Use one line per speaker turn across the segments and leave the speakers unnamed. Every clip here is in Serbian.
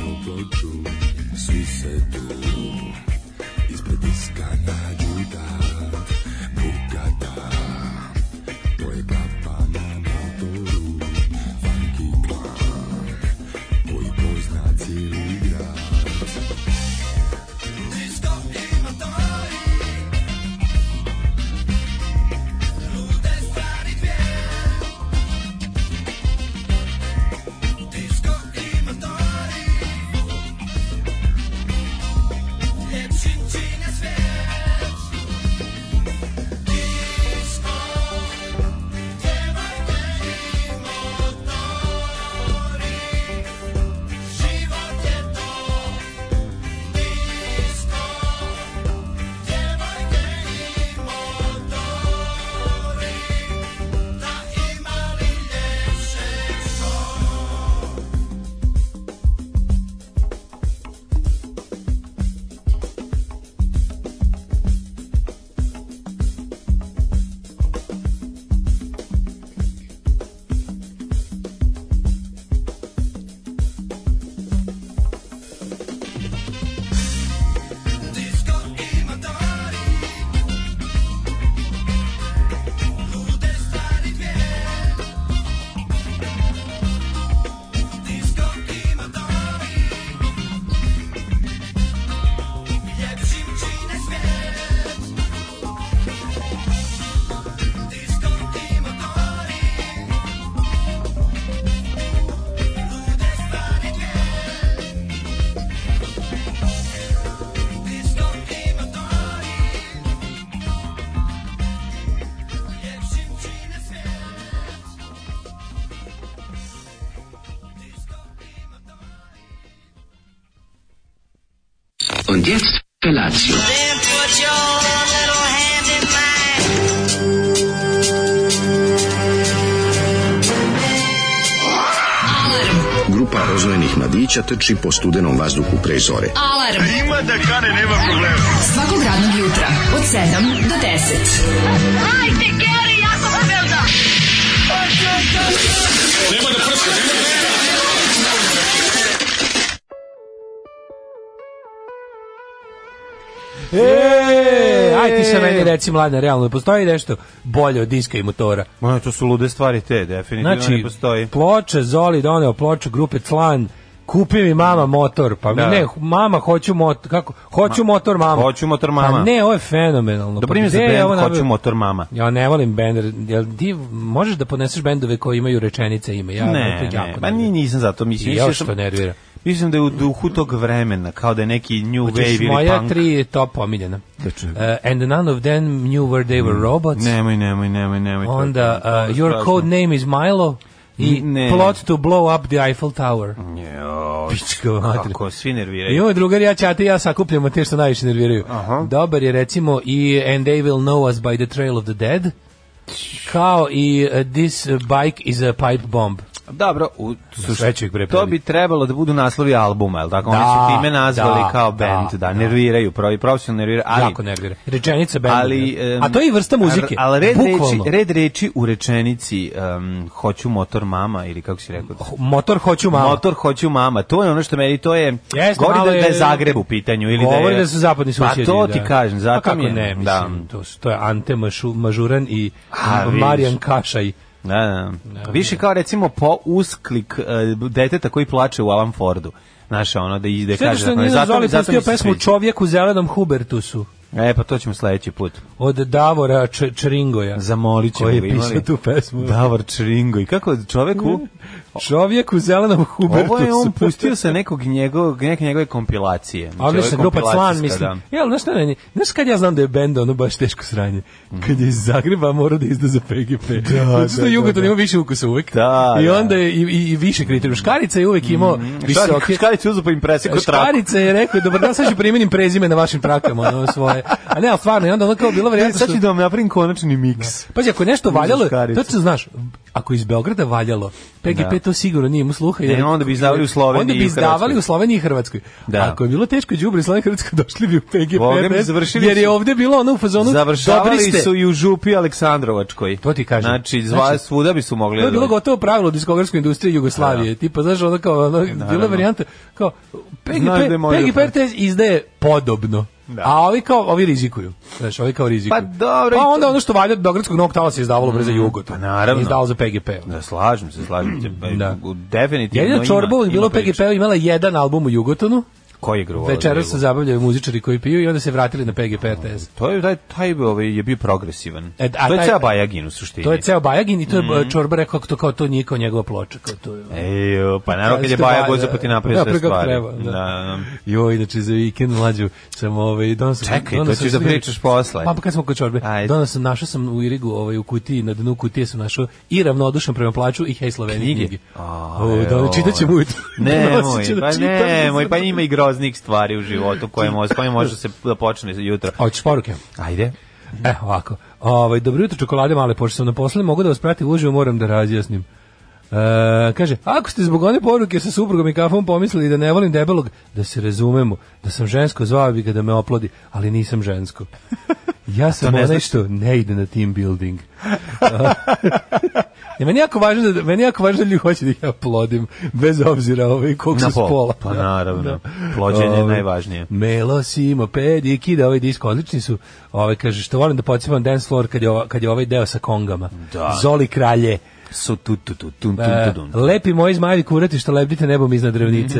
skoču, svi se tu ispred diska nađu dat, bukata. To je klapa na motoru, funky klan, koji pozna cijeli grad.
Und jetzt Felatio.
Then put your little hand in mine.
Grupa rozvojenih mladića trči po studenom vazduhu pre zore.
Alarm. Ima da kane, nema problema. Svakog radnog jutra, od 7 do 10.
E, aj ti sa meni reci mlada, realno postoji nešto bolje od diska i motora.
Ma, to su lude stvari te, definitivno ne
Znači,
postoji.
ploče Zoli doneo ploču grupe Tlan. Kupi mi mama motor, pa mi
Da.
ne, mama hoću motor, kako? Hoću motor mama.
hoću motor mama.
Pa ne, ovo je fenomenalno.
Dobri
pa
mi za
gde je ovo
band,
nabavio?
hoću motor mama.
Ja ne volim bender, jel ti možeš da podneseš bendove koji imaju rečenice ime? Ja,
Ne,
to
ne,
jako
ma ni,
nervira.
nisam zato mislim.
I
mislio
još
sam-
to nervira.
Mislim da je u duhu tog vremena, kao da je neki new
Hoćeš
wave ili
moja
punk.
tri je top omiljena.
Da čujem.
Uh, and none of them knew where they
Mm.
were robots.
Nemoj, nemoj, nemoj, nemoj. to je-
Onda
to je
uh, Your
strašno.
Code Name is Milo i
Ne.
Plot to Blow Up the Eiffel Tower.
Jo,
Pička materina.
Kako, svi
I
nerviraju.
ovo drugar ja ćate i ja sakupljamo te što najviše nerviraju.
Aha.
Dobar je recimo i And they will know us by the trail of the dead. Kao i uh, This uh, bike is a pipe bomb.
Dobro, u,
sve ću ih bre
to
prebiti.
bi trebalo da budu naslovi albuma, jel tako? Oni
Da,
su time nazvali
da,
kao band,
da,
da,
da.
nerviraju, pravi, profesionalno nerviraju, ali...
Jako nervira. Rečenica benda.
Ali, em,
A to je i vrsta muzike.
ar- Ali red reči,
Bukvalno.
red reči u rečenici em, hoću motor mama ili kako si rekao?
Motor hoću malo.
Motor hoću mama. To je ono što meni to je
Jeste,
govori
malo
da, da je
je-
Zagreb u pitanju ili da je
Govori da su zapadni susjedi.
Pa to ti kažem, zato
Pa kako
mi je- da,
ne, mislim, to, su, to je Ante Mašu, Mažuran i
A, vidiš.
Marijan Kašaj.
Da, da. Više kao recimo po usklik e, deteta koji plače u Alan Fordu. Znaš, ono, da ide
Sve
kaže.
što
ono,
nije
zato,
Zoli
zato mi
pustio
se
pesmu
sviđa.
Čovjek u zelenom Hubertusu
E, pa to ćemo sledeći put.
od Davora Č Čringoja.
Zamolit ćemo
Koji
ga,
je pisao
imali?
tu pesmu.
Davor Čringo. I kako je čoveku?
Čovjek u zelenom Hubertusu.
Ovo je on pustio sa nekog njegovog, neke njegove kompilacije. Znači, ovo je
Odlična grupa Clan,
kompilacijska, da.
mislim. Jel, znaš, ne, ne, znaš kad ja znam da je bend ono baš teško sranje? Kad je iz Zagreba morao da izda za PGP. Da, Zato što
Mhm. da,
Jugoton
da.
ima više ukusa uvek.
Da,
I
da. Mhm.
onda je i, i, i više kriterija. Škarica je uvek imao mm,
Visoke.
visoke...
Škarić uzu pa im presjeku traku.
Škarica je rekao, dobar dan, sad ću primenim prezime na vašim trakama, ono svoje. A ne, ali stvarno, i onda ono kao bilo
E,
varijanta
sad
što...
ću da vam napravim konačni miks.
Pazi, ako je nešto valjalo,
Škarica.
to se znaš, ako je iz Beograda valjalo, PGP
Da.
to sigurno nije mu sluha. jer-
Ne, onda bi izdavali u Sloveniji
Onda bi
i Hrvatskoj.
izdavali u Sloveniji i Hrvatskoj.
Da.
Ako je bilo teško đubre iz Slovenije i Hrvatske, došli bi u PGP.
Boga mi,
bez,
završili
jer je
su-
ovde bilo ono u fazonu, dobri
Završavali
ste.
su i u Župi Aleksandrovačkoj.
To ti kažem.
Znači, zva,
Znači,
svuda bi su mogli.
To je
da
bilo
dođu.
gotovo pravilo diskografske industrije
Da.
Jugoslavije. Tipa, znaš, ono kao, ono, bila je varijanta, kao,
Znaš da je
PGP,
moj
PGP
refren.
RTS izdaje podobno.
Da.
A ovi kao, ovi rizikuju. Znaš, ovi kao rizikuju.
Pa dobro, i
Pa
to-
onda ono što valja od Beogradskog novog tala se izdavalo bre za Jugo. to.
pa naravno.
Izdavalo za PGP.
Da, slažem se, slažem se.
Da.
Da. Definitivno
Jedina
ima-
čorba uvijek
ima
bilo
priče.
PGP -a imala jedan album u Jugotonu,
Koji je grubo?
večeras se zabavljaju muzičari koji piju i onda se vratili na PGP RTS.
To je taj taj bi, ovaj je bio progresivan.
E, a
to je
taj-
ceo Bajagin u suštini.
To je ceo Bajagin i to
Mhm.
je mm. Čorba rekao kako to kao to nije kao njegova ploča, kao to je.
Ej, pa naravno kad je
Jeste
Baja
Baja,
Boza pa ti napravi
da,
sve
preko
stvari.
treba, da.
da. da.
Joj, inače za vikend mlađu sam ovaj donos.
Čekaj,
donos
to ćeš da pričaš posle.
Pa pa kad smo kod čorbe.
Ajde.
Donos sam našao sam u Irigu, ovaj u kutiji na dnu kutije sam našao i ravnodušan prema plaću i Hej Slovenije knjige.
Knjige?
O, da čitaćem ujutro.
Ne,
Donosit
moj,
ću da
pa
čitam.
ne, moj, pa ima i groznih stvari u životu koje može, koje može se da počne jutro.
Hoćeš poruke?
Ajde.
E, ovako. Ovaj, dobro jutro, čokolade male, pošto sam na poslu, mogu da vas pratim uživo, moram da razjasnim. E, kaže, ako ste zbog one poruke sa suprugom i kafom pomislili da ne volim debelog, da se razumemo, da sam žensko, zvao bi ga da me oplodi, ali nisam žensko. Ja sam
ne
onaj
znači.
što ne ide na team building. E, meni je jako važno da, meni je jako važno da ljudi hoće da ih ja oplodim, bez obzira ovaj, koliko
Na
su s
pol.
pola.
Pa
Da.
naravno. Plođenje je
Ovaj,
najvažnije.
Melo, Simo, Pedi, Kida, ovaj disk odlični su. Ovaj kaže što volim da podsjećam dance floor kad je ova, kad je ovaj deo sa kongama.
Da.
Zoli kralje.
Su tu tu tu tum tum
E,
tu dum.
lepi moji zmajevi kurati što lebdite nebom iznad drevnice.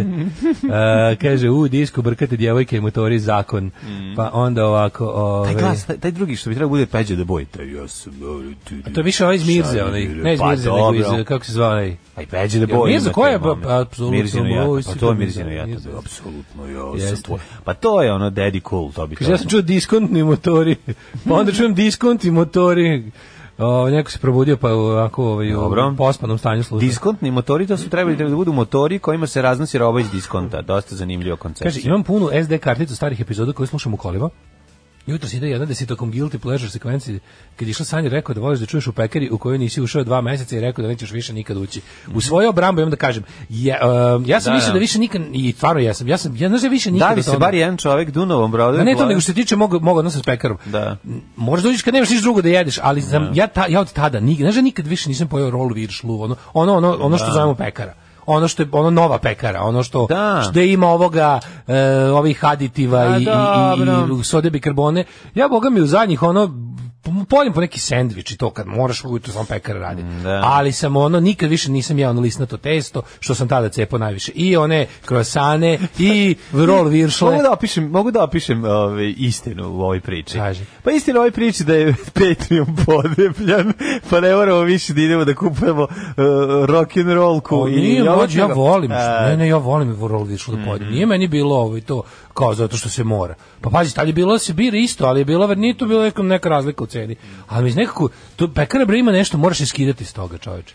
E, kaže, u disku brkate djevojke i motori zakon. Pa onda ovako... Ovaj,
Mm. Taj glas, taj, taj drugi što bi trebao bude Peđa da boji. Taj ja sam... ovaj, ti-
To je više ovaj iz Mirze,
Šta
onaj,
Mirze?
ne iz
Pa
Mirze, nego
dobro.
iz, eh, kako se zvao onaj?
Aj Peđa da
Jel
boji.
Mirza
ima
koja
taj
je ba-
moment.
apsolutno
Mirzino
boji,
jato, pa
sigurno
to je
da,
Mirzino jato.
Mirza.
Apsolutno, ja sam
Jeste.
tvoj. Pa to je ono daddy cool, to bi
Kaže, Pa ja sam čuo diskontni motori, pa onda čujem diskontni motori. O, neko se probudio pa ovako ovaj,
Dobro.
u pospanom stanju sluša.
Diskontni motori, to su trebali da budu motori kojima se raznosi roba iz diskonta. Dosta zanimljiva
Kaže,
koncepcija.
imam punu SD karticu starih epizoda koje slušam u kolima. Jutro si ide jedna da si tokom Guilty Pleasure sekvenci kad je išla Sanja rekao da voliš da čuješ u pekari u kojoj nisi ušao dva meseca i rekao da nećeš više nikad ući. U svoju obrambu imam da kažem, ja, em, ja sam
Mhm. Da,
mislio da.
da.
više nikad, i stvarno ja sam, ja sam, ja znaš da više nikad
Da li
od
se
ono-
bar jedan čovek Dunovom brodu?
Ma ne to nego što se tiče mog, mog odnosa s pekarom.
Da.
M, Možeš dođeš kad nemaš ništa drugo da jedeš, ali sam, ja, ta, ja od tada, nik, znaš da nikad više nisam pojeo roll viršlu, ono, ono, ono, ono što zovemo pekara. Ono što je ono nova pekara, ono što
Da.
što ima ovoga e, ovih aditiva
A,
i, i, i,
dobro.
i sode bikarbone. Ja boga mi u zadnjih ono p- pojem po neki sendvič i to kad moraš ujutro sam pekar radi.
da.
Ali sam ono nikad više nisam ja ono lisnato testo što sam tada cepao najviše. I one krosane i roll viršle.
Mogu da opišem, mogu da opišem ovaj, istinu u ovoj priči.
Kaži.
Pa istina u ovoj priči da je Patreon podepljan, pa ne moramo više da idemo da kupujemo uh, rock and rollku
Pa
i
nije,
ovo
mlađe, ja
čega-
volim.
A,
Ne, ne, ja volim roll viršlu da
Mhm.
pojedem. Nije meni bilo ovo i to kao zato što se mora. Pa pazi, tad je bilo da se bira isto, ali je bilo vernito, bilo je neka- neka razlika u ceni. Ali mi iz nekako, to pekara bre ima nešto, moraš iskidati iz toga, čoveče.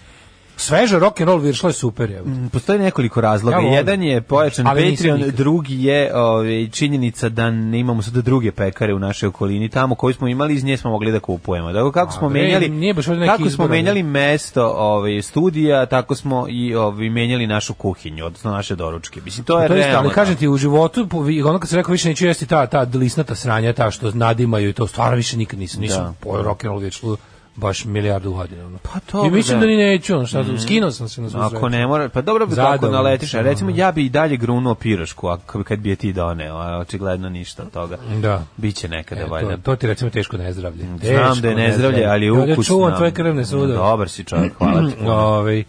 Sveža rock and roll viršla je super, je.
Postoji nekoliko razloga.
Ja volim.
Jedan je pojačan
Ali nisam
Patreon,
nikad.
drugi je ovaj, činjenica da ne imamo sada druge pekare u našoj okolini. Tamo koju smo imali, iz nje smo mogli da kupujemo. Dakle, kako smo
bre,
menjali,
nije baš ovdje neki
kako smo
izbor,
menjali mesto ovaj, studija, tako smo i ovaj, menjali našu kuhinju, odnosno naše doručke. Mislim, to je
Pa To je isto,
realno. da.
ali kažem ti, u životu, po- vi- ono kad se rekao, više neću jesti ta, ta lisnata sranja, ta što nadimaju i to, stvarno više nikad nisam, nisam
Da.
pojeo rock and roll viršlu baš milijardu godina. ono.
Pa dobro,
I mislim
da. Mhm.
da ni neću, ono, šta, skinuo sam se na svu
Ako
sreću.
ne mora, pa dobro bi tako
Zadovoljan
naletiš. A
sam,
recimo
ono.
ja bi i dalje grunuo pirošku, ako bi kad bi je ti doneo, a očigledno ništa od toga.
Da.
Biće nekada
E,
valjda.
To, to ti recimo teško nezdravlje.
Znam da je nezdravlje, ali je ukusno.
Ja čuvam tvoje krvne sudove.
Dobar si čovjek, hvala ti.
Ovaj,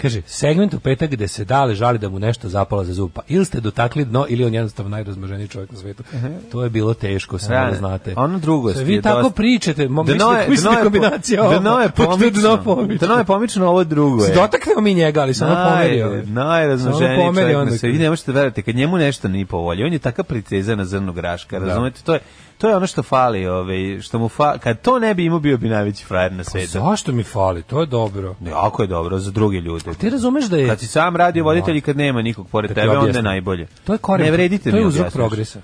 kaže, segment u petak gde se dale žali da mu nešto zapala za zupa. Ili ste dotakli dno, ili je on jednostavno najrazmaženiji čovjek na svetu. To je bilo teško, samo
Da,
da znate.
ono drugo
Sve
ste
Vi
je
tako
dosta-
pričate, mo,
Dno Da je,
mislite, mislite
dno je po-
da kombinacija ovo.
Dno je
Pa to
pomično.
Dno pomično.
Dno je pomično, ovo drugo je.
Dotaknemo mi njega, ali samo pomerio.
Naj, najraznoženiji
Samo pomeri
čovjek na
onda
svetu. Vi
kad-
ne možete verati, kad njemu nešto nije po volji, on je takav pritezan na zrnu
Da.
graška, razumete? To je, to je ono što fali, ovaj, što mu fa, kad to ne bi imao, bio bi najveći frajer na svetu.
Zašto mi fali? To je dobro.
Jako je dobro za druge ljude.
Ti razumeš da je...
Kad si sam radio voditelj i kad nema nikog pored
Da ti
tebe, onda je
objasnim.
najbolje.
To je koren.
Ne vredite
To je
mi
uzrok
objasniš.
progresa.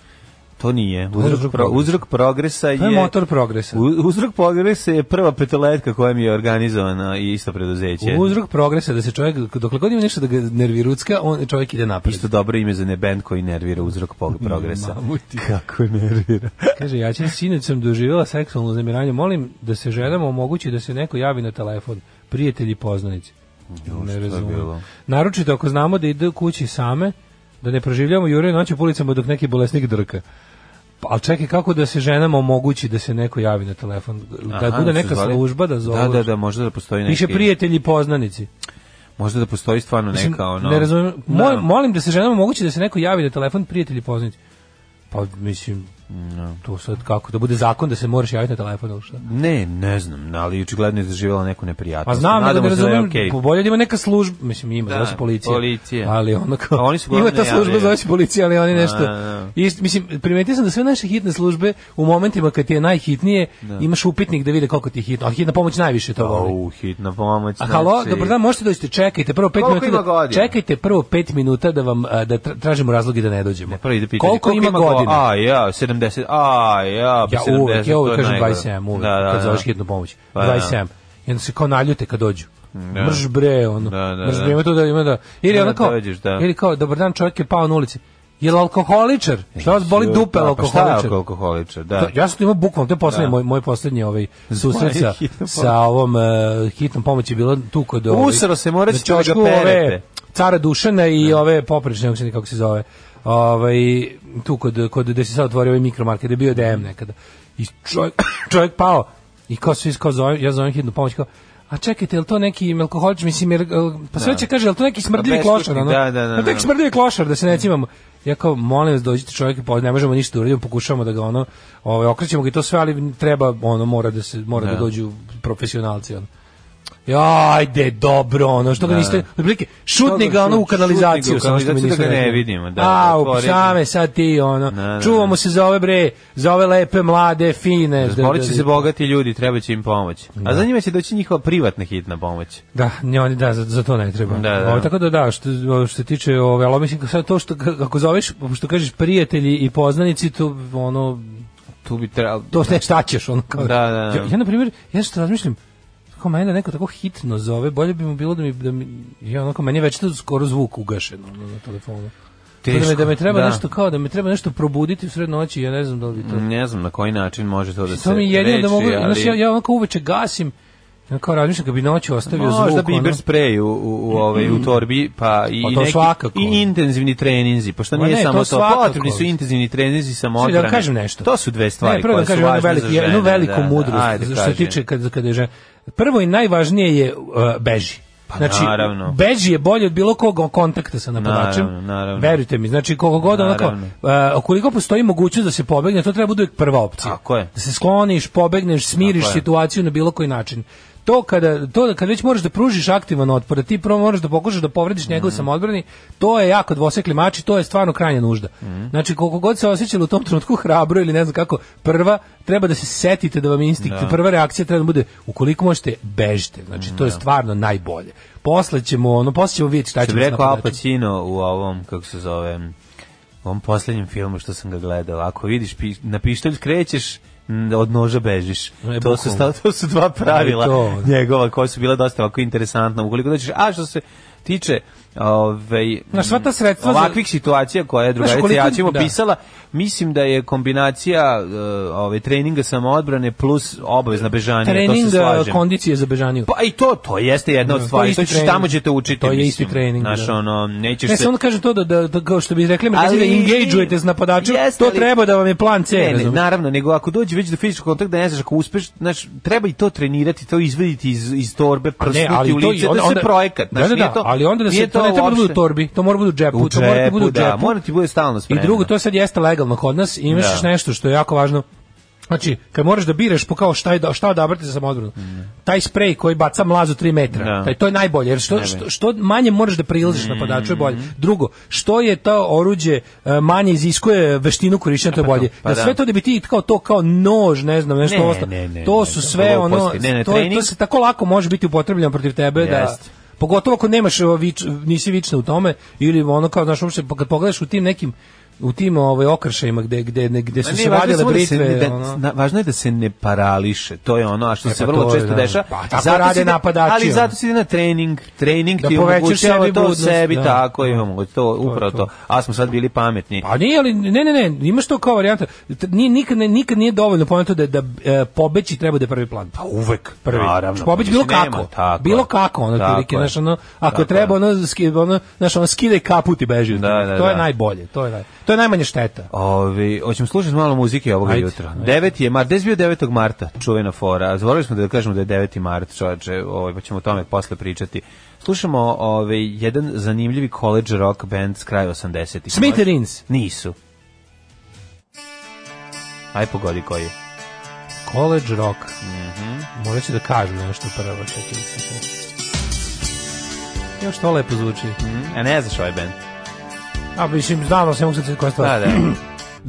To nije. Uzrok,
uzrok
pro,
progresa.
uzrok progresa je...
To je motor progresa.
U- Uzrok progresa je prva petoletka koja mi je organizovana i isto preduzeće.
Uzrok progresa je da se čovjek, dokle god ima nešto da ga nervirucka, on, čovjek ide napred.
Isto dobro ime za ne bend koji nervira uzrok pog- progresa.
Mamu ti.
Kako nervira.
Kaže, ja ćem sinoć sam doživjela seksualno uznemiranje, molim da se ženama omogući da se neko javi na telefon, prijatelji i poznanici.
šta
ne
je
razumem.
bilo?
Naročito ako znamo da idu kući same, da ne proživljamo jure i noće po ulicama dok neki bolesnik drka. Pa, ali čekaj, kako da se ženama omogući da se neko javi na telefon? Da
Aha,
bude
su
neka
zvali-
služba da zove.
Da, da, da, možda da postoji neki...
Piše prijatelji i poznanici.
Možda da postoji stvarno
Mislim,
neka ono...
Ne razumem.
Da.
Mol- molim da se ženama omogući da se neko javi na telefon prijatelji i poznanici. Pa mislim, to sad kako, da bude zakon da se moraš javiti na telefon ili šta?
Ne, ne znam, ali očigledno je doživjela neku
Pa
neprijatnost.
znam nego da
Nadamo
ne
se je
razumem,
okej.
po- bolje da ima neka služba, mislim ima, da,
Da,
se policija.
policija.
Ali ono kao,
A oni su
ima
glavne
ta služba,
javljaju.
zove se policija, ali oni nešto,
Da, da.
ist, mislim, primetio sam da sve naše hitne službe u momentima kad ti je najhitnije, imaš upitnik da vide koliko ti je hitno, a hitna pomoć najviše to voli.
Au, hitna pomoć.
A halo,
znači-
dobar dan, možete doći, čekajte prvo 5
Koliko
minuta. Da,
ima godina?
čekajte prvo 5 minuta da vam a, da tra- tražimo razloge da ne dođemo.
Ne, prvo ide pitanje.
koliko, ima
go-
godina?
A, ja, 70. A, ja, pa
ja
70.
uvek, ja
to
uvek
je
kažem
najgore.
27, uvek,
Da, da,
kad
da.
zoveš hitnu pomoć.
Pa da.
27. I onda se kao naljute kad dođu. Mrš bre, ono.
Da, da,
mrš
da.
bre, ima to da ima da. Ili
Da,
ono kao,
dođeš, da.
ili kao, dobar dan, čovjek je pao na ulici. Je li alkoholičar? Šta vas boli dupe,
Da, E, Pa šta je
alkoholičar?
alkoholičar, da.
Da, ja sam to imao bukvalno, to je poslednji,
Da.
moj, moj poslednji ovaj, susret sa,
Moja hitna pomoć.
sa ovom uh, hitnom pomoći bilo tu kod... Ovaj,
Usro se, morat ćete
na
da ga
ćošku
perete.
cara Dušana i ove poprične, kako se, kako se zove, ovaj, tu kod, kod gde se sad otvorio ovaj mikromarket, gde je bio DM nekada. I čovjek, čovjek pao. I kao svi, kao zovem, ja zovem hitnu pomoć, kao, a čekajte, je li to neki alkoholič, mislim, jer, el, pa sve će kaže, je li to neki smrdljivi
Beškutnik,
klošar, ono?
da, da, da,
Je li to neki
da.
smrdljivi klošar, da se ne cimamo. Ja kao, molim vas, dođite čovjek, pa ne možemo ništa da uradimo, pokušavamo da ga, ono, ovaj, okrećemo ga i to sve, ali treba, ono, mora da se, mora da dođu profesionalci, ono. Ja, ajde, dobro, ono, što ga niste, otprilike, šutni ga ono u
Šutni Da. ga u
kanalizaciju, samo što mi niste
kanalizaciju da ga ne
rekli.
vidimo, da,
A, u
otvoreni.
same, sad ti, ono,
Da, da,
čuvamo
da.
se za ove bre, za ove lepe, mlade, fine. da,
Bolit će
da,
se
da.
bogati ljudi, treba će im pomoć. A za njima će doći njihova privatna hitna pomoć.
Da, ne, oni, da, za, za to ne treba.
Da, da.
Ovo, tako da, da, što, što se tiče, ove, ali mislim, sad to što, kako zoveš, što kažeš, prijatelji i poznanici, to, ono,
Tu bi trebalo...
to ne šta ćeš ono kao.
Da, da, da.
Ja, ja na primjer, ja što razmišljam kao mene da neko tako hitno zove, bolje bi mu bilo da mi da mi ja onako meni je već to skoro zvuk ugašen ono, na telefonu. Teško, da, me, da me treba nešto kao da me treba nešto probuditi u sred noći, ja ne znam da li bi to.
Ne znam na koji način može to Mm, da se
to mi je jedino da mogu,
reči,
znači ja
ali-
ja onako uveče gasim. Ja kao razmišljam kad bi noću ostavio zvuk.
Možda bi
ono.
Iber sprej u, u, u, ovaj, u torbi, pa i,
Pa
i
to
neki,
svakako.
i intenzivni treninzi, pošto
Ma
nije
ne,
samo
to
to,
svakako.
potrebni su intenzivni treninzi samo
Sve, da
odbrane.
vam kažem nešto.
To su dve stvari
Ne, prvo da
koje
vam
su
kažem jednu
važne
veliku,
za žene.
jednu veliku
da, da.
mudrost
Ajde,
što se
kaži.
tiče kad kad je žena. Prvo i najvažnije je uh, beži. Pa znači,
naravno.
beži je bolje od bilo kog kontakta sa napadačem.
Naravno, naravno.
Verujte mi, znači koliko god onako, uh, koliko postoji mogućnost da se pobegne, to treba bude uvijek prva opcija.
Tako je.
Da se skloniš, pobegneš, smiriš
Tako je.
situaciju na bilo koji način. To kada to da kad već moraš da pružiš aktivan otpor, a ti prvo moraš da pokušaš da povrediš njegovu
Mhm.
samoodbrani, to je jako dvosekli mač i to je stvarno krajnja nužda.
Mhm.
Znači koliko god se osjećalo u tom trenutku hrabro ili ne znam kako, prva treba da se setite da vam je instinkt, prva reakcija treba da bude ukoliko možete bežite. Znači to je
Da.
stvarno najbolje. Posle ćemo, ono posle ćemo vidjeti šta
Što
ćemo
bi
s
rekao Al
napadačem.
Pacino u ovom, kako se zove, u ovom posljednjem filmu što sam ga gledao, ako vidiš, pi, na pištolj krećeš, m, od noža bežiš.
E,
to, su,
bukvalno.
sta- to su dva pravila
E, to.
njegova koja su bila dosta ovako interesantna. Ukoliko dođeš, a što se tiče ovaj,
Na sva ta sredstva za-
ovakvih situacija koje je drugarica
koliko-
Jačim
da.
opisala, mislim da je kombinacija e, ovaj, treninga samoodbrane plus obavezna bežanja, to se
Trening
slažem.
kondicije za bežaniju.
Pa i to, to jeste jedna od
Da, to je
stvari.
isti
To ćeš
trening.
tamo ćete učiti.
To je
mislim.
isti trening,
Znaš,
da.
ono, nećeš
Ne,
se...
samo kažem to da, da, da kao što bi rekli, ali, da
Ali-
engageujete s napadačem,
Jeste,
to
ali-
treba da vam je plan C,
Ne, ne,
razumeš?
naravno, nego ako dođe već do fizičkog kontakta, ne znaš, ako uspeš, znaš, treba i to trenirati, to izvediti iz, iz torbe, prsnuti
ali
u
to-
lice, da se projekat.
Da,
znaš,
da,
nije
da,
to,
ali onda da se
nije
to ne treba da bude u
uopšte-
torbi, to mora da bude u džepu,
U
to mora da bude u
džepu, da,
džepu.
mora ti bude stalno
I
spremno.
drugo, to sad jeste legalno kod nas, imaš
Da.
još nešto što je jako važno. Znači, kad moraš da biraš po kao šta, je da, šta odabrati za samoodbranu, taj sprej koji baca mlazu 3 metra,
Da.
taj, to je najbolje, jer što, što, što manje moraš da prilaziš napadaču je
Mhm.
bolje. Drugo, što je to oruđe e, manje iziskuje veštinu korišćenja, to je bolje.
pa
Jer
da.
sve to da bi ti kao to, kao nož, ne znam, nešto
Ne,
ostalo,
ne, ne,
to
ne,
su
to
sve ono,
gluposti. Ne, ne,
to, to
trening-
se tako lako može biti upotrebljeno protiv tebe da...
Jeste.
Pogotovo ako nemaš ovo vič, nisi vična u tome ili ono kao znaš uopšte pa kad pogledaš u tim nekim u tim ovaj okršajima gde gde ne- gde su
Ma
se
važno je
vadile
samo da se-
britve
da-
ono.
na- važno je da se ne parališe, to je ono a što
E,
se
pa
vrlo
to je,
često
da.
deša.
Pa, tako
Zato
rade
si-
napadači,
Ali
ono.
zato si ide na trening, trening
Da
ti
povećaš
omogućava
sebi
to
budnost,
sebi,
da.
tako
Da.
imamo, to, upravo
to.
to. A smo sad bili pametni.
Pa nije, ali ne, ne, ne, imaš to kao varijanta. T- Nije, nikad, ne, nikad nije dovoljno pomenuto da, da e, pobeći treba da je prvi plan. Pa uvek prvi.
Naravno,
Pobeć
pa
bilo
mislim,
kako.
nema, tako
bilo
je.
kako, ono,
Tako
prilike,
je.
znaš, ono, ako
Tako je.
treba, ono, ski- ono, znaš, ono, skide kaput i beži. od
Da,
toga.
da,
to je
da.
najbolje, to je, naj, to je najmanje šteta.
Ovi, hoćemo slušati malo muzike ovoga
Ajde,
jutra.
ajde.
9. je mart, 10 bio 9. marta, čuvena fora. a Zaboravili smo da kažemo da je 9. mart, čoveče, ovaj, pa ćemo o tome posle pričati. Slušamo ovaj, jedan zanimljivi college rock band s kraja 80-ih.
Smithereens.
Nisu. Aj pogodi koji je.
Mhm. College rock.
Mhm.
Morat ću da kažem nešto prvo. Čekaj, čekaj. Jo, što lepo zvuči.
A ne znaš ovaj band.
A, mislim, znam, ali se ne mogu sad koja stvar.
Da, da.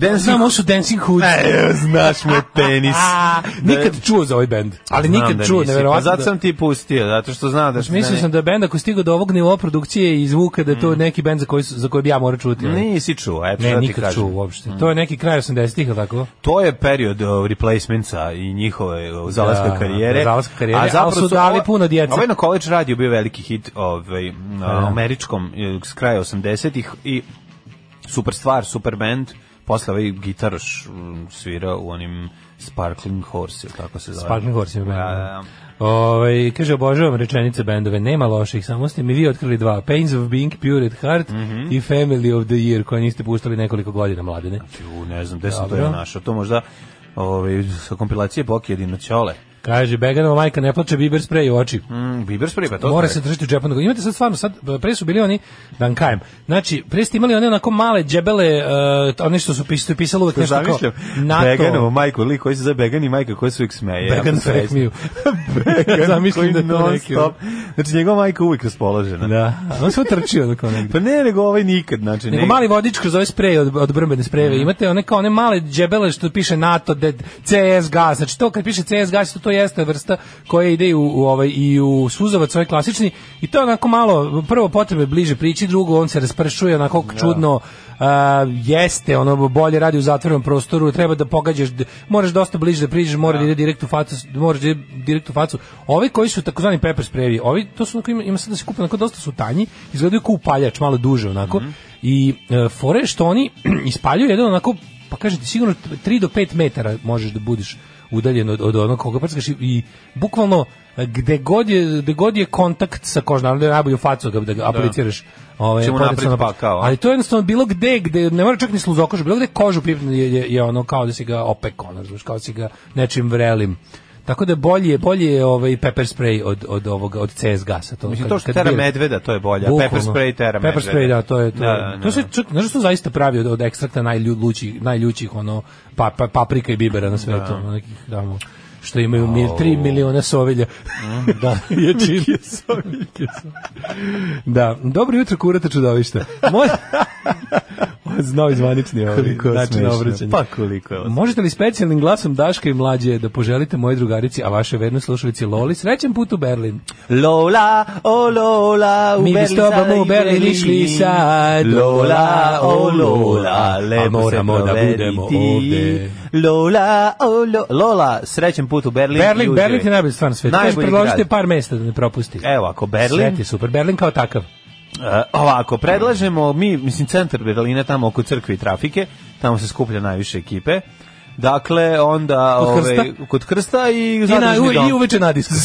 Dancing
Znam, ovo su Dancing Hoods.
E, znaš moj penis.
A, nikad čuo za ovaj bend. Ali
Znam
nikad
da
čuo,
nisi,
neverovatno.
Pa zato sam ti pustio, zato što znam da...
Mislio sam da je bend ako stigao do ovog nivoa produkcije i zvuka da je to neki bend za koji, su- za koji bi ja morao čuti. ali-
Nisi čuo, eto
ne,
šta da ti
nikad
kažem. Mhm.
čuo uopšte. To je neki kraj 80-ih, ili tako?
To je period uh, replacementsa i njihove uh, zalaska
Da,
karijere.
zalaska karijere, ali
zapravo
su dali
o-
puno djece. Da,
Ovaj na college radio bio veliki hit ovaj, na američkom eh, s kraja 80-ih i super stvar, super band. Posle ovaj gitaroš mm, svira u onim Sparkling Horse, ili kako se zove.
Sparkling Horse ima
Da,
bend.
da,
Ovaj, kaže, obožavam rečenice bendove, nema loših, samo ste mi vi otkrili dva. Pains of Being Pure at Heart
Mhm.
i Family of the Year, koje niste puštali nekoliko godina, mladine.
da. U, ne znam, gde sam to
Dobro.
ja našao. To možda ovaj, sa kompilacije Bokjedina Ćole.
Kaže, Beganova majka ne plače biber sprej u oči.
Mm, Bieber spray, pa to
Mora
spray.
se držati u džepu. Nego Imate sad stvarno, sad, pre su bili oni, da vam kajem, znači, pre ste imali one onako male džebele, uh, one što su pis- što je pisalo uvek nešto kao
Zamišljam,
NATO.
Beganovo majku, lik koji se zove Began i majka koja se uvijek smeje.
Began
jako srećna.
fake me.
Began
Zamišljam
koji
da je to
non
neki,
stop- Znači, njegova majka uvijek raspoložena.
Da, on se utrčio onako negde.
Pa ne, nego ovaj nikad, znači...
Nego
ne- Mm.
mali vodič kroz ove spreje od, od brmbene sprejeve. Imate one kao one male džebele što piše NATO, de, CS gas. Znači to kad piše CS gas, to, to jeste vrsta koja ide i u, u ovaj, i u suzovac, ovaj klasični. I to je onako malo, prvo potrebe bliže priči, drugo on se raspršuje onako
Da.
čudno. a, jeste, ono bolje radi u zatvorenom prostoru, treba da pogađaš, d- moraš dosta bliže da priđeš, mora da ide direkt u facu, moraš da ide direkt u facu. Ovi koji su takozvani pepper sprayevi, ovi to su onako ima, ima sad da se kupe onako dosta su tanji, izgledaju kao upaljač, malo duže onako. I e, fore je što oni ispaljuju jedan onako pa kažete sigurno 3 do 5 metara možeš da budiš udaljen od, od onog koga prskaš i, i bukvalno e, gde god je, gde god je kontakt sa kožom, naravno da je najbolje u facu da, da ga apliciraš. Ovaj,
Će mu
potencijalno
napred
napad.
pakao, a?
Ali to je jednostavno bilo gde, gde ne mora čak ni sluzokoš, bilo gde kožu pripne je, je, je ono kao da si ga opekao, ono, razumeš, kao da si ga nečim vrelim. Tako da je bolje, bolje je ovaj pepper spray od, od ovoga, od CS gasa. To,
Mislim,
kad-
to što
kad
tera
bije-
medveda, to je bolje. a Pepper
Bukvalno.
spray tera medveda.
Pepper spray, da, to je to.
Da, da,
To se
da.
čak, znaš što zaista pravi od, od ekstrakta najljućih, najljućih ono, pa, pa, paprika i bibera na svetu. ono, nekih, da, ono, što imaju 3 miliona sovilja.
Mm.
da, je čin. da, dobro jutro, kurata čudovišta. Moj... Znao izvanični ovaj
Koliko je
način
smešno.
obraćanja.
Pa koliko je ovo
Možete li specijalnim glasom Daška i Mlađe da poželite moje drugarici, a vaše verne slušalici Loli, srećan put u Berlin.
Lola, o Lola, u
Mi bi s
Berlin
tobom
sada
u Berlin išli sad.
Lola, o Lola,
A
lepo
moramo
se
da
proveriti.
budemo ovde.
Lola, o Lola, Lola, srećen put u Berlin. i
Berlin,
uživaj.
Berlin je najbolji stvar na svetu. Kaže,
Najbolji
predložite
grad.
par mesta da ne propusti.
Evo, ako Berlin,
Svet je super. Berlin kao takav.
E, ovako, predlažemo mi, mislim, centar Berlina, tamo oko crkve i trafike, tamo se skuplja najviše ekipe. Dakle, onda...
Kod
ovaj,
Krsta?
Kod Krsta i
I, na,
zadružni
u, i
dom.
uveče na disku.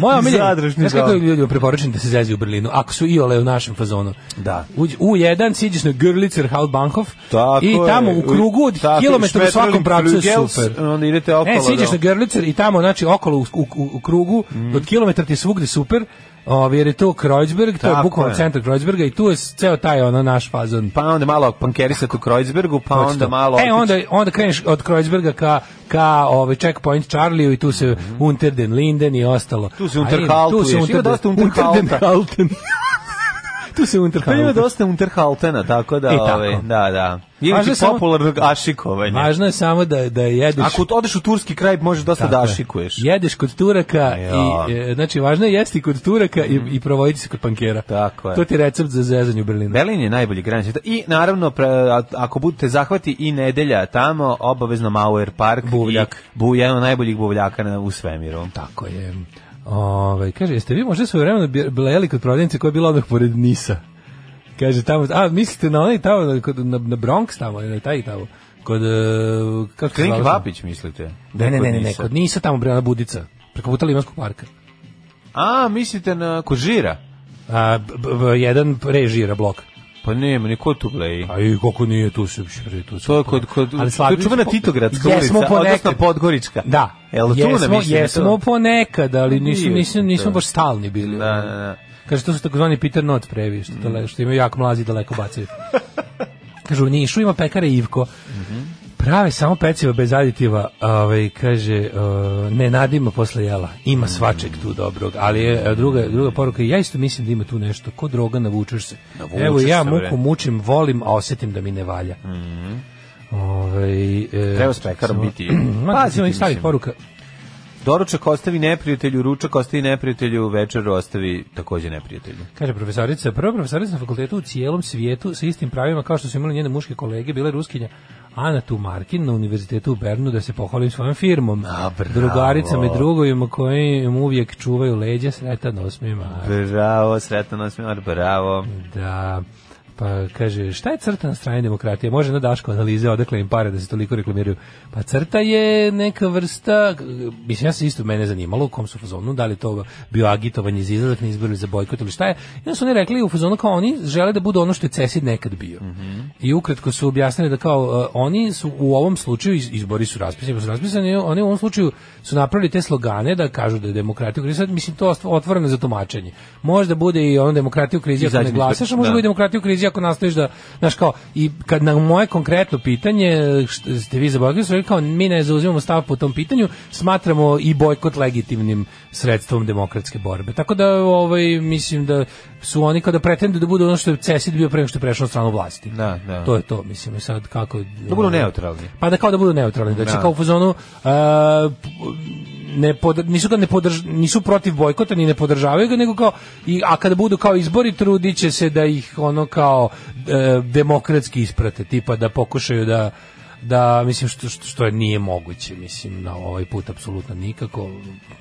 Moja omiljena,
Zadružni
znaš kako
dom.
ljudima preporučujem da se zezi u Berlinu, ako su i ole u našem fazonu.
Da.
Uđi- U jedan siđeš na Görlitzer Hauptbahnhof
Tako
i
je.
tamo u krugu od
Tako je,
kilometra u svakom
Schmetterling,
pravcu je
Flugels,
super. E,
Onda idete e, okolo.
Ne,
da
siđeš
do- Mhm.
na Görlitzer i tamo, znači, okolo u, u, u krugu, od kilometra ti je svugde super, ovaj, jer je to Kreuzberg, to je
Tako
bukvalno
je.
centar Kreuzberga i tu je s- ceo taj ono naš fazon.
Pa onda malo pankerisati u Kreuzbergu, pa
Hoćete.
onda malo...
E, onda, onda kreneš od Kreuzberga ka, ka ovaj, checkpoint Charlie i tu se Unter den Linden i ostalo.
Mhm. Tu se
A ima,
Unterkaltuješ, ima dosta Unterkalta.
Unterdenkalten. tu se
Pa ima
Unterhalter.
dosta Unterhaltena, tako da,
E, tako.
ovaj, da, da. Ili
Važno
ti
je samo-
popularnog ašikovanja.
Važno je samo da, da jedeš...
Ako odeš u turski kraj, možeš dosta da
Tako je.
ašikuješ.
Jedeš kod Turaka
Ja.
i e, znači važno je jesti kod Turaka i, i provoditi se kod pankera.
Mhm. Tako je.
To ti je recept za zezanje u Berlinu.
Berlin je najbolji grad sveta. I naravno, pre- a- ako budete zahvati i nedelja tamo, obavezno Mauer Park.
Buvljak.
I bu, jedan od najboljih buvljaka na, u svemiru.
Tako je. Ovaj kaže jeste vi možda svoje vremena bi- blejali kod prodavnice koja je bila odmah pored Nisa. Kaže tamo, a mislite na onaj tamo na, kod- na, na Bronx tamo, na taj tamo, kod e, kako se
Klinki
zvala?
Papić, mislite?
Ne, ne, ne, ne, ne,
Nisa.
kod Nisa tamo bre na Budica, preko puta Limanskog parka.
A, mislite na kod Žira?
A, b, b, b- jedan režira blok.
Pa nema, niko tu bleji.
A i koliko nije tu se više bre tu. se-
To je kod, kod,
Ali
to je
Slavinović
čuvena
po-
Titogradska
Jesmo
ulica,
ponekad.
odnosno Podgorička.
Da.
Jel tu ne
jesmo,
mislite na to?
jesmo ponekad, ali nisu,
Nije
nisu,
to.
nismo baš stalni bili.
Da, da, da.
Kaže, to su takozvani Peter Not previ, što, dale, što imaju jako mlazi i daleko bacaju. Kaže, u Nišu ima pekara Ivko.
Mhm.
Prave samo peciva bez aditiva, ovaj, kaže, uh, ne nadima posle jela.
Mhm.
Ima svačeg tu dobrog, ali je e, druga, druga poruka, ja isto mislim da ima tu nešto, ko droga navučeš se.
Navučeš
Evo, ja
se, bre. Mhm.
muku mučim, volim, a osetim da mi ne valja. Ovaj, e,
Treba s pekarom
samo-
biti.
Ma,
Paziti,
recimo, ovih starih
mislim.
poruka.
Doručak ostavi neprijatelju, ručak ostavi neprijatelju, večer ostavi takođe neprijatelju.
Kaže profesorica, prva profesorica na fakultetu u cijelom svijetu sa istim pravima kao što su imali njene muške kolege, bila je ruskinja Ana Tumarkin na univerzitetu u Bernu da se pohvalim svojom firmom,
A, bravo.
drugaricama i drugovima koji im uvijek čuvaju leđa sretan 8. mart.
Bravo, sretan osmimar, bravo.
Da, pa kaže, šta je crta na strani demokratije? Može na Daško analize, odakle im pare da se toliko reklamiraju. Pa crta je neka vrsta, mislim, ja se isto mene zanimalo u kom su fazonu, da li je to bio agitovanje za izlazak na izboru za bojkot ili šta je. I onda su oni rekli u fazonu kao oni žele da budu ono što je CESID nekad bio. I ukratko su objasnili da kao e, oni su u ovom slučaju, iz- izbori su raspisani, pa su raspisani, oni u ovom slučaju su napravili te slogane da kažu da je demokratija u krizi, sad mislim to je otvoreno za tumačenje. Možda bude i ono demokratija u krizi ako
Izađi
ne
ispred-
glasaš, a može
da.
biti demokratija u krizi ako nastaviš da, znaš kao, i kad na moje konkretno pitanje, što ste vi zaboravili, su rekli kao, mi ne zauzimamo stav po tom pitanju, smatramo i bojkot legitimnim sredstvom demokratske borbe. Tako da, ovaj, mislim da su oni kada pretenduju da budu ono što je CESID bio pre nego što je prešao na stranu vlasti.
Da, da.
To je to, mislim, i sad kako...
Da budu neutralni.
Pa da kao da budu neutralni, da će
Da.
kao u fazonu e, p- ne pod, nisu ga ne podrž, nisu protiv bojkota ni ne podržavaju ga nego kao i a kada budu kao izbori trudiće se da ih ono kao e, demokratski isprate, tipa da pokušaju da da mislim što što, što je nije moguće mislim na ovaj put apsolutno nikako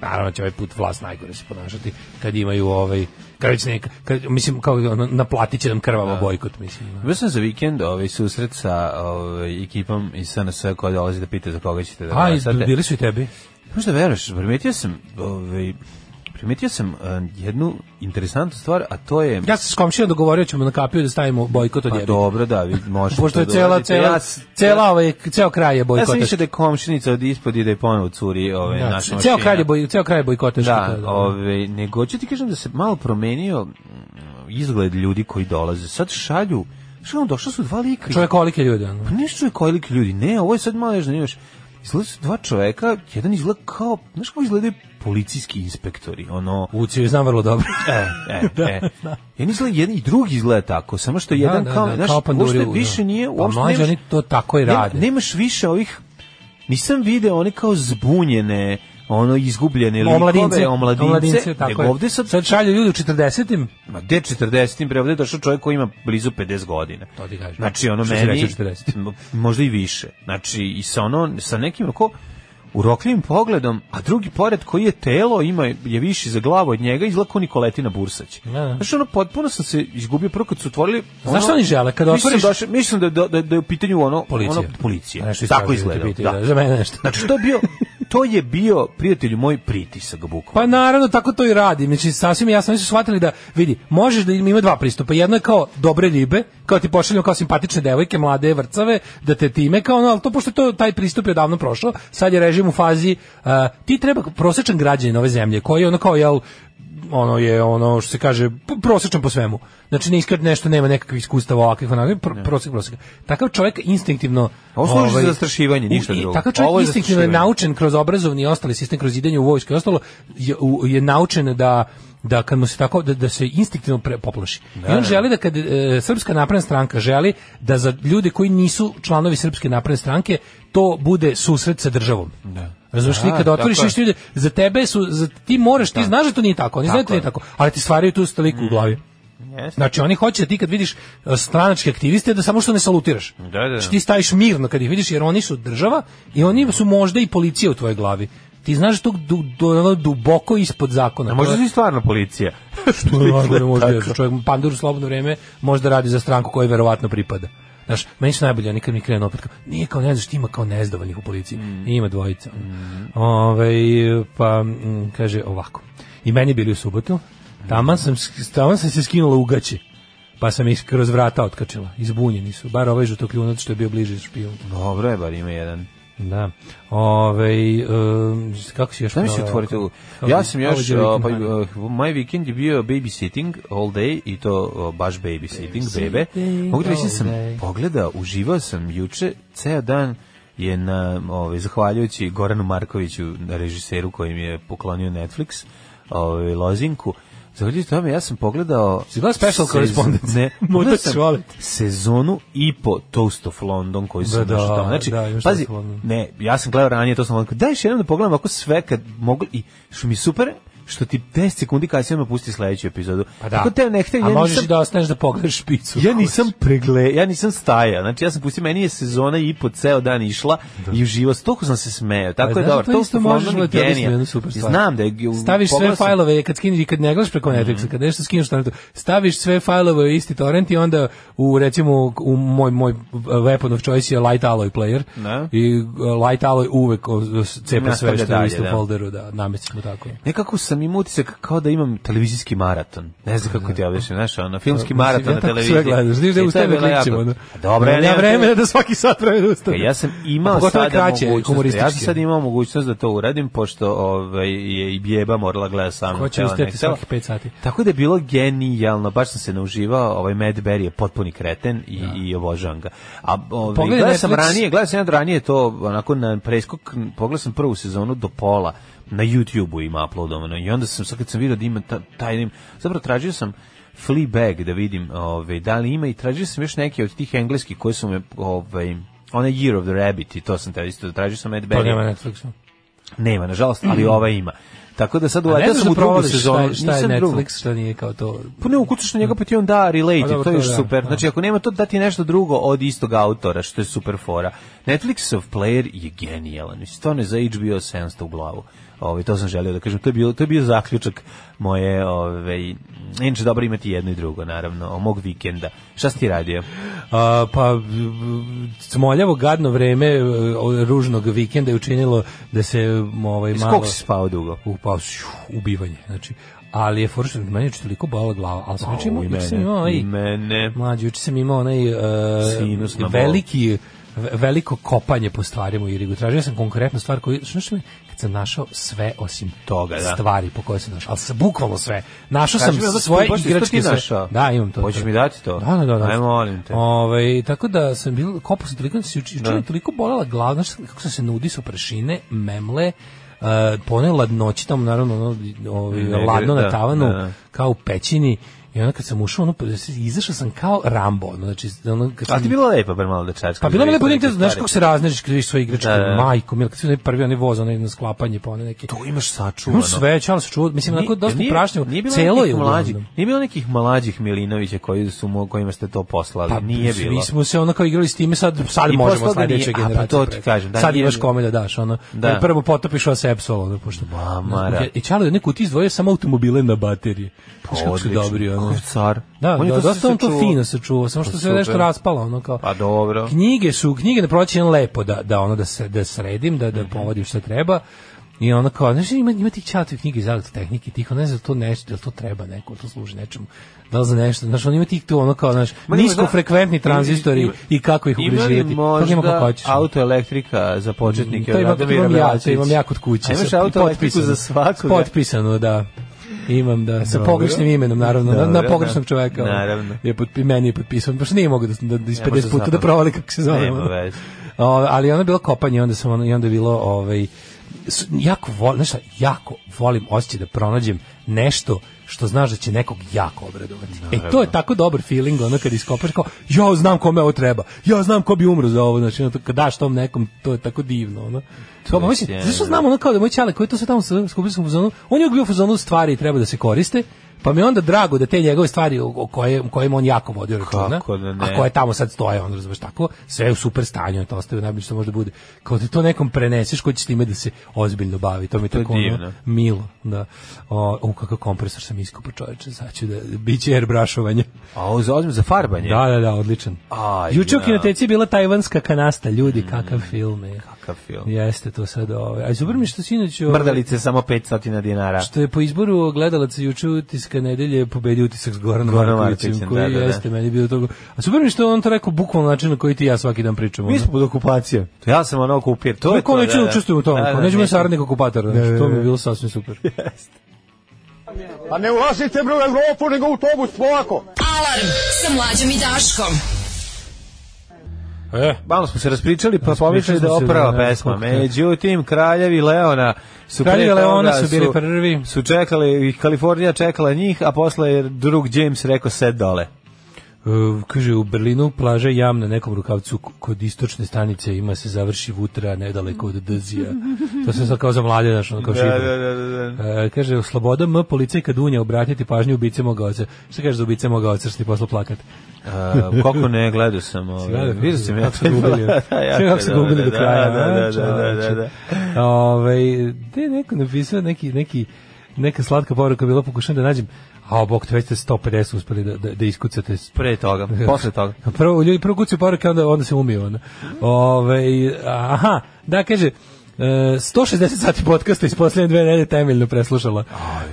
naravno će ovaj put vlast najgore se ponašati kad imaju ovaj kad, već neka, kad mislim kao ono, naplatit će nam krvava bojkot mislim da.
Bio sam za vikend ovaj, susret sa ovaj, ekipom iz SNS koja dolazi da pita za koga ćete da
a i
glasate.
bili su i tebi
Možda veraš, primetio sam, ovaj, primetio sam eh, jednu interesantnu stvar, a to je...
Ja sam s komšijom dogovorio ćemo na kapiju da stavimo bojkot od
pa
jebe.
dobro, da, vi možete
Pošto je
to
cela,
doradite.
cela,
Ja s-
cela ovaj, ceo kraj je
Ja sam
bojkotaš.
više da je komšinica od ispod i da je ponovo curi ovaj,
Da,
naša
ceo
mašina.
kraj je boj, ceo kraj je bojkotaš.
Da, ove, nego ću ti kažem da se malo promenio mm, izgled ljudi koji dolaze. Sad šalju, što ono, došla su dva lika. iz-
Čovjek olike ljudi. ono.
Pa nešto čuje koji lik ljudi. Ne, ovo je sad malo još zanimljivo. Izgleda su dva čoveka, jedan izgleda kao, znaš kako izgledaju policijski inspektori, ono...
Uci, znam vrlo dobro.
E,
Da.
e, e. Jedan izgleda, jedan i drugi izgleda tako, samo što jedan
Da, da,
kao,
da,
znaš,
kao panduri,
uopšte
da.
više nije,
Pa
uopšte
mlađe,
nemaš-
oni to tako i
nema-
rade.
nemaš više ovih, nisam video one kao zbunjene, ono izgubljene likove,
Omladince,
omladince,
omladince, Pa tako
nego
je.
ovde sad,
Sad šalju ljudi u 40-im.
Ma gde 40 bre, ovde je došao čovjek koji ima blizu 50 godina.
To ti kažem.
Znači ono
Što si
meni
rekao 40?
mo- možda i više. Znači i sa ono sa nekim ko urokljivim pogledom, a drugi pored koji je telo ima je viši za glavu od njega, izgleda kao Nikoletina Bursać.
Da.
Znači ono potpuno sam se izgubio prvo kad su otvorili.
Znaš
ono-
šta oni žele? Kad
Mislim
otvoriš-
došao- mislim da da da, da je u pitanju ono
Policija.
ono policija.
Nešto
Tako
istražuju,
izgleda.
te pitaju,
da.
da, za mene nešto.
Znači to je bio to je bio prijatelju moj pritisak bukvalno.
Pa naravno tako to i radi. Znači sasvim jasno oni su shvatili da vidi, možeš da ima dva pristupa. Jedno je kao dobre ribe, kao ti pošaljemo kao simpatične devojke, mlade vrcave, da te time kao ono, ali to pošto to taj pristup je odavno prošao, sad je režim u fazi uh, ti treba prosečan građanin ove zemlje koji ono kao jel ono je ono što se kaže p- prosječan po svemu. Znači ne iskad nešto nema nekakvih iskustava ovakvih onakvih pr prosjek prosjek. Takav čovjek instinktivno ovaj,
Ovo služi za zastrašivanje, ništa
u- i-
drugo.
Takav čovjek
Ovo je
instinktivno je
zastrašivanje.
naučen kroz obrazovni i ostali sistem kroz idenje u vojsku i ostalo je, u- je naučen da da kad mu se tako da, da se instinktivno pre, poplaši. I on želi da kad e, Srpska napredna stranka želi da za ljude koji nisu članovi Srpske napredne stranke to bude susret sa državom. Da. Razumeš ti
Da,
kad otvoriš
tako je.
nešto ljude za tebe su za ti moraš ti znaš da to nije tako, oni znaju da to nije tako, ali ti stvaraju tu stoliku u glavi.
Jeste.
Znači oni hoće da ti kad vidiš e, stranačke aktiviste da samo što ne salutiraš.
Da, da, da.
Znači, ti staviš mirno kad ih vidiš jer oni su država i oni su možda i policija u tvojoj glavi. Ti znaš da to du, du- ono duboko ispod zakona.
A možda
To
si
je-
stvarno policija.
to je najgore možda
Tako.
jer čovjek pandur u slobodno vreme možda radi za stranku kojoj verovatno pripada. Znaš, meni su najbolje, oni kad mi krenu opet kao, nije kao ne znaš, ima kao nezdovoljnih u policiji.
Mm.
Ima dvojica. Ovaj, pa, mm, kaže ovako. I meni bili u subotu, taman sam, sk- taman sam se skinula u gaće. Pa sam ih kroz vrata otkačila. Izbunjeni su. Bar ovaj žutokljunac što je bio bliže špijun.
Dobro je, bar ima jedan.
Da. Ove, um, kako si još...
Šta mi se
proveo?
otvoriti?
Kako-
Ja sam još,
How was your
uh, pa,
weekend, honey?
uh, moj vikend je bio babysitting all day i to uh, baš babysitting, bebe.
Babysitting
Mogu da reći da
all
sam
day.
pogledao, uživao sam juče, ceo dan je na, ovaj, zahvaljujući Goranu Markoviću, režiseru koji mi je poklonio Netflix, ovaj, lozinku, Zahvaljujući tome, ja sam pogledao...
Si gledao Special Correspondent?
Ne,
Možda
pogledao
ću
sam
volit.
sezonu i po Toast of London koji sam
Da,
da,
da,
tamo. Znači,
da, imaš
pazi,
Toast of London.
ne, ja sam gledao ranije, to sam odgledao. Daj još jednom da pogledam ako sve kad mogu i što mi je super što ti 10 sekundi kasnije me pusti sledeću epizodu.
Pa da.
Ako te ne hteli,
A
ja
možeš
nisam,
i da ostaneš da pogledaš špicu.
ja nisam pregle, ja nisam staja. Znači ja sam pustio, meni je sezona i po ceo dan išla i uživao, sam, toliko sam se smejao. Tako
Pa
je
znaš
dobro.
da to isto
of
možeš,
London je
ali ti objasnim
genijalno.
jednu super stvar.
Znam da je
Staviš sve
pogledao sam- Mhm.
fajlove kad skineš i kad ne gledaš preko Netflixa, kad nešto skineš na Netflixu, staviš sve fajlove u isti torrent i onda u recimo u moj moj weapon of choice je Light Alloy player.
Da.
I uh, Light Alloy uvek o, o, s- cepa sve
Nastavlja
što je u
dalje,
istom
da.
folderu, da namestimo tako.
Nekako sam imao utisak kao da imam televizijski maraton. Ne znam kako ti objasnim, znaš, ono, filmski
Mislim,
maraton
ja
na
tako
televiziji.
Sve gledaš, znaš da
I
uz
to je
tebe
bilo jako-
klikćemo. ono.
A Dobro, ja
nemam
nemam Pa
vremena da svaki sat vreme da ustane.
E, Ja sam imao
A pogotovo je
sada
kraće,
mogućnost,
humoristički.
ja sam sad imao mogućnost da to uradim, pošto ovaj, je i Bjeba morala gleda sa mnom.
Ko će
htjela, ne
ustajati
htjela.
svakih 5 sati. Pa
Tako da je bilo genijalno, baš sam se nauživao, ovaj Mad Berry je potpuni kreten i, i obožavam ga. A ovaj,
Da. Pogledaj
gledao sam
Netflix.
ranije, gledao sam jedan ranije to, onako na preskok, pogledao sam prvu sezonu do pola, na YouTube-u ima uploadovano i onda sam, sad kad sam vidio da ima ta, taj, nim- zapravo tražio sam Fleabag da vidim ovaj, da li ima i tražio sam još neke od tih engleskih koje su me, ovaj, onaj Year of the Rabbit i to sam te isto, tražio sam Mad
To
Berry.
Pa nema
Nema.
na Netflixu.
nažalost, ali ova ima. Tako da sad
A ne
uletao
znaš da
sam u drugu
provališ šta
sezonu.
je, šta je
nisam drugu.
Netflix, šta nije kao to.
Pa ne ukucaš na njega pa ti on da relate,
Pa dobro,
to je
to
još
da,
super.
da.
Znači ako nema to dati nešto drugo od istog autora, što je super fora. Netflixov player je genijalan. Mislim stvarno je za HBO 700 u glavu. Ovaj to sam želeo da kažem, to je bio to je bio zaključak moje, ovaj inače dobro imati jedno i drugo naravno, o mog vikenda. Šta si ti radio?
A, pa m, smoljavo gadno vreme e, o- ružnog vikenda je učinilo da se m, ovaj
Iz
malo
Koliko si spavao dugo?
upao ubivanje, znači. Ali je foršno, meni je juče toliko bola glava, ali sam juče imao,
Au, i
juče sam
mene,
imao
i
i
mene.
mlađi, juče sam imao onaj e,
Sinus na bol.
veliki ve- veliko kopanje po stvarima u Irigu. Tražio sam konkretnu stvar koju, što što mi, kad sam našao sve osim
Toga, da.
stvari po kojoj sam našao, ali sa bukvalno sve. Našao
Kaži
sam
mi, onda
svoje
skupaš, isto ti
igračke sve.
našao?
Da, imam to.
Hoćeš
to.
mi dati to?
Da, da, da. da.
Aj, molim te.
Ovaj, tako da sam bil, kopao sam toliko, se juče, juče
Da.
mi je toliko bolela glava, znaš kako sam se nudi su pršine, memle, uh, pone ladnoći tamo, naravno, ono, ovaj,
Negde,
ladno
da,
na tavanu,
da, da.
kao u pećini, i onda kad sam ušao, ono, da izašao sam kao Rambo, ono, znači, ono, kad
A
sam-
ti bilo lepo bar malo da čačkaš.
pa bilo
da
mi lepo,
vidiš
idem,
neke
znaš
stvari.
kako se raznežiš kad vidiš svoje igračke,
Da, da, da.
majko, mil, kad si onaj prvi, onaj voz, onaj na sklapanje, pa onaj neki...
To imaš sačuvano.
Imam sve, čalo se čuo, mislim, onako
Nije-
dosta
nije-
prašnjavo,
nije bilo
celo
nekih
je
mlađih,
uglavnom.
nije bilo nekih mlađih Milinovića koji su mo- kojima ste to poslali.
Pa,
nije bilo.
Mi smo se onako igrali s time, sad, sad
I
možemo
postalo da
sledeće
nije- a, pa
generacije.
to ti
preko.
kažem, da,
sad
nije
imaš
bilo.
kome da daš, ono.
Da.
jer Prvo potopiš vas Epsol, ono, pošto...
Mamara.
I čalo je neko ti izdvojio samo automobile na baterije. Znaš kako su
Odlično.
dobri, ono.
Kakav car.
Da,
On je
da,
to sve
dosta on to
sačuvao.
fino sačuvao, samo što
Pa
se nešto
super.
raspalo, ono kao.
Pa dobro.
Knjige su, knjige na proćen lepo da, da ono da se da sredim, da
Mhm.
da povodim što treba. I ono kao, znaš, ima, ima tih čatovih knjiga iz elektrotehnike, tih, ono, ne znam, to nešto, da li to treba neko, to služi nečemu, da li za nešto, znaš, on ima tih tu, ono kao, znaš,
Ma nema,
niskofrekventni
zna-
tranzistori
ima-
i kako ih
Ima li
ubriživati, to nema kako
možda
hoćeš.
autoelektrika za početnike?
Mm, To
od
imam, to
Radomira
imam ja, to
Miloševića?
imam ja kod kuće.
A imaš
sa-
autoelektriku
potpisano.
za svakoga?
Potpisano, da. Imam, da, sa
Dobro.
pogrešnim imenom, naravno, na, na
Dobro,
pogrešnog
da.
čoveka. ovaj.
Naravno.
Je pot, meni je potpisan, pošto nije mogu da, da, da iz
Ne može
50 puta
znam.
da provali kako se zove.
Nema
ono.
veze.
Ove, ali ono je bilo kopanje, onda sam ono, i onda je bilo ovaj s- jako volim, znaš šta, jako volim osjećaj da pronađem nešto što znaš da će nekog jako obradovati. E, to je tako dobar feeling, ono kad iskopaš kao, ja znam kome ovo treba, ja znam ko bi umro za ovo, znači, ono, to kad daš tom nekom, to je tako divno, ono. Kao, pa, mislim,
sjajno.
zašto znam ono kao da moj čale koji to sve tamo sa- skupio sam u zonu, on je uvijek bio u zonu stvari i treba da se koriste, pa mi je onda drago da te njegove stvari o, o koje, o kojima on jako vodio računa,
Kako da ne.
a koje tamo sad stoje, on razumeš tako, sve je u super stanju, on to ostaje najbolje što može da bude. Kao da to nekom preneseš ko će s time da se ozbiljno bavi, to mi je
To je
tako ono,
divno.
milo. Da. O, u kakav kompresor sam iskopao čoveče, sad ću da, bit će airbrushovanje.
A ovo za ozim za farbanje.
Da, da, da, odličan.
Aj, da.
Juče u
ja.
kinoteci je bila tajvanska kanasta, ljudi, kakav film je.
Kakav film.
Jeste to sad ove. A super mi je što sinoć... ove,
Mrdalice samo 500 dinara.
Što je po izboru gledalaca juče utiska nedelje pobedio utisak s Goranom
Goranom
Markovićem,
Markovićem,
koji
da, da, da.
jeste meni bio toga. A super mi je što je on to rekao bukvalno način na koji ti i ja svaki dan pričamo.
Mi smo pod okupacijom. Ja sam ono okupir. To je
Ko
to,
neće
da,
da
da.
učestvujem u tome,
Da,
kao,
da,
nećemo
nećemo.
je saradnik okupatora, znači, to mi je bilo sasvim super.
Pa ne ulazite bre u Evropu, nego u autobus, polako.
Alarm sa mlađom i Daškom.
E,
Malo smo se raspričali, pa
Raspričali
pomišljali da
smo
je
se,
oprava
da, da,
pesma.
koliko je.
Međutim, kraljevi Leona su
Kraljevi
pre toga
Leona su bili prvi.
Su čekali, i Kalifornija čekala njih, a posle je drug James rekao sed dole.
E, kaže, u Berlinu plaža jam na nekom rukavcu k- kod istočne stanice ima se završi vutra nedaleko od Dzija. To se sad kao za mlade, znaš, ono kao šifre.
da, da.
E, kaže, sloboda M, policajka Dunja, obratiti pažnju ubice moga oca. Šta kažeš za ubice moga oca, što ti poslao plakat?
A, koliko ne, gledao sam.
gledao?
Ovaj. Vidio sam ja.
Kako su gubili?
Da, jako
Sve kako su
je dobro,
gubili do
da,
kraja,
Da,
a?
da, da, da,
Čoveče.
da.
Ovaj, gde je neko napisao neki, neki, neka slatka poruka bila pokušam da nađem, a bok, to već ste 150 uspeli da, da, da iskucate s-
Pre toga, posle toga.
Prvo ljudi prvo kucaju poruke, onda onda se umiju ona. Ovaj aha, da kaže e, 160 sati podcasta iz posljednje dve nedelje temeljno preslušala.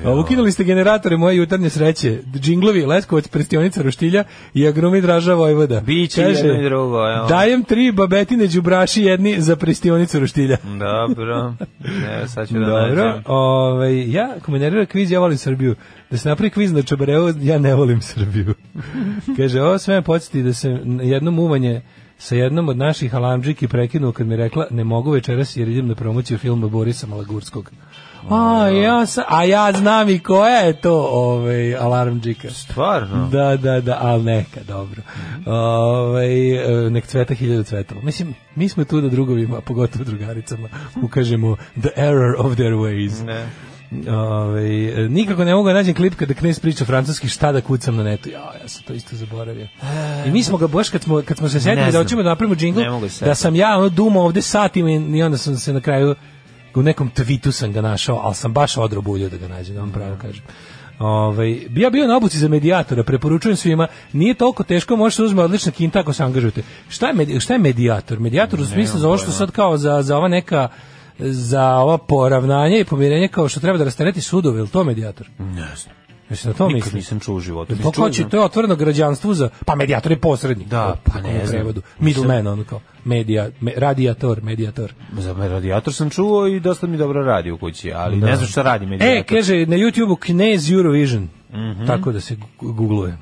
A, Ukinuli ste generatore moje jutarnje sreće, džinglovi, Leskovac, prestionica Roštilja i agrumi Draža Vojvoda.
Biće jedno i drugo, evo.
Dajem tri babetine đubraši jedni za prestionicu Roštilja.
Dobro. Ne, sad ću da
Dobro,
nađem.
ovaj, ja ako me nervira kviz, ja volim Srbiju. Da se napravi kviz na Čabareo, ja ne volim Srbiju. Kaže, ovo sve me podsjeti da se na jednom uvanje sa jednom od naših alamđiki prekinuo kad mi je rekla ne mogu večeras jer idem na promociju filma Borisa Malagurskog. A, ja, sa, a ja znam i koja je to ovaj, alarmđika.
Stvarno? Mhm.
Da, da, da, ali neka, dobro. Ovaj, e, nek cveta hiljada cvetova. Mislim, mi smo tu da drugovima, a pogotovo drugaricama, ukažemo the error of their ways.
Ne.
Ovaj, e, nikako ne mogu da nađem klip kada knez priča francuski šta da kucam na netu. Ja, ja sam to isto zaboravio. I mi smo ga baš kad smo, kad smo se setili
E, Ne
da
znam.
hoćemo da napravimo džingl,
Ne mogu se
da
setiti.
sam ja ono dumao ovde satima i i onda sam se na kraju u nekom tweetu sam ga našao, ali sam baš odrobuljio da ga nađem, da vam pravo kažem. Ovaj, bi ja bio na obuci za medijatora, preporučujem svima, nije toliko teško, da može se uzme odlična kinta ako se angažujete. Šta je, medi- šta je medijator? Medijator u smislu za ovo što sad kao za, za ova neka za ova poravnanja i pomirenje kao što treba da rastereti sudove, je li to medijator?
Ne znam.
Jesi na to
Nikad
misliš?
nisam čuo u životu.
To
Čuo
kao Pa će,
sam.
to je otvoreno građanstvu za, pa medijator je posrednik.
Da,
po-
pa
po
ne znam.
prevodu. Middleman, on kao, medija, me, radijator, medijator.
Za radijator sam čuo i dosta mi dobro radi u kući, ali ne znam šta radi medijator.
Da.
Mhm.
E, kaže, na YouTube-u Knez Eurovision, tako da se gu- googluje.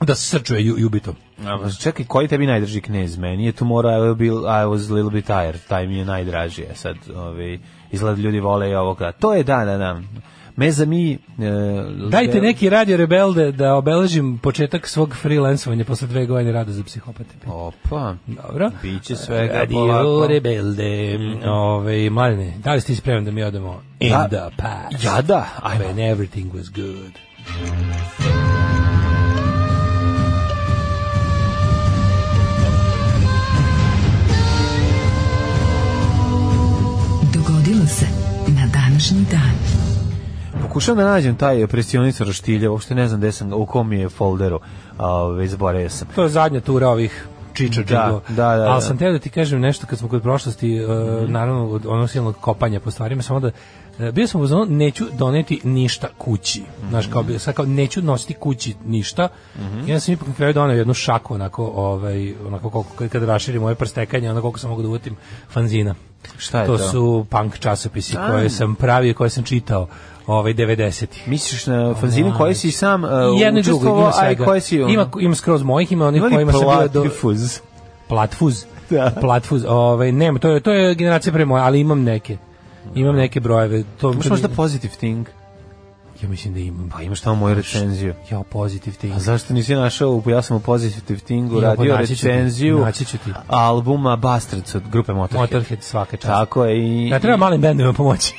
Da se srčuje ju, jubito.
A, pa Čekaj, koji tebi najdraži knez? Meni je Tomorrow I, will be, I was a little bit tired. Taj mi je najdraži. A sad, ovaj, izgleda ljudi vole i ovoga. To je, da, da, da. Me za mi... E, Da.
Dajte neki radio rebelde da obeležim početak svog freelancovanja posle dve godine rada za psihopate.
Opa.
Dobro.
Biće svega
Radio
polako. Mhm.
rebelde. Ove, maline, da li ste ispremni da mi odemo in
Da.
the past?
Ja da. Ajmo.
When everything was good.
Dogodilo se na današnji dan.
Pokušam da nađem taj presionica roštilja. Uopšte ne znam gde sam, ga- u kom je folderu. A, Ovaj, zaboravio sam.
To je zadnja tura ovih čiča
Da,
džingova.
da, da, da. Mhm.
Ali sam teo da ti kažem nešto kad smo kod prošlosti, uh, naravno od onog silnog kopanja po stvarima, samo da e, bio sam u zonu, neću doneti ništa kući.
Mhm.
Znaš, kao, bi- sad kao, neću nositi kući ništa. I onda sam ipak na kraju donao jednu šaku, onako, ovaj, onako koliko, kad, kad raširim moje prstekanje, onako koliko sam mogu da uvotim fanzina.
Šta je
to?
to?
su punk časopisi
A.
koje sam pravio, koje sam čitao ovaj 90-ih.
Misliš na fanzine koje si sam uh,
I znači, jedno i drugo, ima
učestvovao, a i
svega.
koje si...
Ima, ima skroz mojih, ima onih
Ima li
kojima sam bio do...
platifuz?
Platfuz.
Da.
Platfuz. Ovaj, nema, to je, to je generacija pre moje, ali imam neke. Imam neke brojeve. To,
Možeš možda pozitive thing?
Ja mislim da imam.
Pa imaš tamo moju recenziju.
Ja, pozitiv ti.
A zašto nisi našao, ja sam u Positive Thingu
Jo, pa
radio
naći ću ti,
recenziju
naći ću ti.
albuma Bastards od grupe Motorhead.
Motorhead svaka čast.
Tako je i...
Ja treba malim bendovima pomoći.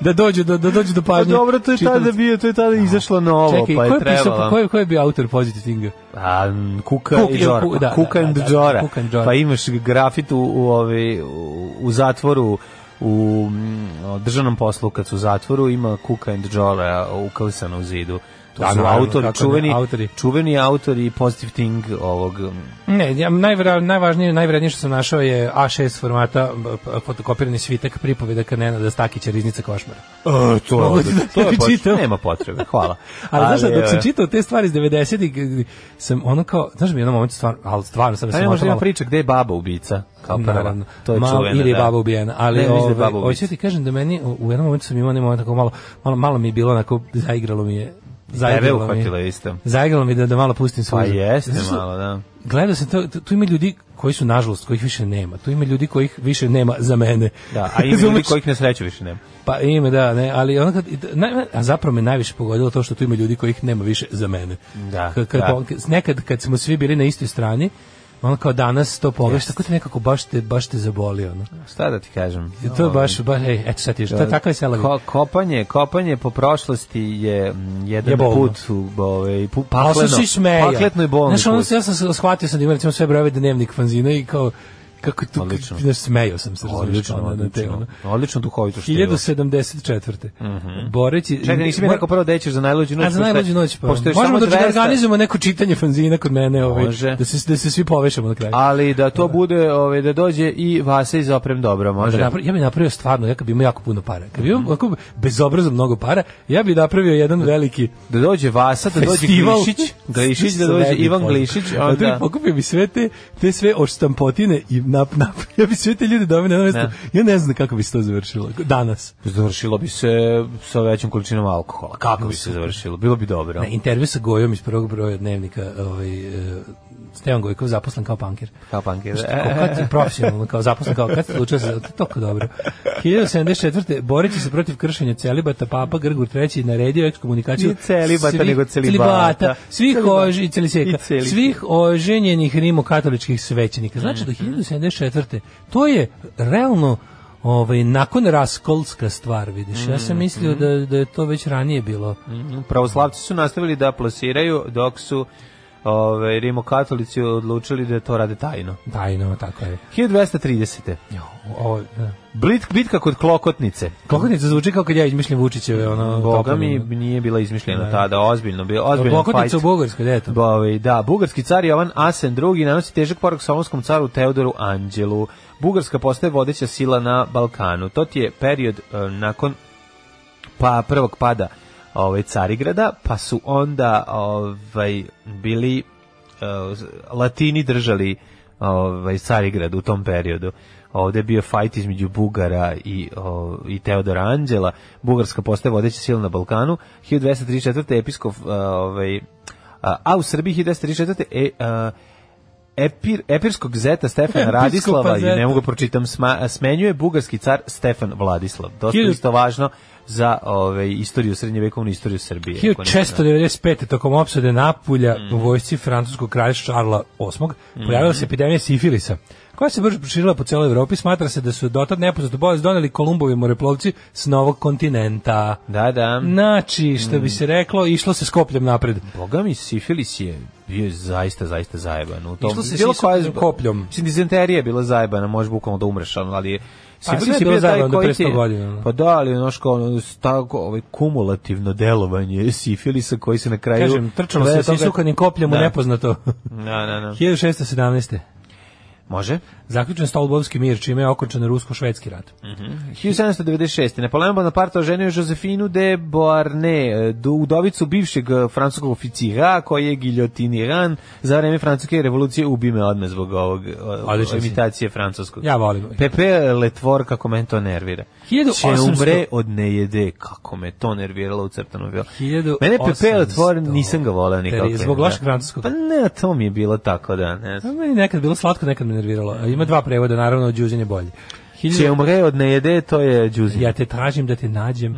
da dođu do, da dođu do
Pa
pažnje.
dobro, to je
čitalaca.
tada bio, to je tada izašlo novo,
Čekaj,
pa
ko
je
je pisao,
trebalo.
ko je, ko je bio autor Positive Thinga?
A, m, Kuka
Kuk
i
je-
Džora.
Ku- da,
Kuka
da,
and
da, da,
Džora.
Kuka and Džora.
Pa imaš grafit u, u, ovaj, u, u zatvoru u mm, državnom poslu kad su u zatvoru ima Kuka and Džora ukalisana u zidu. To
Da,
su
naravno,
autori,
kako ne,
čuveni,
autori.
čuveni autori Positive Thing ovog... mm,
Ne, ja, najvra, najvažnije, najvrednije što sam našao je A6 formata b- p- fotokopirani svitak pripovedaka Nenada Stakića Riznica Košmara.
E, to je,
Mogu
odlično.
da
to je
ti
baš-
čitam?
nema potrebe, hvala.
Ali, znaš da, dok sam
e,
čitao te stvari iz 90-ih, g- sam ono kao, znaš mi je jednom momentu stvarno, ali stvarno sam
Pa
se
ne može
motala.
ima priča gde je baba ubica, kao prva.
Naravno.
To je
Malo-
čuvena,
ili je
da.
baba ubijena, ali
Ne, mislim da je
ovaj,
baba ubica.
hoću ti kažem da meni u- u jednom momentu sam imao onaj moment tako malo, malo, malo mi je bilo onako, zaigralo mi je. Zaigralo mi
uhvatila
je.
isto.
Zaigralo mi je da, da malo pustim suzu.
da Pa jeste
Znaš što-
malo, da.
Gledao sam to, tu ima ljudi koji su nažalost kojih više nema. Tu ima ljudi kojih više nema za mene.
Da, a ima ljudi
Razumeš?
kojih na sreću više nema.
pa ima da, ne, ali ono kad naj, a zapravo me najviše pogodilo to što tu ima ljudi kojih nema više za mene.
Da,
Kad, kad,
da.
on- kad- nekad kad smo svi bili na istoj strani, ono kao danas to pogledaš, tako te nekako baš te baš te zaboli ono.
Šta da ti kažem?
I to je baš baš ej, eto sad ti,
Da.
to je takva je sela.
Ko, kopanje, kopanje po prošlosti je mm, jedan
Je bolno.
put u ovaj pu,
Ali sam
pakleno,
se smeja.
pakletno i bolno.
Znaš, ono, ja sam se shvatio sam da ima recimo sve brojeve dnevnik fanzina i kao kako tu,
Odlično.
znaš, smejao sam se. razumeš,
odlično,
ono, na te,
odlično.
ono.
Odlično duhovito što je. Mhm.
1074. Boreći...
Čekaj, nisi mi
Mor-
rekao prvo da ćeš za najluđu noć.
A za
pošto je-
najluđu noć pa.
pošto je
Možemo da
samo
da
200.
organizujemo neko čitanje fanzina kod mene, ovaj,
Može.
da se da se svi povešamo na kraju.
Ali da to bude, ovaj, da dođe i Vasa iz Oprem Dobro, može? Mhm.
Da napra- ja bih napravio stvarno, ja kad bi imao jako puno para. Kad bi imao ovako bezobrazno mnogo para, ja bih napravio jedan veliki
Da dođe Vasa, da dođe
festival.
Glišić, Glišić, da dođe Ivan Glišić,
onda... Da,
onda...
pokupio bi sve te, te sve odštampotine i nap, nap, ja bi sve te ljude doveo na jedno mesto.
Da.
Ja ne znam kako bi se to završilo danas.
Završilo bi se sa većom količinom alkohola. Kako bi se završilo? Bilo bi dobro.
Na intervju sa Gojom iz prvog broja dnevnika, ovaj, e, Stevan Gojkov zaposlen kao panker.
Kao E, punkir.
Kao kad je profesionalno, kao zaposlen, kao kad se odlučio za to, je toliko dobro. 1074. boreći se protiv kršenja celibata, papa Grgur III naredio ekskomunikaciju
Nije celibata,
svih-
nego celibata.
svih
Celibata.
ož, i celiseka,
I celiseka.
svih oženjenih rimokatoličkih svećenika. Znači
Mhm.
do 1074. To je realno Ovaj, nakon raskolska stvar, vidiš. Ja
Mhm.
sam mislio da, da je to već ranije bilo.
e, Pravoslavci su nastavili da plasiraju dok su ovaj, rimokatolici odlučili da to rade tajno.
Tajno, tako je.
1230.
Jo, Ovo, da.
Blit, bitka kod Klokotnice.
Klokotnica zvuči kao kad ja izmišljam Vučićeve, ono...
Boga mi
toponime.
nije bila izmišljena tada, ozbiljno. Bila, ozbiljno
Klokotnica u Bugarskoj, gde je to?
Bovi, da, bugarski car Jovan Asen II nanosi težak porok slavonskom caru Teodoru Anđelu. Bugarska postaje vodeća sila na Balkanu. To ti je period e, nakon pa prvog pada ovaj Carigrada, pa su onda ovaj bili e, Latini držali ovaj Carigrad u tom periodu. Ovde je bio fajt između Bugara i, o, i Teodora Anđela. Bugarska postaje vodeća sila na Balkanu. 1234. episkop e, ovaj, a, a u Srbiji 1234. E, a, Epir, epirskog zeta Stefana
Episkopa
Radislava, i
zeta.
ne mogu pročitam, sma, smenjuje bugarski car Stefan Vladislav. Dosta
Hiljadu-
isto važno za ove, istoriju srednjevekovnu istoriju Srbije. ako ništa ne.
1695. tokom opsade Napulja
Mhm.
u vojsci francuskog kralja Šarla VIII pojavila se epidemija sifilisa koja se brzo proširila po celoj Evropi. Smatra se da su dotad nepoznatu bolest doneli Kolumbovi moreplovci s novog kontinenta.
Da, da.
Znači, što
Mhm.
bi se reklo, išlo se skopljom napred.
Boga mi, sifilis je bio zaista, zaista zajeban. U tom,
Išlo se
bilo
sisao
koja-
kopljom.
Mislim, dizenterija je bila zajebana, možeš bukvalno da umreš, ono, ali je...
Pa, sve je
Sifilis je
bilo
bio taj
zajebano do
koji
pre
ti...
100 godina, ono.
Pa da, ali ono što ono, tako, ovaj, kumulativno delovanje sifilisa koji se na kraju...
Kažem, trčalo se
Sve
sa isukanim kopljem u
Da.
nepoznato.
Da, da, da.
1617.
Može?
Zaključen Stolbovski mir, čime je okončan rusko-švedski rat.
1796. Napoleon Bonaparte oženio Josefinu de Beauharnais, du- udovicu bivšeg eh, francuskog oficira koji je giljotiniran za vreme francuske revolucije. Ubi me odme zbog ovog eh,
Odličan si.
imitacije francuskog.
Ja volim.
Pepe Letvor, kako me to nervira.
1800
Če umre od nejede, kako me to nerviralo u crtanom bilo.
1800
Mene Pepe Letvor nisam ga voleo nikako.
Teri- zbog lošeg francuskog.
Pa ne, to mi je bilo tako da, ne znam.
A Pa Meni nekad bilo slatko, nekad me nerviralo. A Ima dva prevoda, naravno, od Đuđenja bolje.
Če umre od nejede, to je Đuzi.
Ja te tražim da te nađem.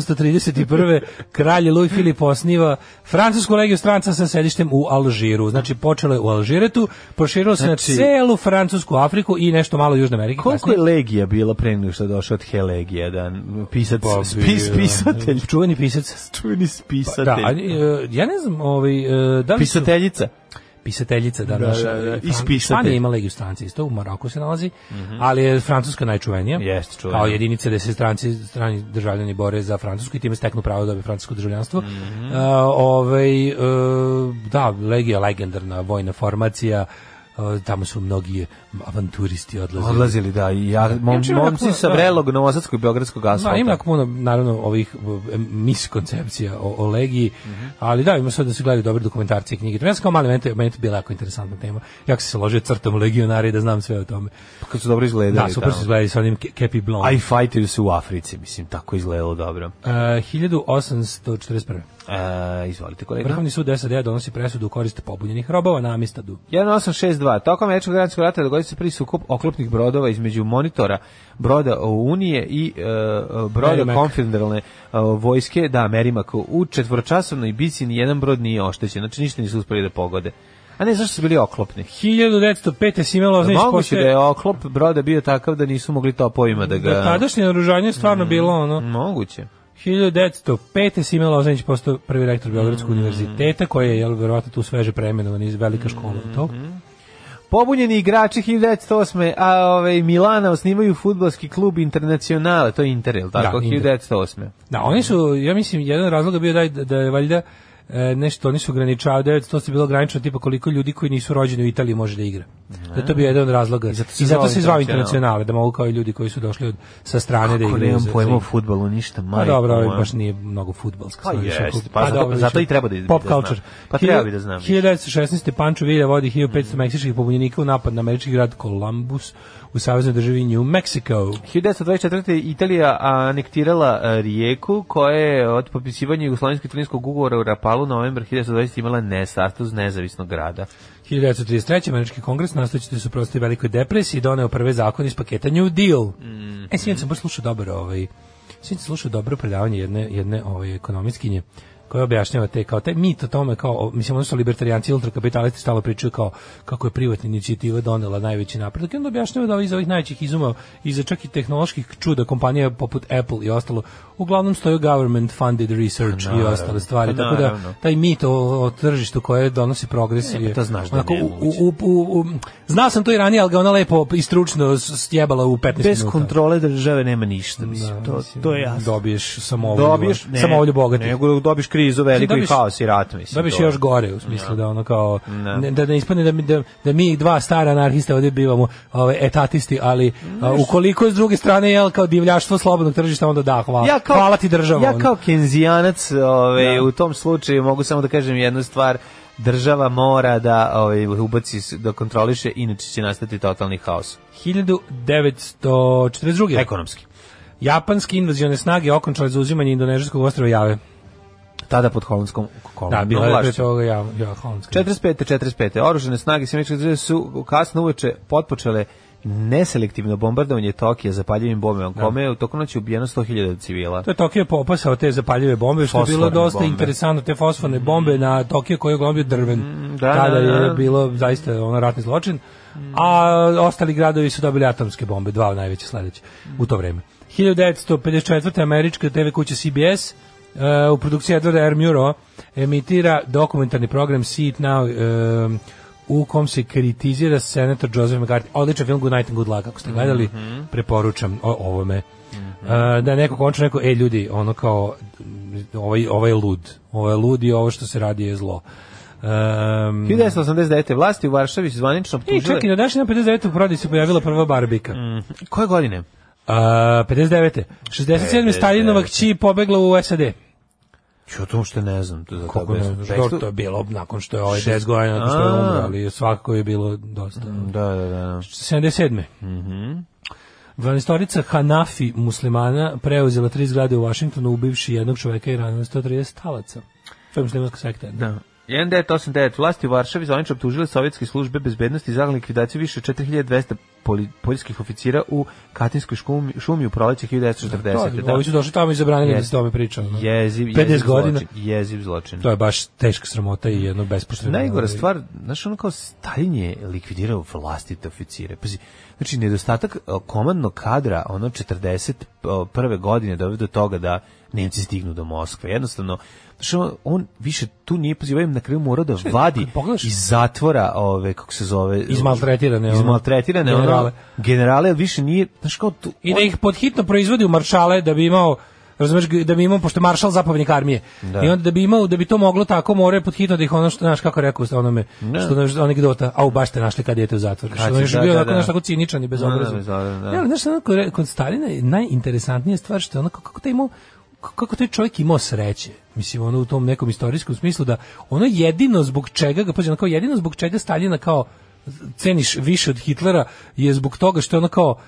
1831. kralj Louis Filip osniva francusku legiju stranca sa sedištem u Alžiru. Znači, počelo je u Alžiretu, proširilo se
Znači-
na celu Francusku Afriku i nešto malo Južne Amerike.
Koliko
kasnije.
je legija bila pre nego što je došao od Helegija, da pisac,
Pa,
spis,
bio.
pisatelj,
Čuveni pisac.
čuveni
Da,
spisatelj,
a, e, ja ne znam, ovaj, e, da li su-
pisateljica.
pisateljica da,
Da,
naša.
da, da, i
Fran-
spisatelj.
Španija ima legiju stranci isto, u Maroku se nalazi, ali je Francuska najčuvenija.
Mhm. Jeste, čuvena.
Kao jedinica gde se stranci, strani državljani bore za Francusku i time steknu pravo da dobe francusko državljanstvo.
Mhm.
E, ovaj, e, da, legija legendarna vojna formacija, e, tamo su mnogi avanturisti odlazili.
Odlazili, da, i ja, mom,
čujem da
momci
puno-
sa
da.
vrelog novosadskog i beogradskog asfalta.
Ma, Da, ima jako puno, naravno, ovih e, miskoncepcija o, o legiji,
Mhm.
ali da, ima sad da se gledaju dobre dokumentarci i knjige. To Ja sam kao mali, meni, to- meni je to bila jako interesantna tema. Ja sam se ložio crtom u legionari da znam sve o tome.
Kad su dobro izgledali.
Da, super
tamo.
su izgledali sa onim ke- Kepi Blond.
A i fajtaju se u Africi, mislim, tako izgledalo dobro.
Uh, 1841.
E, izvolite, kolega.
Vrhovni sud SAD donosi presudu u korist pobunjenih robova na Amistadu.
1862. Tokom Američkog gradskog rata dogodio se prvi sukob oklopnih brodova između monitora broda Unije i e, e, broda
Merrimack.
konfederalne e, vojske, da, Merimak. U četvoročasovnoj bici nijedan brod nije oštećen, znači ništa nisu uspeli da pogode. A ne, zašto su bili oklopni?
1905. Sime Loznić
Moguće
postaje-
da je oklop broda bio takav da nisu mogli topovima da Mhm. ga...
da tadašnje naružanje je stvarno bilo ono.
Moguće.
1905. Sime Lozanić postao prvi rektor Beogradskog
Mm.
univerziteta, koji je, jel, verovatno tu sveže preimenovan iz velika škola. i To.
Pobunjeni igrači 1908. A ovaj, Milana osnivaju futbolski klub Internacionale, to je Inter, je li tako?
Da, Inter.
1908.
Da, oni su, ja mislim, jedan od razloga bio da, da je valjda e, nešto, oni su ograničavali, da je to se bilo ograničeno tipa koliko ljudi koji nisu rođeni u Italiji može da igra. Da je to bio jedan od razloga. I zato
se
se, I zato
zvao
se zvao
Internacional.
internacionale, da mogu kao i ljudi koji su došli od, sa strane da
Kako
igraju.
nemam
za-
pojma o
za-
futbolu, ništa,
Pa
majko.
dobro, ovo
moja.
baš nije mnogo fudbalska.
Pa
stvar, više
jeste,
oko-
pa zato-
dobro,
zato
više
i treba da-
Pop
da znam.
culture.
Pa treba bi da znam više.
1916. Pančo Villa vodi 1500 meksičkih pobunjenika u napad na američki grad Columbus u saveznoj državi New Mexico.
1924. Italija anektirala e, rijeku koja je od popisivanja Jugoslovensko-italijanskog ugovora u Rapalu novembar 1920 imala nestatus nezavisnog grada.
1933. američki kongres nastojeći da se suprotstavi velikoj depresiji doneo prve zakone iz paketa New Deal. E, sinoć sam baš slušao dobro ovaj sinoć sam slušao dobro predavanje jedne jedne ovaj ekonomistkinje koja objašnjava te kao taj mit o tome kao o- mislim oni su libertarijanci i ultrakapitalisti stalno pričaju kao kako je privatna inicijativa donela najveći napredak i onda objašnjava da iz ovih najvećih izuma iza čak i tehnoloških čuda kompanija poput Apple i ostalo uglavnom stoje government funded research i ostale stvari tako da
naravno.
taj mit o, o tržištu koje donosi progres je
to znaš da
onako,
nije
u,
moguće.
u, u, u- znao sam to i ranije, ali ga ona lepo i stručno s- stjebala u 15
Bez
minuta.
kontrole države nema ništa, mislim,
Da,
to,
mislim,
to je jasno.
Dobiješ samovolju, dobiješ, samovolju bogatih.
Nego dobiš krizu veliku i
Dobiješ-
haos i rat, mislim.
Dobiš
to je.
još gore u smislu da ono kao
Da.
ne, da ne ispadne da mi da, da mi dva stara anarhista ovdje bivamo ovaj etatisti, ali a, ukoliko s druge strane je kao divljaštvo slobodnog tržišta onda da, hvala.
Ja kao,
hvala ti država.
Ja
ono. Da.
kao kenzijanac ovaj, u tom slučaju mogu samo da kažem jednu stvar. Država mora da ovaj, ubaci, s- da kontroliše, inače će nastati totalni haos.
1942.
Ekonomski.
Japanske invazione snage okončale zauzimanje indonežijskog ostrava Jave.
Tada pod holandskom kolonom.
Da, bila je pre
vlašću.
toga ja, ja, Holandska.
45. 45. Oružene snage Sjemeničke države su kasno uveče potpočele neselektivno bombardovanje Tokija zapaljivim bombama, kome je u toku noći ubijeno 100.000 civila.
Da. To je Tokio popasao te zapaljive bombe, što je bilo
Fosforne
dosta
bombe.
interesantno, te fosforne bombe na Tokio koji je uglavnom bio drven.
da,
Tada
da,
je
da.
bilo zaista ono ratni zločin. A ostali gradovi su dobili atomske bombe, dva najveće sledeće u to vreme. 1954. američka TV kuća CBS e, u produkciji Edwarda R. Murrowa emitira dokumentarni program See It Now e, u kom se kritizira senator Joseph McCarthy. Odličan film Good Night and Good Luck, ako ste gledali, preporučam o, ovome. E, da je neko končno rekao, e ovaj ljudi, ono kao, m, ovaj, ovaj je lud, ovo je lud i ovo što se radi je zlo. Um,
1989. vlasti u Varšavi su zvanično
I
optužile... Mm.
čak i na današnji dan 59. u prodaji se pojavila prva Barbika.
Koje godine?
A, 59. 67. Staljinova kći pobegla u SAD.
Ću o tom što ne znam. To, za
Kako
to,
ne
bez-
znaš,
bez
dobro,
tu-
to je bilo nakon što je ovaj 10 godina, nakon što je umro, ali svakako je bilo dosta.
Da, da, da.
77. Mm -hmm. 12 Hanafi muslimana preuzela tri zgrade u Vašingtonu, ubivši jednog čoveka i ranila 130 talaca. To je muslimanska sekta. jedna.
Da. 1989 vlasti u Varšavi zvanično optužile sovjetske službe bezbednosti za likvidaciju više od 4200 poli, poljskih oficira u Katinskoj šumi, šumi u proleće 1940.
To, ovi su došli tamo i zabranili da
Jeste.
se o tome priča. ono.
Jeziv, jeziv
50 godina.
Zločin, jeziv zločin.
To je baš teška sramota i jedno bespošteno.
Najgora
ovaj,
stvar, znaš, ono kao Stalin je likvidirao vlastite oficire. Pazi, znači, nedostatak e, komandnog kadra, ono, 41. godine dovede do toga da Nemci stignu do Moskve. Jednostavno, znaš, ono, on više tu nije pozivao, na kraju morao da vadi
kad pogledaš-
iz zatvora, ove, kako se zove...
Izmaltretirane, ono,
Izmaltretirane, ono,
generale.
generale. Generale, jer više nije, znaš, kao tu...
I
on-
da ih podhitno proizvodi u maršale da bi imao razumeš da bi imao pošto je maršal zapovjednik armije. I onda da bi imao da bi to moglo tako more podhitno da ih ono što znaš kako je rekao onome što znaš anegdota, au baš te našli kad idete u zatvor. Što
Da. si-
je još
da,
bio
da,
onako,
da.
znaš, tako ciničan i bezobrazan.
Da, da, da, da.
Ja, ali znaš, ono, kod- kod Stalina je najinteresantnija stvar što je ono kako taj imao kako taj čovjek imao sreće. Mislim, ono u tom nekom istorijskom smislu da ono jedino zbog čega ga, pađe, ono kao jedino zbog čega Staljina kao ceniš više od Hitlera je zbog toga što je ono kao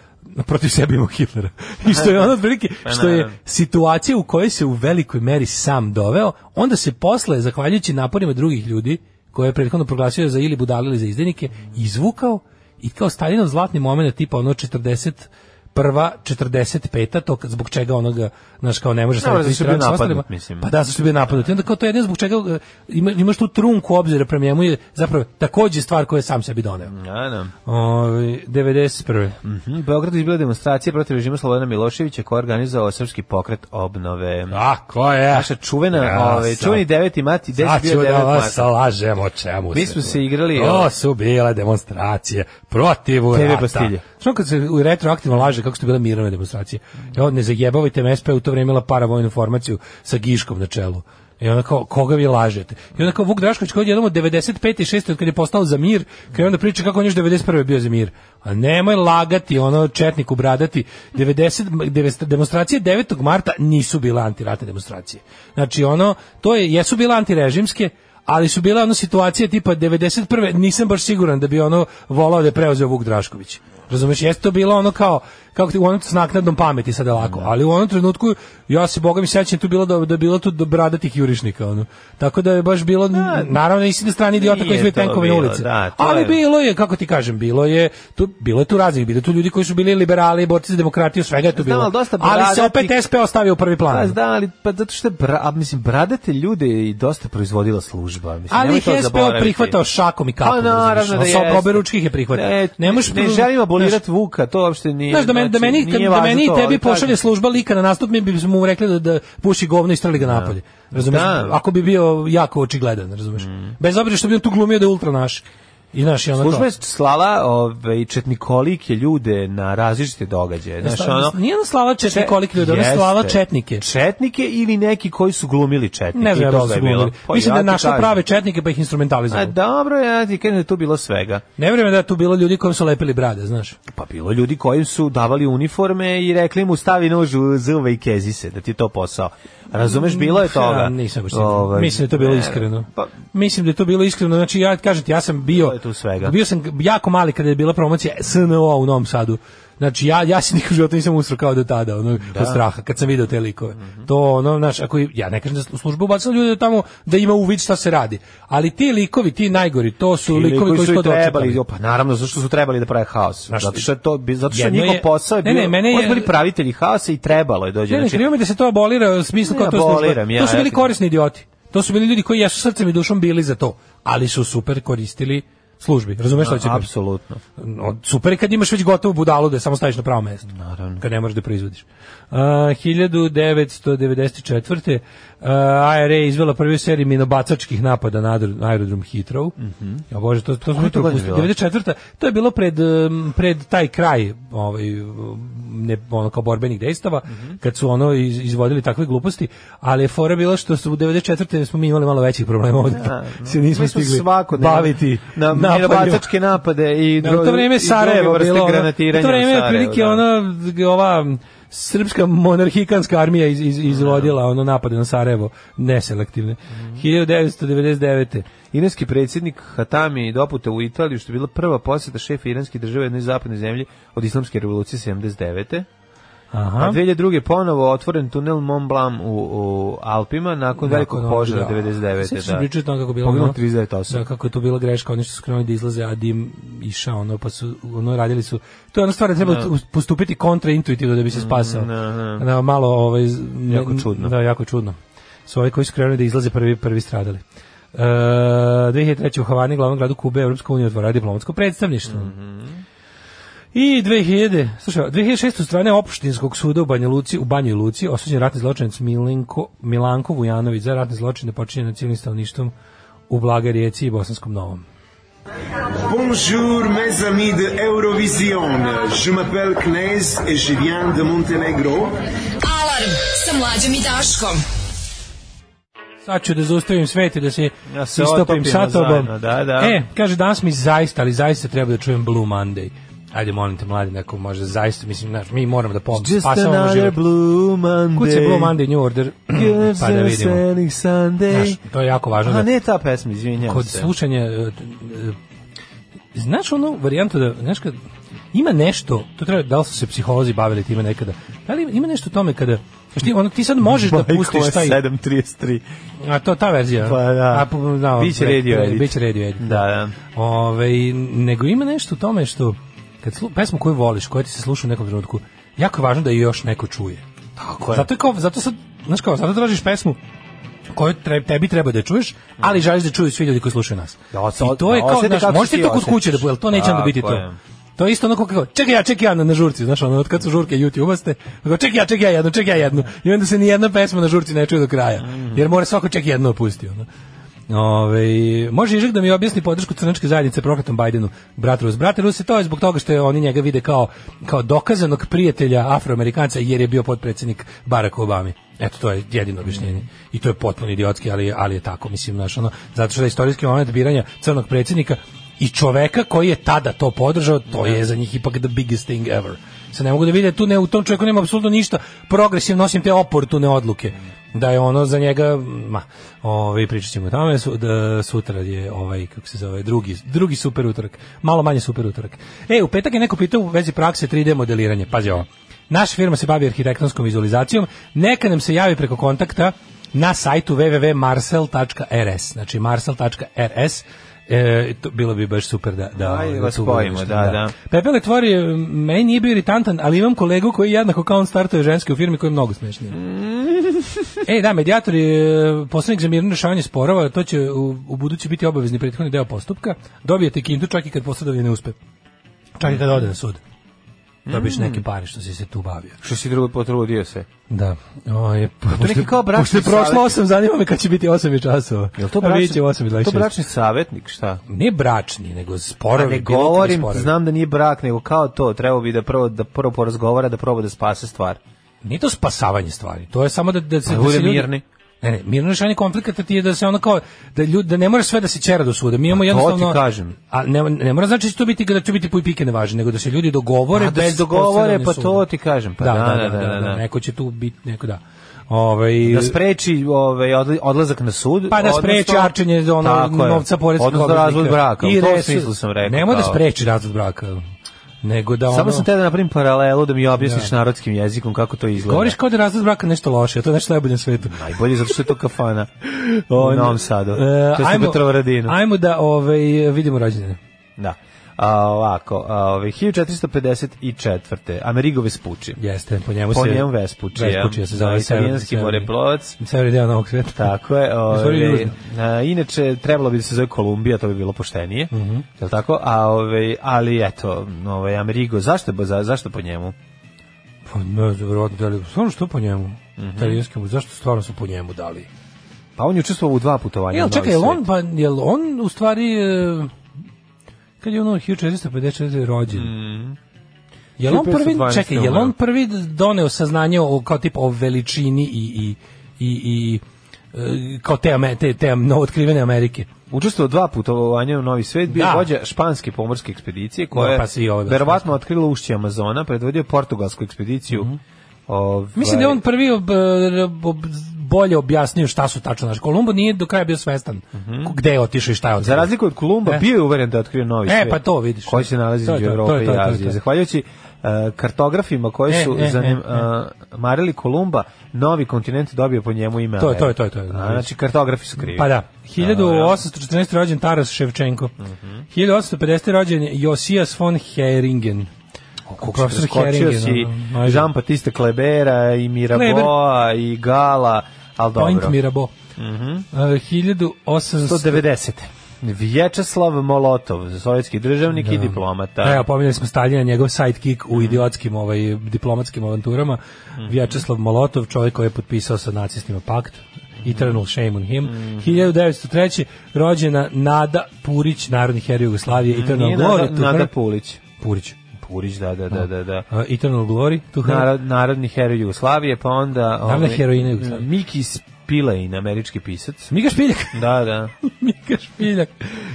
protiv sebe imao Hitlera. I što je ono otprilike, što je situacija u kojoj se u velikoj meri sam doveo, onda se posle, zahvaljujući naporima drugih ljudi, koje je prethodno proglasio za ili budale ili za izdajnike, izvukao i kao Stalinov zlatni moment tipa ono 40 prva 45 to kad- zbog čega onoga znaš kao ne može
Dobro,
staviti
zato što je
u
bio
stranicu s
napadnut,
ostalima.
mislim.
pa da zašto bi napadnuti onda kao to je jedno zbog čega e, ima, imaš tu trunku obzira prema njemu je zapravo takođe stvar koju je sam sebi doneo
Da, da.
Ovaj 91.
Mhm, U Beogradu je bila demonstracija protiv režima Slobodana Miloševića koja je organizovao srpski pokret obnove.
A, ko je?
Naša čuvena,
Ja
ovaj,
sam-
čuveni 9. mati, gde si
Sad
bio
ću
9.
da vas
mati?
lažem o čemu
Mi smo
tu-
se igrali,
To
o-
su bile demonstracije protiv urata.
Bastilje.
Što kad se u retroaktivno laže kako su to bile mirovne demonstracije. Ja ne zajebavajte me SP je u to vrijeme imala paravojnu formaciju sa Giškom na čelu. I onda kao, koga vi lažete? I onda kao Vuk Drašković koji je jednom od 95. i 6. od kad je postao za mir, kad je onda priča kako on još 91. bio za mir. A nemoj lagati, ono četniku bradati. 90, 90 demonstracije 9. marta nisu bile antiratne demonstracije. Znači ono, to je, jesu bile antirežimske, ali su bile ono situacije tipa 91. nisam baš siguran da bi ono volao da je preuzeo Vuk Drašković. Razumeš, jeste to bilo ono kao kako ti u onom s naknadnom pameti sad je lako,
Da.
ali u onom trenutku ja se boga mi sećam tu bilo da da je bilo tu do bradatih jurišnika ono. Tako da je baš bilo naravno nisi na strani idiota koji
Nije
su bili
to
tenkove
bilo,
ulice.
da, to
ali
je-
bilo je kako ti kažem, bilo je tu bilo je tu raznih, bilo je tu ljudi koji su bili liberali, borci za demokratiju, svega je tu
Znam,
bilo.
ali dosta
ali se opet
bradatih-
SP ostavio u prvi plan.
Pa, da, ali pa zato što je bra, a, mislim bradate ljude je i dosta proizvodila služba, mislim.
Ali
Pa nemoj
ih
to
je SPO
zaboraviti.
prihvatao šakom i kapom.
A, naravno da
razumiješ, ono,
jeste.
sa oberučkih je prihvatao.
E,
ne, možeš
ne
tu-
želim abolirati
znaš,
Vuka, to uopšte nije.
Znaš, da, meni, da
znači,
meni,
nije
da
važno
meni i
to,
tebi
ali kažem-
pošalje služba lika na nastup, mi bismo mu rekli da, da puši govno i strali ga napolje. Razumeš?
Da. Mm.
Ako bi bio jako očigledan, razumeš? Bez obzira što bi on tu glumio da je ultra naš. I naš, i ono
Služba
to.
je slala ovaj četnikolike ljude na različite događaje, znaš,
Šta-
ono.
E, Nije ona slava četnikolik ljudi, ona je
Jeste.
slava četnike.
Četnike ili neki koji su glumili četnike.
Ne
i
znam,
to
ja da
sve
su
je bilo.
glumili.
Pa
Mislim
ja
da je
ti
našla
kažem.
prave četnike pa ih
A
instrumentalizovala.
dobro, ja ti kažem da je tu bilo svega.
Ne vjerujem da je tu bilo ljudi koji su lepili brade, znaš.
Pa bilo je ljudi koji su davali uniforme i rekli mu stavi nož u zuve i kezi se, da ti je to posao. Razumeš, bilo je toga.
Ja, Mm, nisam baš siguran.
Ovaj,
Mislim da je to bilo
ne,
iskreno.
Pa,
Mislim da je to bilo iskreno. Znači, ja kažem ti, ja sam bio...
Bilo je tu svega.
Bio sam jako mali kada je bila promocija SNO u Novom Sadu. Znači, ja, ja se nikog u životu nisam usro kao do tada, ono,
Da.
od straha, kad sam video te likove.
Mhm.
To, ono, znaš, ako, i- ja ne kažem da su u službu ubacili ljude tamo da ima uvid šta se radi. Ali ti likovi, ti najgori, to su
ili
likovi koji su to
trebali,
dočekali.
pa naravno, zašto su trebali da prave haos?
Znaš,
zato što je to, bi- zato što je
jedno
njihov
je-
posao je
Ne,
bio,
ne, mene je-
oni su bili pravitelji haosa i trebalo je dođe. znači,
Ne, ne, krivo mi je da se to abolira u smislu
Ne
kao to služba.
aboliram ja,
to su
ja
bili
ti-
korisni idioti. To su bili ljudi koji jesu srcem i dušom bili za to, ali su super koristili službi. Razumeš šta da ću reći?
apsolutno.
No, super je kad imaš već gotovu budalu da je samo staviš na pravo mesto. Naravno. Kad ne moraš da proizvodiš. Uh, 1994. Uh, IRA je izvela prvi seriju minobacačkih napada na adr- na aerodrom Heathrow. Ja bože, to, to smo
je Mhm. to
jutro
godina
pustili.
bila?
94. To je bilo pred, um, pred taj kraj ovaj, um, ne, ono, kao borbenih dejstava,
Mhm.
kad su ono iz- izvodili takve gluposti, ali je fora bila što su u 94. smo mi imali malo većih problema ovde, se nismo
Mi smo
stigli
svakodnevno
baviti
na
napadima.
mirabacačke napade i
Da, u to
dro- i
vreme je
druge
Sarajevo
vrste
bilo ono,
granatiranja
u to vreme
u
je
Sarajevu,
otprilike
da.
ono g- ova srpska monarhikanska armija iz, iz, izvodila ono napade na Sarajevo neselektivne
Mhm.
1999.
Iranski predsjednik Hatami dopute u Italiju, što je bila prva posjeta šefa iranske države jednoj zapadnoj zemlji od islamske revolucije 79. A
Aha.
2002. ponovo otvoren tunel Mont Blanc u, u Alpima nakon velikog požara
Sjećaš
99.
da. se pričao o tome kako je bilo
da. Poginulo
ono-
39 osoba.
Da, kako je to bila greška, oni što su krenuli da izlaze, a dim išao, ono, pa su, ono, radili su, to je ona stvar da treba us- postupiti kontraintuitivno da bi se spasao.
Mm, da,
Na, malo, ovaj, z- ne-
Jako čudno.
Da, jako čudno. Su ovi koji su krenuli da izlaze prvi, prvi stradali. E, 2003. u Havani, glavnom gradu Kube, Evropska unija otvora diplomatsko predstavništvo.
Mhm.
I 2000, slušaj, 2006. od strane opštinskog suda u Banja Luci, u Banjoj Luci, osuđen ratni zločinac Milinko, Milanko Vujanović za ratne zločine počinjene nad civilnim stanovništvom u Blagoj Rijeci i Bosanskom Novom.
Bonjour mes amis de Eurovision. Je m'appelle Knez et je viens de Montenegro.
Alarm sa mlađom i Daškom.
Sad ću da zaustavim svet i da se,
Ja se
istopim
otopimo
sa tobom.
zajedno, da, da.
E, kaže, danas mi zaista, ali zaista treba da čujem Blue Monday. Ajde, molim te, mladi, neko može zaista, mislim, znaš, mi moramo da pomoći,
Just
spasavamo
another
život.
blue Monday.
Kuće Blue Monday New Order, pa da vidimo. Znaš,
Sunday.
to je jako važno.
A
da-
ne ta pesma, izvinjam
kod
se.
slušanja e, t- e, znaš onu varijantu da znaš kad ima nešto to treba da li su se psiholozi bavili time nekada da li ima- ima nešto u tome kada znaš ti, ono, ti sad možeš da
Bajkova
pustiš taj
733.
a to ta verzija
Pa da.
a, po- da,
Biće
pre-
radio
pre-
edit.
biće radio edit
Da, da.
Ovaj, nego ima nešto u tome što kad slu, pesmu koju voliš, koja ti se sluša u nekom trenutku, jako je važno da je još neko čuje. Tako
je.
Zato, je kao, zato sad, znaš kao, zato tražiš pesmu koju tre- tebi treba da je čuješ, ali želiš da čuju svi ljudi koji slušaju nas.
Da osje-
I to je
da
kao,
osjete
znaš,
kako
možeš
ti
ti to kod
osjećaš.
kuće da bude, to neće onda biti
Tako
to.
je.
To je isto onako kako, čekaj ja, čekaj ja na, na žurci, znaš, ono, od kad su žurke YouTube-a ste, kao, čekaj ja, čekaj ja jednu, čekaj ja jednu, i onda se ni jedna pesma na žurci ne čuje do kraja,
Mhm.
jer mora svako čekaj jednu opustiti, ono. Ove, može Ižak da mi objasni podršku crnačke zajednice prokletom Bajdenu, brat Rus. Brat Rus je to je zbog toga što je oni njega vide kao, kao dokazanog prijatelja afroamerikanca jer je bio potpredsjednik Barack Obama. Eto, to je jedino objašnjenje. I to je potpuno idiotski, ali, je- ali je tako, mislim, znaš, ono, zato što je istorijski moment biranja crnog predsjednika i čoveka koji je tada to podržao, to je za njih ipak the biggest thing ever. Sad ne mogu da vide tu, ne, u tom čovjeku nema apsolutno ništa progresivno, osim te oportune odluke. Da je ono za njega, ma, ovaj, pričat ćemo o tome, su, da, sutra je ovaj, kako se zove, drugi, drugi super utorak, malo manje super utorak. E, u petak je neko pitao u vezi prakse 3D modeliranja, pazi ovo. Naša firma se bavi arhitektonskom vizualizacijom, neka nam se javi preko kontakta na sajtu www.marcel.rs, znači marcel.rs, E, to bilo bi baš super da da
Ajde,
ovaj,
vas
tu
spojimo,
uvedeš,
da, da.
Pepele tvor je meni nije bio iritantan, ali imam kolegu koji jednako kao on startuje ženske u firmi koji je mnogo smešniji.
Mm.
Ej, da, medijator je e, posrednik za mirno rešavanje sporova, to će u, u budući biti obavezni prethodni deo postupka. Dobijete kintu čak i kad posredovanje ne uspe. Čak i kad ode na sud.
Mm.
Dobiš neke pare što si se tu bavio.
Što si drugo potrudio se?
Da. O, je, pošto,
neki kao bračni
pošto je prošlo
savjet.
8, zanima me kad će biti 8 časova.
Jel to
A
bračni,
Pa vidjet će u 8 i 26.
to bračni savjetnik, šta?
Ne bračni, nego
Pa
sporovi.
ne
bilo kakvi
govorim,
sporovi.
znam da nije brak, nego kao to, trebao bi da prvo da prvo porazgovara, da proba da spase stvar.
Nije to spasavanje stvari, to je samo da, da se...
Da
da
bude
se ljudi-
mirni.
Ne, ne, mirno rešavanje konflikata ti je da se ono kao, da, ljudi, da ne mora sve da se čera do suda. Mi imamo
Pa to ti
jednostavno...
kažem.
A ne, ne mora znači da će to biti da će biti puj pike nevažni, nego da se ljudi dogovore
A, da se
bez
dogovore,
posredovanja
pa
suda.
to ti kažem, pa
da, da,
da, da, da, da.
Neko će tu biti, neko da. Ovaj,
Da spreči ovaj odla- odlazak na sud,
pa da spreči
odnosno-
arčenje ono,
Tako je.
novca poreskog
odnosno razvod braka. I u tom
resu-
smislu sam rekao.
Nemoj da
kao-
spreči razvod braka, nego da
Samo
ono...
sam te da napravim paralelu da mi objasniš narodskim jezikom kako to izgleda.
Govoriš kao da je razvod braka nešto loše, a to je nešto najbolje na svetu.
Najbolje zato što je to kafana u Novom Sadu.
E,
to je
ajmo-
Petrovaradina.
Ajmo da ovaj, vidimo rođene.
Da. A, ovako, a, ovaj, 1454. Amerigo Vespucci.
Jeste, po njemu se...
Po njemu Vespucci.
Vespucci da se zove.
Italijanski Da. moreplovac.
Severni deo novog sveta.
Tako je.
stvari
Ove,
južno.
a, inače, trebalo bi da se zove Kolumbija, to bi bilo poštenije.
Mhm.
Jel tako? A, ove, ali eto, ove, Amerigo, zašto, ba- za, zašto po njemu?
Pa ne, znam, verovatno da li... Stvarno što po njemu?
Mhm.
Italijanski mu, zašto stvarno su po njemu dali?
Pa on je učestvovao u dva putovanja. u
Jel,
Novi
čekaj, jel
svet.
on, pa, jel on u
Mm.
stvari... e, Kad je ono 1454 rođen? Je on prvi,
1512
čekaj, je on prvi doneo saznanje o, kao tip o veličini i, i, i, i e, kao te, Ame- te, te novootkrivene Amerike.
Učestvovao dva putovanja u Novi svet, bio
Da.
je vođa španske pomorske ekspedicije koja
No,
je
pa si i ovaj
verovatno otkrila ušće Amazona, predvodio je portugalsku ekspediciju. Ovaj,
Mhm. Mislim da je on prvi ob, ob- ob- bolje objasnio šta su tačno naš Kolumbo nije do kraja bio svestan gde je otišao i šta je otišao.
Mhm. Za razliku od Kolumba,
E.
bio je uveren da je otkrio novi
E,
svet.
pa to vidiš.
Koji se nalazi
To je
između
to,
Evrope
to je to,
i
to je
Azije.
to.
Zahvaljujući e, kartografima koji
E,
su
e, e,
zanim, e, marili Kolumba, novi kontinent dobio po njemu ime.
To je, to je,
Amerika.
to je, to je.
A, znači, kartografi su krivi.
Pa da. 1814. rođen Taras Ševčenko.
Mhm.
1850. rođen Josijas von Heringen. profesor
Preskočio
Heringen,
si
ono, ajde.
Jean Batiste Klebera i Miraboa
Kleber.
i Gala, ali
Point
dobro. Mhm.
Mirabeau. E, 1800...
190. Vječeslav Molotov, sovjetski državnik i diplomata.
Da. Evo, pominjali smo Staljina, njegov sidekick
Mhm.
u idiotskim ovaj, diplomatskim avanturama. Vjačeslav Molotov, čovjek koji je potpisao sa nacistima pakt.
Mhm.
Eternal shame on him. 1903. rođena Nada Purić, narodni heroj Jugoslavije. Eternal
Mhm. Nije
glory.
Nada,
to
Nada
her-
Pulić.
Purić.
Purić, da, da, da, da. da.
A, Eternal glory. To her-
Narod, narodni heroj Jugoslavije, pa onda...
Narodna
ovaj,
heroina Jugoslavije.
Miki Spillane, američki pisac.
Mika Špiljak.
Da, da.
Mika Špiljak.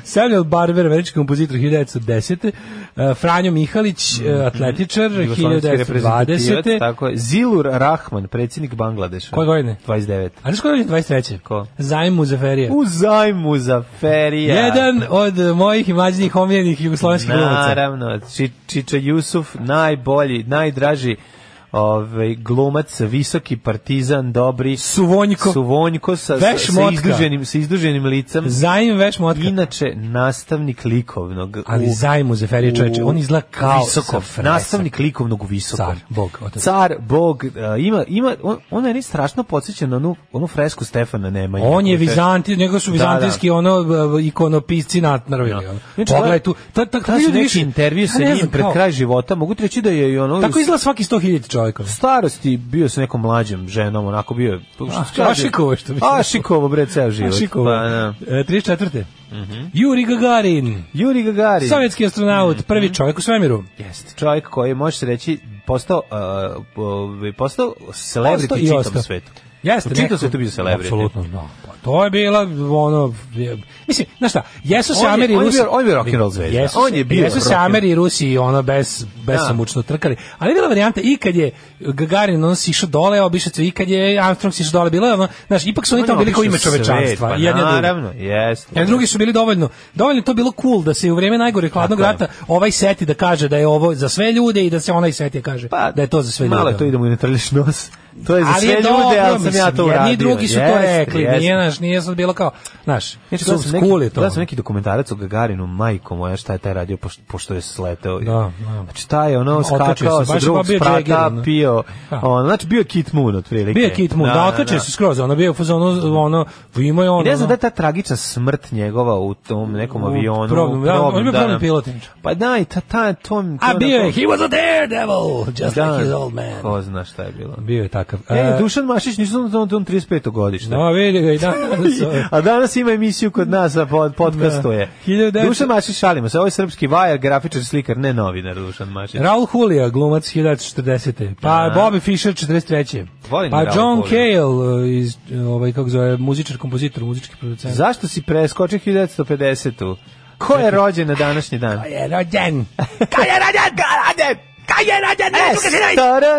Samuel Barber, američki kompozitor 1910. Uh, Franjo Mihalić, uh, atletičar
Mhm. Jugoslovenski reprezentativac,
1920.
Tako je. Zilur Rahman, predsjednik Bangladeša.
Koje godine?
29.
A znaš ko je 23.
Ko?
Zajm Muzaferija.
U zajmu za ferija.
Jedan od mojih imađenih omiljenih jugoslovenskih glumaca.
Naravno, Či, Čiča Jusuf, najbolji, najdraži ovaj, glumac, visoki partizan, dobri,
Suvonjko.
suvonjko sa,
Veš
sa,
motka.
izduženim, sa izduženim licem.
Zajm veš motka.
Inače, nastavnik likovnog.
Ali
u-
Zajm Muzaferija, čoveče,
u-
on izgleda kao sa
visokov,
fresom.
nastavnik likovnog u visokom.
Car, bog, otac.
Car, bog, a, ima, ima, on, on je strašno podsjeća na onu, onu fresku Stefana Nemanja.
On je
Koju te-
Vizanti, njega su
Da,
vizantijski
da.
ono e, ikonopisci natnarvili. ono.
Znači,
Pogledaj
to-
tu. Ta, ta,
Kada su neki intervju sa njim pred kraj života, mogu ti reći da je i ono...
Tako izgleda svaki 100.000 čovjeka.
starosti bio sa nekom mlađom ženom, onako bio je...
A, ašikovo je što bi se
A, šikovo, bre, ceo život.
Šikovo.
Pa, da.
E, 34. Juri Gagarin,
Juri Gagarin. Mhm.
sovjetski astronaut, prvi čovjek u svemiru.
Jeste, čovjek koji je, može se reći, postao, uh, po- postao celebrity
Ostao
u
i
čitom
ostao.
svetu.
Jeste,
u čitom
neko-
svetu bio celebrity.
Apsolutno, da. Pa to je bila ono je- mislim, znaš šta, jesu se
On je-
Ameri i
on je
Rusi.
bio- on je bio rock'n'roll zvezda.
Jesu
On
se-
je bio
Jesu se
rock'n'roll. Da.
Ameri i Rusi ono bez besomučno trkali. Ali je bila varijanta i kad je Gagarin on si išao dole, obišao se i kad je Armstrong si išao dole, bilo je ono, znaš, ipak su oni tamo bili kao ime
Obišao svet,
čovečanstva.
Pa,
i jedni i drugi.
naravno, jeste.
E, drugi su bili dovoljno. Dovoljno je to bilo cool da se u vrijeme najgore hladnog
Tako je.
rata ovaj seti da kaže da je ovo za sve ljude i da se onaj seti kaže da je to za sve ljude.
Pa, Malo je to idemo i ne trlješ nos. To je za
Ali
sve
je dobro,
ljude, ali sam
mislim,
ja to uradio.
Jedni i drugi su to
Jeste,
rekli,
jeste.
nije, naš, nije sad bilo kao, znaš,
Ja
su cool je to.
Da sam neki dokumentarac o Gagarinu, majko moja, šta je taj radio pošto, pošto je sleteo.
Da, da.
Znači, taj je ono
Otočio
skakao
se,
sa
baš
drugog
kao bio
sprata,
Jagger, ono.
pio,
Da.
on, znači bio je Kit Moon otprilike.
Bio je Kit Moon, da, otkačio se skroz, ono bio u fazonu, ono, imao je ono.
I ne znam da je
ono,
ta tragična smrt njegova u tom nekom
U
avionu.
problem,
u
da, on je bio
da,
problem
da.
pilot, inače.
Pa da, i ta, ta, to... mi- to
A bio je,
onako-
he was a daredevil, just
Da,
like his old man.
Ko zna šta je bilo.
Bio je takav.
E,
E,
Dušan Mašić, nisam znam da on 35. godište.
No, vidi ga i danas. ovaj.
A danas ima emisiju kod nas, a pod, podcastu je.
Da. 1900
Dušan Mašić, šalimo se, ovo je srpski vajar, grafičar, slikar, ne novinar Dušan Mašić.
Raul Julia, glumac 1940. Pa Bobby Fischer 43.
Da. Volim
pa
Raul
John
Julia.
Cale e, iz e, ovaj kako zove muzičar, kompozitor, muzički producent.
Zašto si preskočio 1950-u? Ko je rođen na današnji dan?
Pa je rođen.
Kaj je rođen? Kaj rođen? Kaj je rođen?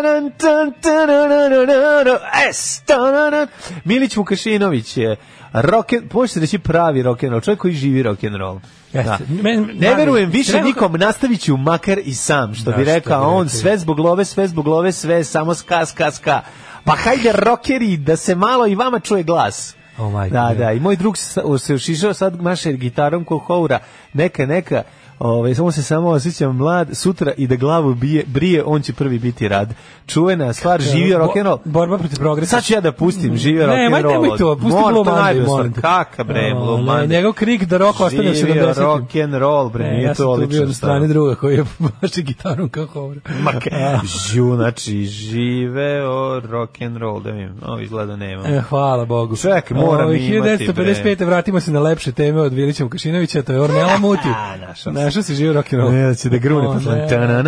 S. Taranan. Milić Vukašinović je roken, možete reći pravi rock'n'roll, čovjek koji živi rock'n'roll.
Jeste.
Da.
Men-
Ne
mami,
verujem više
treba-
nikom, nastavit ću makar i sam, što
Da,
bi
što bi
rekao on,
rekli.
sve zbog love, sve zbog love, sve, samo ska, ska, ska. Pa hajde rokeri, da se malo i vama čuje glas.
O, majko
da,
mila.
da, i moj drug se se ušišao sad maše gitarom ko houra, neka, neka, Ove, samo se samo osjećam mlad, sutra i da glavu bije, brije, on će prvi biti rad. Čuvena stvar, živio
Bo-
rock'n'roll.
Borba protiv progresa.
Sad ću ja da pustim, živio rock'n'roll.
Ne, maj nemoj to, pusti
Mor-
Blue
to
Monday,
najbolja stvar.
molim te.
Kaka bre,
O,
Blue
ne,
Monday.
Njegov krik da rock ostane u
Živio
70.
rock'n'roll, bre,
Ne,
nije
ja sam
to
tu bio
odlično
na strani
stvar.
druga koji je baš i gitarom kako ovdje.
Mak, žu, znači, žive o rock'n'roll, da mi, ovo izgleda nema.
E, hvala Bogu.
Čekaj, moram
Ovaj,
imati, bre.
1955. vratimo se na lepše teme od Vilića Vukašinovića, to je Ornella Muti.
A, našao sam.
Našao si živo rock and roll.
Ne, da će da grune
O,
pa
ne.
tlan.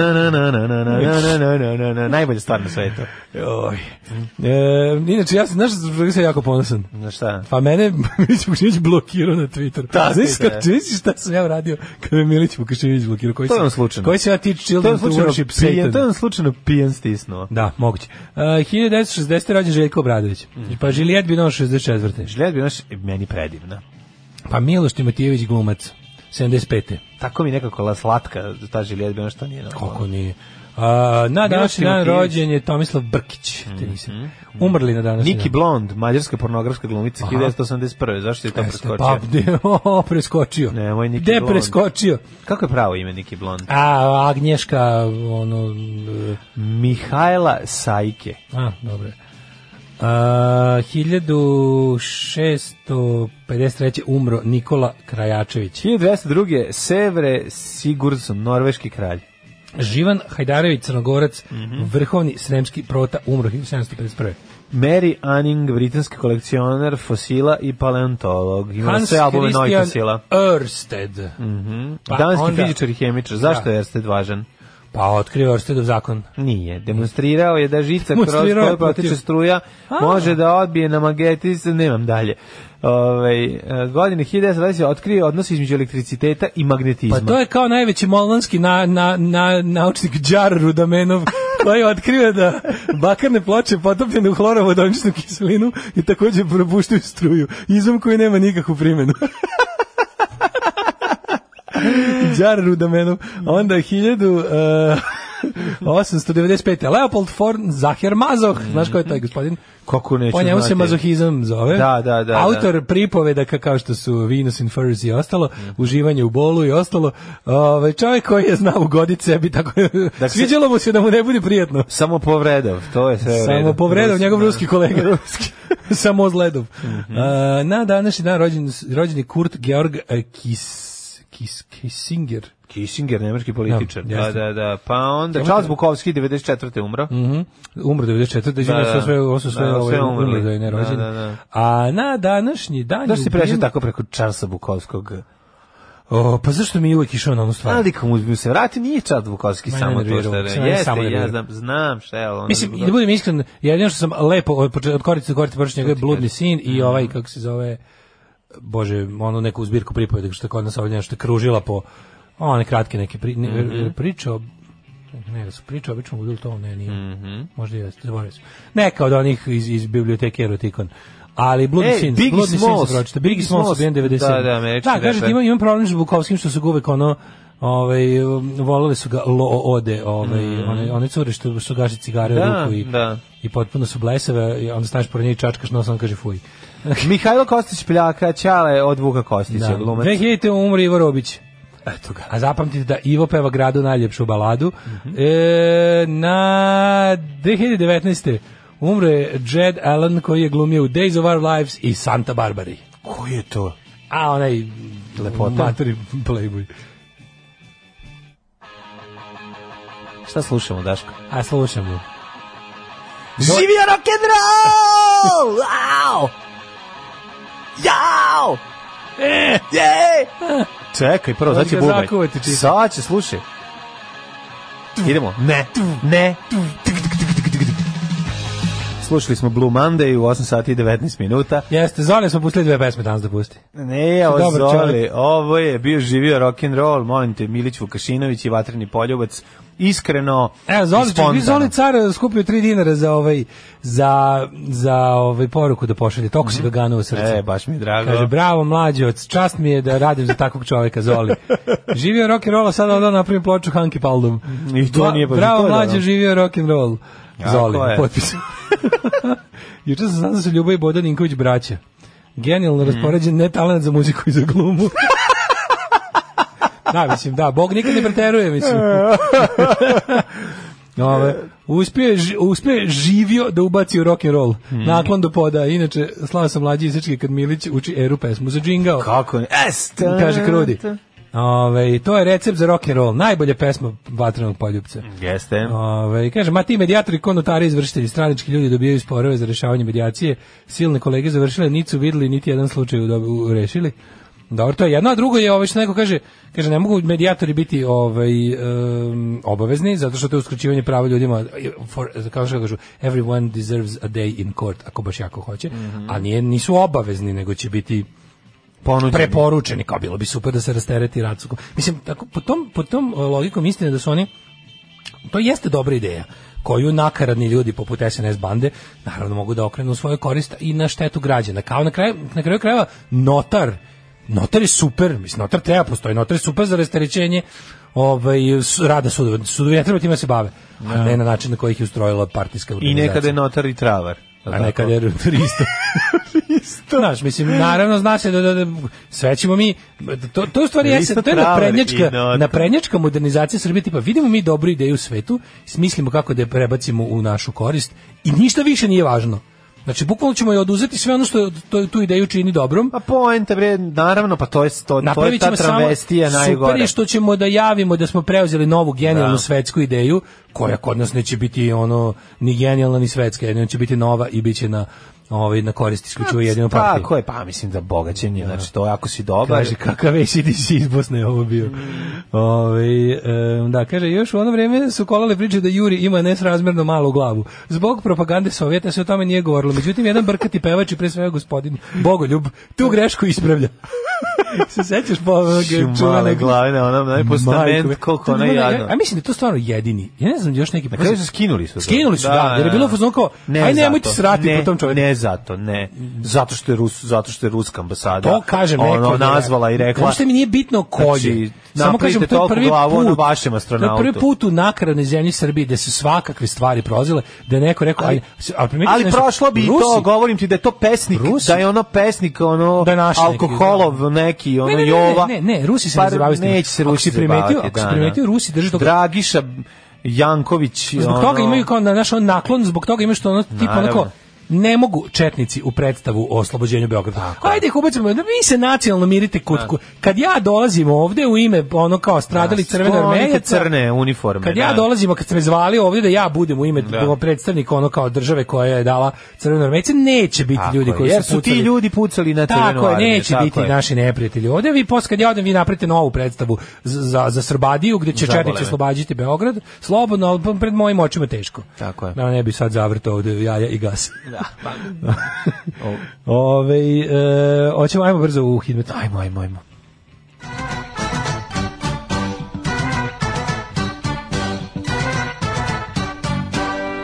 Najbolja stvar na svetu.
Joj. E, inače, ja sam, znaš, zbog čega sam jako ponosan.
Na šta?
Pa mene Milić Vukašinović blokirao na Twitteru.
Da,
znaš,
stiže.
kako, znaš šta sam ja uradio kada me Milić Vukašinović blokirao? Koji
To je
sam-
on slučajno.
Koji se ja teach
To je
children to
slučajno
worship
pijen, to je
Satan?
on slučajno pijen stisnuo.
Da, moguće. Uh, 1960. rođen Željko Obradović.
Mhm.
Pa Žilijet bi 64.
Žlijed bi naš meni predivna.
Pa Miloš Timotijević glumac. 75.
Tako mi nekako la slatka ta žlijed bi naš to nije. normalno.
Kako nije? A, na današnji dan
Timotijević.
rođen je Tomislav Brkić. tenisa. Umrli na današnji
Mhm. Niki
dan.
Blond, mađarska pornografska glumica 1981. Zašto je to
Jeste,
preskočio?
Pa, gde, o, preskočio.
Nemoj Niki
Gde
Blond.
preskočio?
Kako je pravo ime Niki Blond?
A, Agnješka, ono... e,
Mihajla Sajke.
A, dobro. je. A, 1653. umro Nikola Krajačević.
1202. Sevre Sigurdsson, norveški kralj.
Živan Hajdarević Crnogorac,
Mhm.
vrhovni sremski prota, umro 1751.
Mary Anning, britanski kolekcionar fosila i paleontolog. Ima sve albume novih fosila.
Ørsted. pa
Danski
onda-
Mhm. fizičar i hemičar. Zašto
Da.
je Ersted važan?
Pa otkrio Ørstedov zakon.
Nije. Demonstrirao je da žica kroz
Demonstrirao je
koju
protiv-
protiče struja može da odbije na magnetiz, nemam dalje. Ove, godine 1920 otkrio odnos između elektriciteta i magnetizma.
Pa to je kao najveći molnanski na, na, na, naučnik Đar Rudamenov koji je otkrio da bakarne ploče potopljene u hlorovodoničnu kiselinu i takođe propuštaju struju. Izum koji nema nikakvu primjenu. Đar Rudamenov. Onda 1000... Uh, 895. Leopold von Zahir Mazoh. Znaš ko je taj gospodin?
Kako neću
Po njemu se
znati.
mazohizam zove.
Da, da, da,
Autor pripovedaka kao što su Venus in Furs i ostalo, uživanje u bolu i ostalo. Ovaj čovjek koji je znao ugoditi sebi tako.
Dakle,
sviđalo mu se da mu ne bude prijatno.
Samo povredov, to je sve u redu.
Samo povredao
Rus-
njegov
da. Mhm.
ruski kolega. Ruski. Samo zledov. A, na današnji dan rođen, rođen je Kurt Georg e, Kis, Kis, Kissinger.
Kissinger, nemački političar.
Da,
Da,
jeste. Mhm.
da, da. Pa onda Charles Bukowski 94. umro.
Umro 94. Izvinjam
Da,
se,
da.
sve, ovo su sve,
Da,
ovaj,
sve umrli.
umrli da je ne
Da,
rođen.
da, da.
A na današnji dan...
Zašto
je
si prešao
ubijen-
tako preko Charlesa Bukovskog?
O, pa zašto mi je uvijek išao na onu stvar?
Ali kako mu se vrati, nije Charles Bukovski
Da. Ma,
samo to
nervirao
što
me
je.
se, on je
Jeste,
samo nervirao.
ja znam, znam šta je. ali ono-
Mislim, i da budem iskren, jedino što sam lepo od, poč- od korice do korice prošao njegov je bludni sin i
Mhm.
ovaj, kako se zove, bože, ono neku zbirku pripoveda što je kod nas ovdje nešto kružila po one kratke neke pri, ne,
Mhm.
e, priče o ne, da su priče obično budil to, ne, nije.
Mhm.
Možda i jeste, zaboravio sam. Neka od onih iz, iz biblioteke Erotikon. Ali Bloody
Ej,
Sins,
Biggie
Bloody Sins
Smalls.
pročita. Biggie
Biggie
Smalls,
Smalls,
Smalls 97.
da, da, američki,
Da, kažete,
dakle.
imam, imam problem s Bukovskim što su ga uvek ono ovaj um, voleli su ga loode ovaj one one cure što su gaši cigare u
Mm. Da,
ruku i
da.
i potpuno su blesave i onda staneš pored nje i čačkaš nos on kaže fuj.
Mihajlo Kostić Pljaka, Ćale od Vuka Kostića,
Da.
glumac.
2000 umre Ivo Robić. Eto ga. A zapamtite da Ivo peva gradu najljepšu baladu.
Mhm.
e, na 2019. umre Jed Allen koji je glumio u Days of Our Lives i Santa Barbari.
Ko je to?
A onaj
Lepota.
Maturi playboy.
Šta slušamo, Daško?
A slušamo.
Živio rock'n'roll! Wow! Jao! E, je! Čekaj, prvo, sad će
ga
bubaj.
zakuvati čisto.
Sad će, slušaj. Idemo. Ne, ne. Slušali smo Blue Monday u 8 sati i 19 minuta.
Jeste, zone smo pustili dve pesme danas da pusti.
Ne, ovo
Dobar
zoli,
čovjek.
ovo je bio živio rock and roll, molim te, Milić Vukašinović i Vatreni poljubac, iskreno,
Evo,
i
Zoli,
spontano.
vi Zoli car skupio 3 dinara za ovaj za za ovaj poruku da pošalje. Toliko si ga ganuo srce.
E, baš mi je drago.
Kaže, bravo mlađe, od- čast mi je da radim za takvog čovjeka, Zoli. Živio rock and roll, a sada onda napravim ploču Hanky Paldum.
I to nije baš- to
Bravo
je
mlađe,
dobro.
živio rock and roll.
Tako
Zoli,
je.
potpis. Juče sam saznao da su Ljubav i Bodan Ninković braća. Genijalno
Mhm.
raspoređen, ne talent za muziku i za glumu. da, mislim, da, Bog nikad ne preteruje, mislim. Ove, uspio, je, ži- uspio je živio da ubaci u rock and roll.
Mhm.
Naklon do poda. Inače, slava sam mlađi isečki kad Milić uči eru pesmu za džingao.
Kako E, ne? Es, ta-
Kaže Krudi. Ove, to je recept za rock and roll. Najbolja pesma vatrenog poljubca.
Jeste.
Ove, kaže, ma ti medijatori, konotari, izvršitelji, stranički ljudi dobijaju sporove za rešavanje medijacije. Silne kolege završile, niti su videli, niti jedan slučaj udob- u- rešili. Dobro, to je jedno, a drugo je, ovaj što neko kaže, kaže ne mogu medijatori biti ovaj em, obavezni zato što to je uskraćivanje prava ljudima for kao što kažu everyone deserves a day in court ako baš jako hoće, a nije nisu obavezni nego će biti
Ponuđeni.
preporučeni, kao bilo bi super da se rastereti rad suko- Mislim, tako, po tom, po tom e, logikom istine da su oni, to jeste dobra ideja, koju nakaradni ljudi poput SNS bande naravno mogu da okrenu u svoje korist i na štetu građana. Kao na kraju, na kraju krajeva notar, notar je super, mislim, notar treba postoji, notar je super za rasterećenje ovaj, s- rada sudova. Sudovi ne treba time da se bave, a ne na način na koji ih je ustrojila partijska
I
organizacija.
nekada je notar i travar.
A nekad je isto. isto. Znaš, mislim, naravno zna se da, da, da sve ćemo mi, to, to u stvari
Isto
jeste, to je
travar
naprednjačka,
i not.
naprednjačka modernizacija Srbije, tipa vidimo mi dobru ideju u svetu, smislimo kako da je prebacimo u našu korist i ništa više nije važno. Znači, bukvalno ćemo je oduzeti sve ono što to, tu ideju čini dobrom,
Pa poenta bre, naravno, pa to je to, to je
Napravit
ta
ćemo samo
travestija
super
najgore.
je što ćemo da javimo da smo preuzeli novu genijalnu
Da.
svetsku ideju koja kod nas neće biti ono ni genijalna ni svetska, jedino će biti nova i biće na ovaj na korist isključivo jedino partije.
Tako je, pa mislim da bogaćenje, znači to je ako si dobar.
Kaže, kakav ACDC iz Bosne je ovo bio. Ovaj, em, da, kaže, još u ono vrijeme su kolale priče da Juri ima nesrazmjerno malu glavu. Zbog propagande Sovjeta se o tome nije govorilo. Međutim, jedan brkati pevač i pre svega gospodin Bogoljub tu grešku ispravlja. se sećaš po onog
Šu, male
čuvane
glave, na onom najpostament, koliko ona
je
jadna. Pa
A mislim da je to stvarno jedini. Ja ne znam, još neki...
Na kraju su skinuli su. to.
Skinuli su, da, jer je bilo u fazonu kao, aj nemojte
zato,
srati
ne,
po tom čoveku.
Ne zato, ne. Zato što je, Rus, zato što je ruska ambasada.
To kažem,
ono,
rekao da je-
nazvala i rekla.
Uopšte mi nije bitno ko
Znači,
je. Samo
napravite
kažem, to je
toliku
prvi
glavu
put.
ono vašem astronautu.
To je prvi put u nakaradnoj zemlji Srbiji da su svakakve stvari prozile, da je neko rekao, ali, ali, primetio
Ali
sam nešto,
prošlo bi i
znači, Rusi-
to, govorim ti da je to pesnik,
Rusi-
da je ono pesnik, ono
Da je naš neki, da.
alkoholov neki, ono
Ne, ne, ne,
Jova.
ne, ne, ne, Rusi se
Pa,
ne zabavaju s tim.
Neće se
Ako
Rusi
si primetio-
zabaviti,
ako si
da,
primetio,
da.
Rusi drže toga-
Dragiša Janković.
Zbog toga imaju kao na naš on naklon, zbog toga imaju što ono tipa
Naravno.
onako ne mogu četnici u predstavu o oslobođenju Beograda. Ajde ih ubacimo, da vi se nacionalno mirite kod
Da.
ku- kad ja dolazim ovde u ime ono kao stradali crvene da-
sklonite
armeje
da, crne uniforme,
Kad
da.
ja dolazim, kad ste me zvali ovde da ja budem u ime
Da.
predstavnik ono kao države koja je dala crvene armeje, neće biti
Tako
ljudi
je,
koji
jer
su
su ti
pucali.
ljudi pucali na crvenu
Tako je,
armiju,
neće
tako
biti
je.
naši neprijatelji. Ovde vi posle kad ja odem vi napravite novu predstavu za za, za Srbadiju gde će
Zabole
četnici
me.
oslobađati Beograd, slobodno, ali p- pred mojim očima teško.
Tako je.
Da ne bi sad zavrtao ovde jaja i gas. Da. Ove, e, hoćemo, ajmo brzo u Hidmet.
Ajmo, ajmo, ajmo.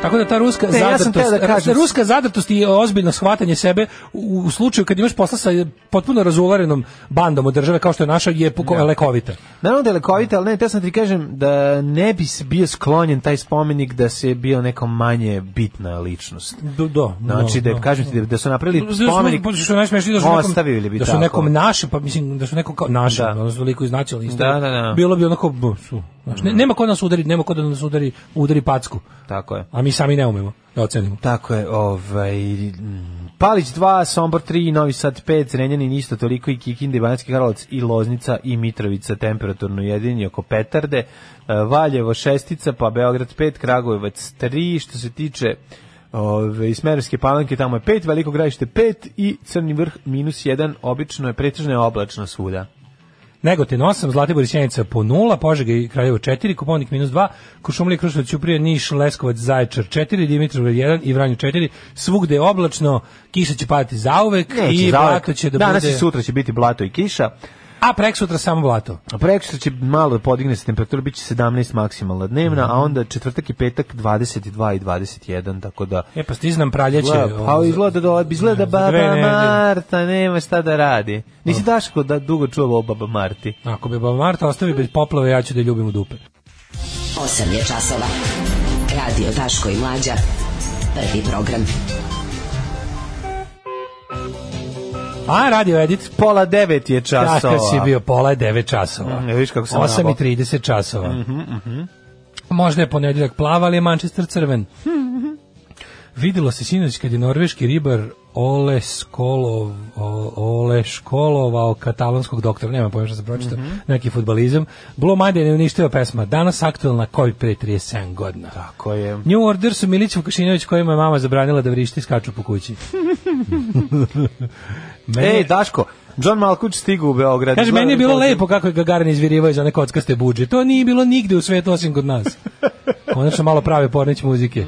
Tako da ta ruska
Ne, ja sam
zadrtost,
teo da kažem-
ruska zadrtost i ozbiljno shvatanje sebe u, u slučaju kad imaš posla sa potpuno razuvarenom bandom od države kao što je naša je puko,
Da.
lekovita.
Naravno da je lekovita, ali ne, te sam ti kažem da ne bi s- bio sklonjen taj spomenik da se je bio neka manje bitna ličnost.
Do, do,
Znači, da,
do,
kažem ti da, da su napravili spomenik,
Da su, što je najsmešnije, da su
Ostavili
nekom,
bi
da su
tako.
nekom našem, pa mislim da su nekom kao našem,
Da.
odnosno liku iz nacionalne
Da, da, da.
Bilo bi onako, bu, su, znaš, ne- nema ko da nas udari, nema ko da nas udari, udari packu,
tako je.
a mi sami ne umemo da ocenimo.
Tako je, ovaj... mm, Palić 2, Sombor 3, Novi Sad 5, Renjanin isto toliko i Kikinda i Banacki Karlovac i Loznica i Mitrovica temperaturno jedini oko Petarde, e, Valjevo 6, pa Beograd 5, Kragujevac 3, što se tiče Ove, Smerovske palanke tamo je 5, Veliko gravište 5 i Crni vrh minus 1, obično je pretežno je oblačno svuda.
Negotin 8, Zlatibor i Sjenica po 0, Požega i Kraljevo 4, Kupovnik minus 2, Košumlija, Kruševac, Ćuprija, Niš, Leskovac, Zaječar 4, Dimitrovgrad 1 i Vranje 4. Svugde je oblačno, kiša će padati zauvek i
zauvek.
blato će da
Danas
bude...
i sutra će biti blato i kiša.
A prek sutra samo blato.
A Prekosutra Pa će malo da podigne se temperatura, bit će 17 maksimalna dnevna, a onda četvrtak i petak 22 i 21, tako da...
E pa stiznam praljeće.
Izgleda, pa
ovo,
izgleda da izgleda
za dve
baba
nedelje.
Marta, nema šta da radi. Nisi Daško da dugo čuvao o baba Marti.
Ako bi Baba Marta ostavi bez poplave, ja ću da je ljubim u dupe.
8 je časova. Radio Daško i Mlađa. Prvi program.
A, radio Edit.
Pola devet je časova.
Kakav si bio, pola je 9 časova.
Mm, ja vidiš kako sam nabao. Mhm,
8.30 časova. Možda je ponedjeljak plav, ali je Manchester crven. Videlo se sinoć kad je norveški ribar Ole, Skolov, o- Ole Školovao katalonskog doktora, nema pojma što se pročitao,
Mhm.
neki futbalizam. Blo Monday ne uništio pesma, danas aktualna koji pre 37 godina.
Tako je.
New Order su Milić Vukašinović kojima je mama zabranila da vrišti i skaču po kući. Meni
Ej,
je-
E, Daško, John Malkuć stigao u Beograd.
Kaže,
Izgleda
meni je
da
bilo
to-
lepo kako je Gagarin izvirivao iz one kockaste buđe. To nije bilo nigde u svetu osim kod nas. Konačno malo prave pornić muzike.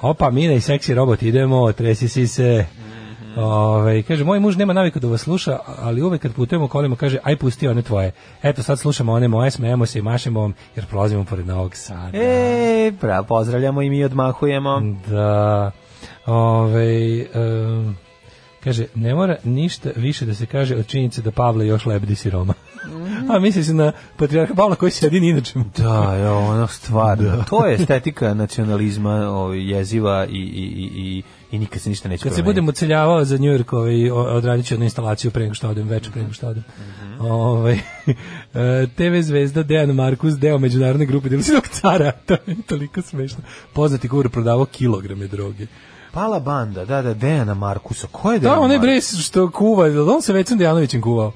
Opa, Mina i seksi robot, idemo, tresi si se. Ove, kaže, moj muž nema naviku da vas sluša, ali uvek kad putujemo kolima, kaže, aj pusti one tvoje. Eto, sad slušamo one moje, smejemo se i mašemo vam, jer prolazimo pored Novog Sada.
E, pra, pozdravljamo i mi odmahujemo.
Da. Ove, em, kaže, ne mora ništa više da se kaže od činjenice da Pavle još lebdi siroma. A misli se na patrijarha Pavla koji se jedini inače.
Da, je ono stvarno.
Da.
To je estetika nacionalizma, ovaj jeziva i i i i i nikad se ništa neće
Kad se
promeniti.
budem uceljavao za Njujork, ovaj, o- odradit ću jednu instalaciju pre nego što odem, večer pre nego što odem. Ovaj, e, TV zvezda Dejan Markus, deo međunarodne grupe Dilusinog cara, to je toliko smešno. Poznati govor prodavao kilograme droge.
Pala banda, da, da, Dejana Markusa. Ko je
Da,
Dejan
onaj
Markus?
bre što kuva, jel on se Vecom Dejanovićem kuvao.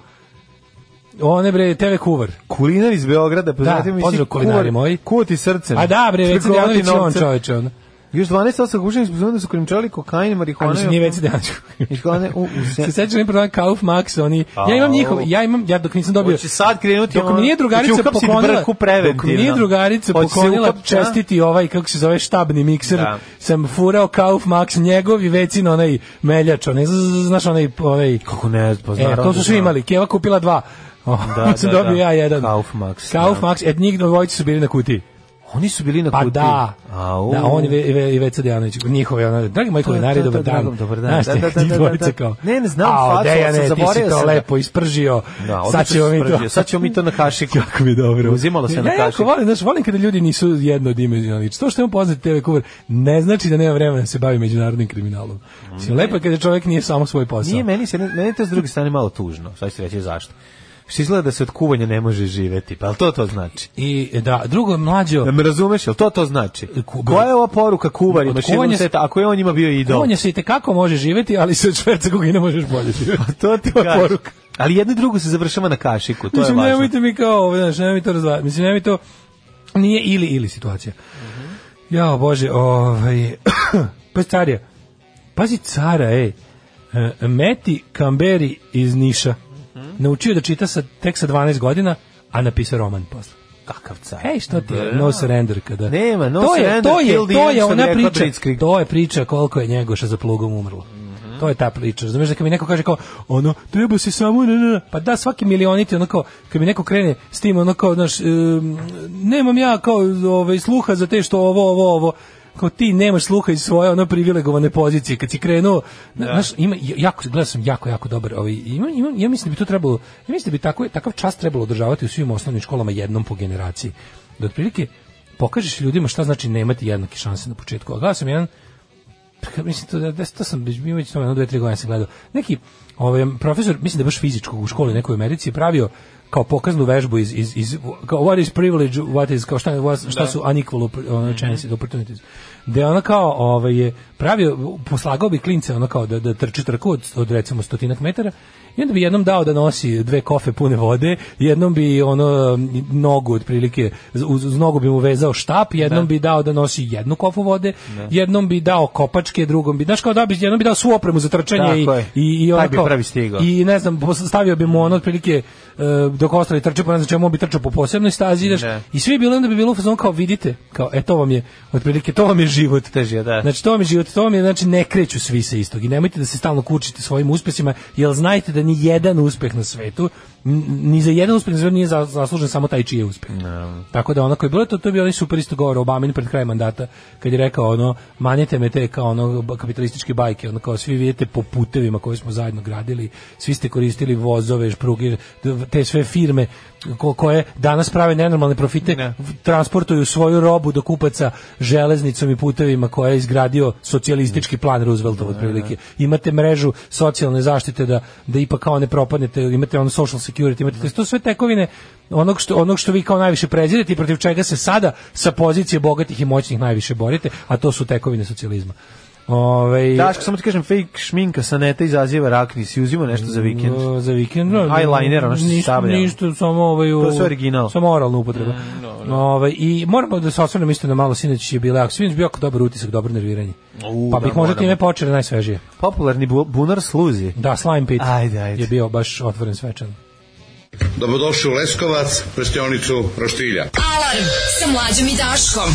Onaj bre TV kuvar.
Kulinar iz Beograda, pa poznati mi
Da, pozdrav kulinari moji.
Kuti srcem.
A da bre, Vecom
Trgovati
Dejanović je on
novcem.
čoveče. Ono.
Još 12 osoba gušenih sposobno da su krimčali kokain,
A
marihuana.
mislim, nije Vecom Dejanović.
Marihuana u, u se...
Se sećaš onih prodavanja Kauf Max, oni... Ja imam
Au.
njihov, ja imam, ja dok nisam dobio...
Hoće sad krenuti
Dok
ono-
mi nije drugarica
hoće uhapsit
poklonila,
brku
dok mi
preventivno.
nije drugarica
Hoće se
poklonila
uhapsit-
čestiti ovaj, kako se zove, štabni mikser,
Da.
sam furao Kauf Max, njegov i vecin onaj meljač, onaj, zzz, znaš, onaj, ovaj- onaj,
Kako ne, pa
E, to su svi imali. Keva kupila dva. Da,
Da,
sam
da,
dobio
da.
ja jedan.
Kaufmax,
Kauf
da.
Max, et njih dvojice su bili na kutiji.
Oni su bili na
Pa
kutiji.
da.
Au.
Da, on i Ve- i Ve- i Veca Dejanović, njihove ono, dragi moji kulinari,
to,
dobar
to,
dan.
dragom, dobar dan.
Znaš
Da,
te,
da, da,
njih
da, da,
dvojice
da.
kao.
Ne, ne, znam
"Ao,
facu, ali
Dejane,
sam
ti si
zaboravio
to
sam ga."
lepo ispržio.
Da, odlično
sad
si
ćemo mi to.
spržio. Sad ćemo mi to na kašiku.
Kako mi je dobro.
Uzimalo se na
Ja jako
kašiku.
volim, znaš, volim kada ljudi nisu jednodimenzionalni. To što imam poznati TV kuvar ne znači da nema vremena da se bavi međunarodnim kriminalom. Mislim, lepo je kada čovjek nije samo svoj posao.
Nije meni se meni je to s druge strane malo tužno. Sad ću ti reći zašto. Što izgleda da se od kuvanja ne može živeti. Pa jel to to znači?
I da, drugo, mlađo,
Da me razumeš, jel to to znači?
Kubar-
Koja je ova poruka kuvarima
Od kuvanja
širom
se-
sveta, ako je on njima bio idol?
On je se i tekako može živjeti, ali se od šverca kokaina možeš bolje živjeti.
Pa To ti
je
kažem.
poruka.
Ali jedno i drugo se završava na kašiku, to
Mislim,
je važno.
nemojte mi kao ovo, znaš, nemojte to razvajati. Mislim, nemojte to, nije ili ili situacija.
Mhm.
Jao, Bože, ovaj, pa starija, pazi cara, ej, E, Meti Kamberi iz Niša,
Mhm.
naučio da čita sa, tek sa 12 godina, a napisao roman posle.
Kakav car. Da.
Ej, što ti je no surrender kada?
Nema, no
to je,
surrender,
to je,
kill the
to
end,
je
što bi
ona
rekla
priča,
Blitzkrieg.
to je priča koliko je njegoša za plugom umrlo. To je ta priča. Razumeš da kad mi neko kaže kao ono treba se samo ne, ne, ne. pa da svaki milioniti ono kao kad mi neko krene s tim ono kao znaš em, nemam ja kao ovaj sluha za te što ovo ovo ovo kao ti nemaš sluha iz svoje ono privilegovane pozicije kad si krenuo na- znaš ima jako gledao sam jako jako dobar ovaj ima, ima ja mislim da bi to trebalo ja mislim da bi tako takav čas trebalo održavati u svim osnovnim školama jednom po generaciji da otprilike pokažeš ljudima šta znači nemati jednake šanse na početku a gledao sam jedan pa, mislim to da, da to sam već bio već to jedno dve tri godine sam gledao. Neki ovaj profesor, mislim da je baš fizičkog u školi nekoj u Americi je pravio kao pokaznu vežbu iz iz iz kao what is privilege, what is kao šta what, šta su unequal oppor- ono, chances, opportunities. Da ona kao ovaj je pravio poslagao bi klince ono kao da da trči trku od, od recimo stotinak metara i onda bi jednom dao da nosi dve kofe pune vode, jednom bi ono nogu otprilike uz, uz nogu bi mu vezao štap, jednom bi dao da nosi jednu kofu vode,
Da.
jednom bi dao kopačke, drugom bi, znaš kao da bi, jednom bi dao svu opremu za trčanje i,
Tako je.
i, i
Taj
ono
bi
kao-
prvi stigao.
I ne znam, pos- stavio bi mu ono otprilike e, dok ostali trče, pa ne znam čemu on bi trčao po posebnoj stazi, ideš.
Ne.
I svi bi bili onda bi bilo u fazonu kao vidite, kao e to vam je otprilike to vam je život.
Težija, da.
Znači to vam je život, to vam je znači ne kreću svi sa istog i nemojte da se stalno kučite svojim uspesima, jer znajte da ni jedan uspeh na svetu, n- ni za jedan uspeh na svetu nije za- zaslužen samo taj čiji je uspeh. Tako da ono koji je bilo to, to je bio onaj super isto govor Obamin pred kraj mandata, kad je rekao ono, manjete me te kao ono ba- kapitalističke bajke, ono kao svi vidite po putevima koje smo zajedno gradili, svi ste koristili vozove, špruge, te sve firme ko- koje danas prave nenormalne profite,
Ne.
v- transportuju svoju robu do kupaca železnicom i putevima koje je izgradio socijalistički plan Rooseveltov otprilike. Imate mrežu socijalne zaštite da da ipak kao ne propadnete, imate ono social security, imate to su to sve tekovine onog što onog što vi kao najviše prezirete i protiv čega se sada sa pozicije bogatih i moćnih najviše borite, a to su tekovine socijalizma. Ovaj
Daško, samo ti kažem, fake šminka sa neta izaziva rakni, si uzima nešto za vikend.
o, za vikend. no,
Eyeliner, ono što se
ništa-
stavlja.
Ništa, samo ovaj... u-
To je sve original.
Samo oralna upotreba.
Mm,
Ovaj, I moramo da se osvrnem isto na malo, sinoć je bila, ako sinoć bio jako dobar utisak, dobro nerviranje.
U,
pa
da,
bih možda
moramo.
time počeo najsvežije.
Popularni bu- bunar sluzi.
Da, Slime Pit
Ajde, ajde.
je bio baš otvoren svečan.
Dobrodošli u Leskovac, prštionicu Roštilja.
Alarm sa mlađom i Daškom.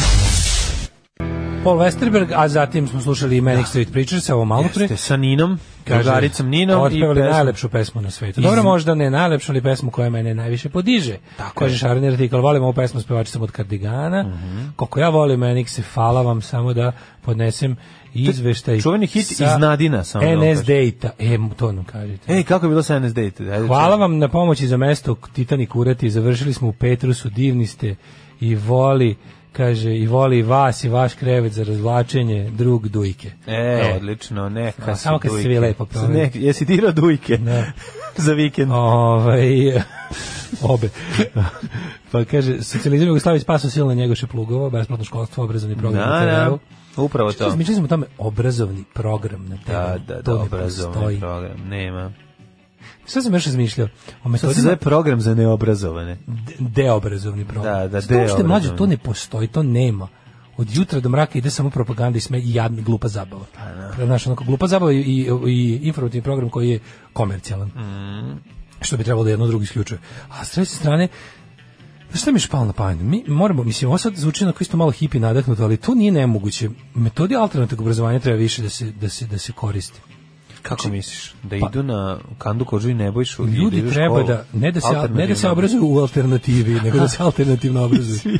Paul Westerberg, a zatim smo slušali i Manic Street Preachers, ovo malo pre.
Da. Jeste, sa Ninom,
Kaže,
drugaricom Ninom i
Otpevali
pesmu.
najlepšu pesmu na svetu. Dobro,
Iz-
možda ne najlepšu, ali pesmu koja mene najviše podiže. Tako Kaže Šarni Artikal, volim ovu pesmu s pevačicom od Kardigana.
Mhm.
Koliko ja volim Manic se hvala vam samo da podnesem izveštaj.
čuveni hit
sa
iz Nadina, samo da vam
NS
kažem.
Data. E, to nam kažete.
Ej, kako je bilo sa NS Date? Ajde,
Hvala
čujem.
vam na pomoći za mesto Titanik urati. Završili smo u Petrusu, divni ste i voli, kaže, i voli i vas i vaš krevet za razvlačenje drug dujke.
E, odlično, neka
Da,
su
samo kad se
dujke.
vi lepo proveli.
Nek- Jesi dirao dujke za vikend?
Ovaj, obe. pa kaže, socijalizam Jugoslavije spasao silne njegoše plugova, besplatno školstvo, obrazovni program.
Da,
na TV-u.
da, upravo to.
Razmišljali smo o tome obrazovni program na TV.
Da, da, da,
to ne
obrazovni
postoji.
program, nema.
Šta sam još razmišljao? O
To se
metodima
zove program za neobrazovane.
de- deobrazovni program.
Da, da,
Što uopšte,
deobrazovni.
mlađe, to ne postoji, to nema. Od jutra do mraka ide samo propaganda i sme i jadna glupa zabava.
Pa da.
da, Znaš, onako, glupa zabava i, i, i informativni program koji je komercijalan.
Mm.
Što bi trebalo da jedno drugo isključuje. A s treće strane, Znaš šta mi je špalo na pamet? Mi moramo, mislim, ovo sad zvuči na isto malo hipi nadahnuto, ali to nije nemoguće. Metodi alternativnog obrazovanja treba više da se, da se, da se koristi.
Kako misliš? Da idu na Kandu Kožu i Nebojšu? i da idu
Pa- Ljudi
u
treba
školu?
da, ne da se, ne da se
Alternativno.
obrazuju u alternativi, nego da se alternativno obrazuju.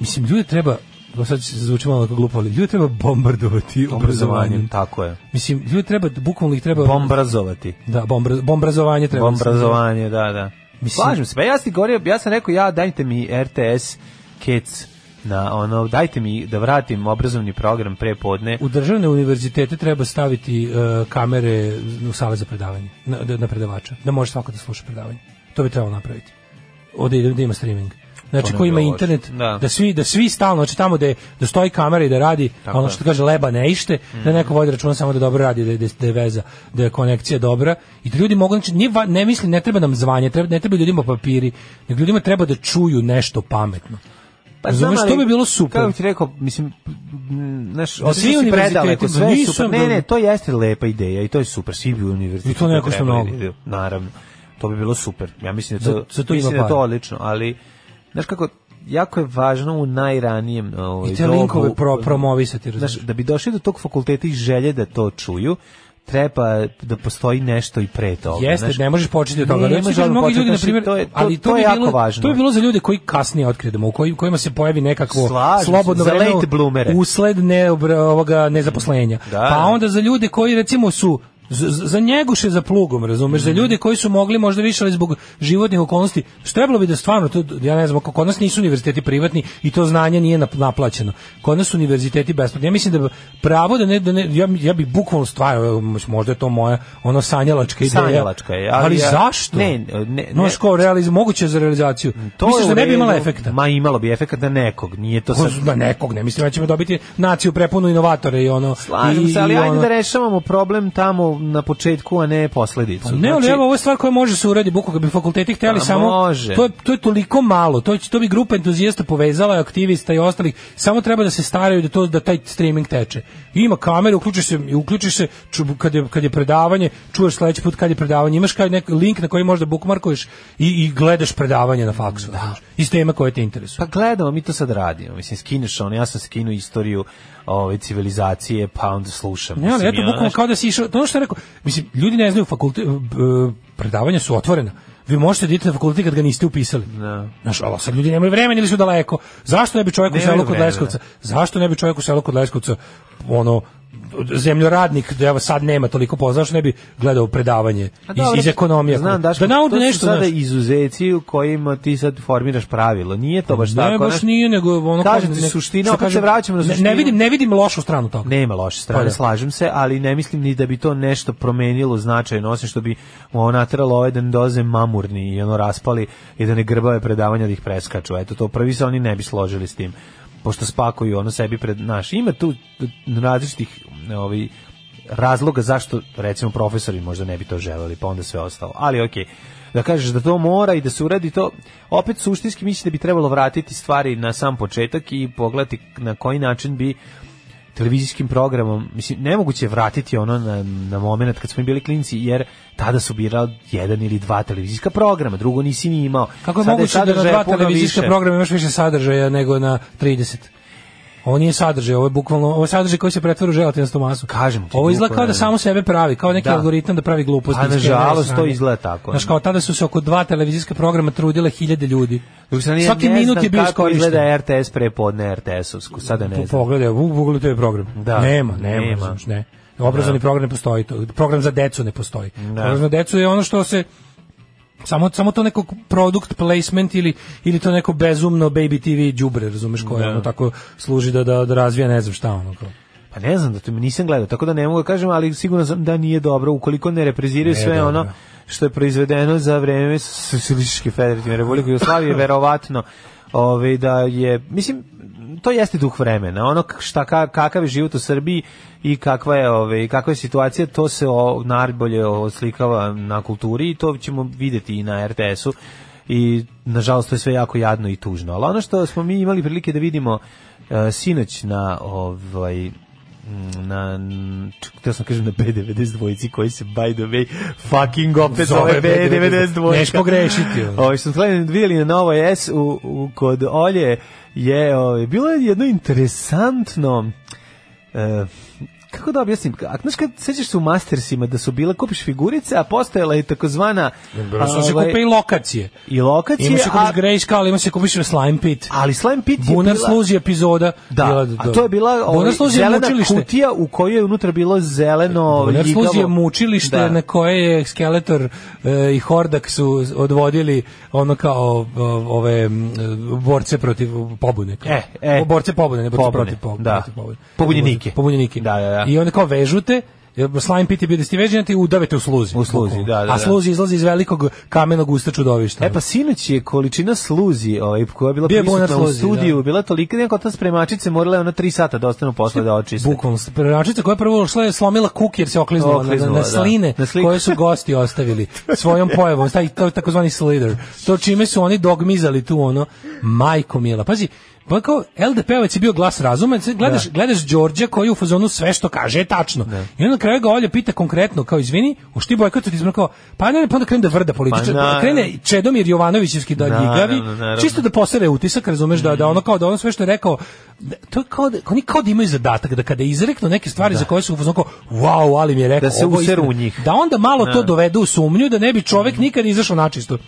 Mislim, ljudi treba, ovo sad se zvuči malo kao glupo, ali ljudi treba bombardovati obrazovanjem.
Obrazovanjem, tako je.
Mislim, ljudi treba, bukvalno ih treba...
Bombrazovati.
Da, bombra, bombrazovanje treba.
Bombrazovanje, da, da.
Mislim-
Slažem se, pa ja sam ti govorio, ja sam rekao, ja dajte mi RTS, Kec, na ono, dajte mi da vratim obrazovni program pre podne.
U državne univerzitete treba staviti e, kamere u sale za predavanje, na, da- na predavača, da može svako da sluša predavanje. To bi trebalo napraviti. Ovde ide da ima streaming. Znači
ne
ko
bi
ima
bilo loše.
internet,
Da.
da. svi da svi stalno, znači tamo da je- da stoji kamera i da radi,
Tako
ono
je. Mhm.
što kaže leba ne ište, da neko vodi računa samo da dobro radi, da je, da je veza, da je konekcija dobra i da ljudi mogu znači nije va- ne mislim ne treba nam zvanje, treba ne treba ljudima papiri, nego ljudima treba da čuju nešto pametno.
Pa
Razumeš,
znam,
to
ali,
bi bilo super.
Kako ti rekao, mislim, m, znaš,
Da
otišao
svi
si
univerziteti,
predaleko, sve
ma
je
nisam
super. Ne,
da-
ne, to jeste lepa ideja i to je super, svi bi univerziteti.
I to ne košta
trebali
mnogo.
da idu, Naravno, to bi bilo super. Ja mislim da to,
Za- za to
mislim
ima
da je to
para.
odlično, ali, znaš kako, jako je važno u najranijem ovaj,
I te
dobu-
linkove pro, promovisati,
znaš,
razumeš?
da bi došli do tog fakulteta i želje da to čuju, treba da postoji nešto i pre toga.
Jeste,
znaš.
ne možeš početi od toga.
Ne
Ne,
možeš
možeš
odmah
mnogi
početi,
ljudi na
znači,
primjer,
to je- to-
ali to,
to je
bi
jako
bilo,
važno.
To je bilo za ljude koji kasnije otkrijemo, u koji, kojima se pojavi nekakvo
Slažem se,
slobodno
za
vreme
late bloomere.
usled ne ovoga nezaposlenja.
Da.
Pa onda za ljude koji recimo su z- z- za njeguše za plugom, razumeš,
Mhm.
za ljude koji su mogli možda više ali zbog životnih okolnosti, što trebalo bi da stvarno, to, ja ne znam, kako kod nas nisu univerziteti privatni i to znanje nije nap- naplaćeno. Kod nas su univerziteti besplatni. Ja mislim da bi pravo da ne, da ne ja, ja bi bukvalno stvarno, možda je to moja ono sanjalačka ideja.
Sanjalačka je, ali
Ali,
ja-
zašto?
Ne, ne, ne. Mm,
Znaš kao, realiz, moguće je za realizaciju.
To
Misliš
je
da
u
ne bi
redu.
imala efekta?
Ma imalo bi efekta da nekog, nije to sad...
Na nekog, ne mislim da ćemo dobiti naciju prepunu inovatore i ono...
Slažem
i-
se, ali
i
ajde
ono-
da rešavamo problem tamo na početku, a ne posledicu.
Pa Ne, ali
Znači,
evo, ovo je stvar koja može se uradi, bukvalno kad bi fakulteti hteli
Pa
samo,
može.
to je, to je toliko malo, to, će- to bi grupa entuzijasta povezala, aktivista i ostalih, samo treba da se staraju da, to, da taj streaming teče. Ima kameru, uključiš se, uključiš se ču, kad, je, kad je predavanje, čuješ sledeći put kad je predavanje, imaš kaj nek, link na koji možda bukmarkuješ i, i gledaš predavanje na faksu, da. iz tema koje te interesuju.
Pa gledamo, mi to sad radimo. Mislim, skineš ono, ja sam skinuo istoriju ove, civilizacije, pa onda slušam.
Ne, ali
Mislim,
eto
ja,
bukvalno
znaš,
kao da si išao, to je ono što je rekao, mislim, ljudi ne znaju fakulte, b- b- predavanja su otvorena. Vi možete da idete na fakultet kad ga niste upisali.
Da.
Znaš, ali sad ljudi nemaju vremena ili su daleko. Zašto ne bi čovjek u
Nemaju
selu kod
vremena.
Leskovca? Zašto ne bi čovjek u selu kod Leskovca, ono, zemljoradnik, da evo sad nema toliko posla, zašto ne bi gledao predavanje
A
iz,
pa dobro,
iz ekonomije?
Znam, Daško,
da nauči
to su
nešto,
sada
znaš.
izuzeci u kojima ti sad formiraš pravilo. Nije to baš tako.
Ne, baš
znaš.
nije, nego ono...
Kažem
kao-
ti,
ne-
suština,
što
opet se
kažem,
vraćamo na
ne-
suštinu.
Ne vidim, ne vidim lošu stranu toga.
Nema loše strane,
Pa da.
slažem se, ali ne mislim ni da bi to nešto promenilo značajno, osim što bi ono nateralo ove da ne doze mamurni i ono raspali i da ne grbave predavanja da ih preskaču. Eto, to prvi se oni ne bi složili s tim pošto spakuju ono sebi pred naš. Ima tu različitih ovaj, razloga zašto recimo profesori možda ne bi to želeli, pa onda sve ostalo. Ali okej. Da kažeš da to mora i da se uradi to, opet suštinski mislim da bi trebalo vratiti stvari na sam početak i pogledati na koji način bi televizijskim programom, mislim, nemoguće je vratiti ono na, na moment kad smo bili klinci, jer tada su birali jedan ili dva televizijska programa, drugo nisi ni imao.
Kako je
Sada
moguće da na
sadržaja
dva
puno
televizijska
više.
programa imaš više sadržaja nego na 30? Ovo nije sadržaj, ovo je bukvalno, ovo je sadržaj koji se pretvara u želatinastu masu.
Kažem ti,
Ovo izgleda kao
bukvalno,
da
ne.
samo sebe pravi, kao neki
Da.
algoritam da pravi gluposti.
A,
iz krajnje
nažalost,
strane.
to izgleda tako, da.
Znaš,
ne.
kao tada su se oko dva televizijska programa trudile hiljade ljudi.
Dok sam ja
Svaki
ne
minut
znam
je bio
kako
iskorišten.
izgleda RTS prepodne RTS-ovsku, sada ne
Po-
znam.
Pogledaj, u Google to je program.
Da.
Nema, nema,
Nema.
razumeš, ne. Obrazovni program ne postoji, to, program za decu ne postoji.
Da.
Program za decu je ono što se samo samo to neko product placement ili ili to neko bezumno baby TV đubre, razumeš, koje
Da.
ono tako služi da da, da razvija ne znam šta ono kao.
Pa ne znam da to nisam gledao, tako da ne mogu da kažem, ali sigurno sam da nije dobro ukoliko ne repreziraju sve
dobro.
ono što je proizvedeno za vreme Socijalističke federativne republike Jugoslavije, verovatno ovaj, da je, mislim, to jeste duh vremena, ono k- šta, ka- kakav je život u Srbiji i kakva je, ovaj, kakva je situacija, to se o, najbolje oslikava na kulturi i to ćemo videti i na RTS-u i nažalost to je sve jako jadno i tužno. Ali ono što smo mi imali prilike da vidimo e, sinoć na ovaj na da sam kažem na B92 dvojici koji se by the way fucking opet
Zove
zove B92
B92
dvojka.
Neš pogrešiti, ono.
Ovaj što smo gledali- vidjeli na Novoj S u, u kod Olje je ovaj, bilo je jedno interesantno e, kako da objasnim, a znaš kad sećaš se u Mastersima da su bile, kupiš figurice, a postojala je takozvana
Bro, su se
ovaj,
kupe i lokacije.
i lokacije,
Ima se
a,
kupiš Grayskull, ali ima se kupiš Slime Pit.
ali Slime Pit je
Bunar
bila-
sluzi epizoda.
Da,
bila-
a to je bila ovaj,
Bunar sluzi je
zelena
mučilište.
kutija u kojoj je unutra bilo zeleno
Bunar
ljigavo.
sluzi je mučilište
Ovaj, Da.
na koje je Skeletor e, i Hordak su odvodili ono kao o, ove m, borce protiv pobune. kao.
E, e.
O, borce pobune, ne borce
Pobune,
protiv pobune.
da.
protiv pobune.
Pobunjenike.
Pobunjenike.
Da, da, da.
I onda kao vežute, jer slime pit je bio da ste veženi, ti udavete u sluzi.
U sluzi, da, da, da.
A sluzi izlazi iz velikog kamenog usta čudovišta.
E pa sinoć je količina sluzi ovaj, koja je bila
Bio je
prisutna
bunar
u
sluzi,
studiju,
da.
bila tolika neka ta spremačice morala je ona 3 sata da ostanu posle
Znači,
da očiste.
Bukvalno, preračica koja je prvo ušla je slomila kuk jer se okliznula,
Okliznula,
na, na,
da.
na sline
Na sliku.
koje su gosti ostavili svojom pojavom, taj to je takozvani slider. To čime su oni dogmizali tu ono, majko mila. Pazi, pa kao LDP-ovac je bio glas razuma, sad
Da.
gledaš, gledaš Đorđa koji u fazonu sve što kaže je tačno. I onda na kraju ga Olja pita konkretno, kao izvini, hoš ti bojkotovati izbor?" kao, pa ne, ne, pa onda krene da vrda političar,
naravno.
krene Čedomir Jovanovićevski da
Naravno,
ljigavi,
naravno.
čisto da posere utisak, razumeš, da, da ono kao da ono sve što je rekao, da- to je kao da, oni kao da imaju zadatak, da kada izreknu neke stvari za koje su u fazonu kao, wow, ali mi je rekao,
Da se
ovo je
useru
istina."
u njih. Mhm.
Da onda malo to dovedu u sumnju, da ne bi čovek nikad izašao načisto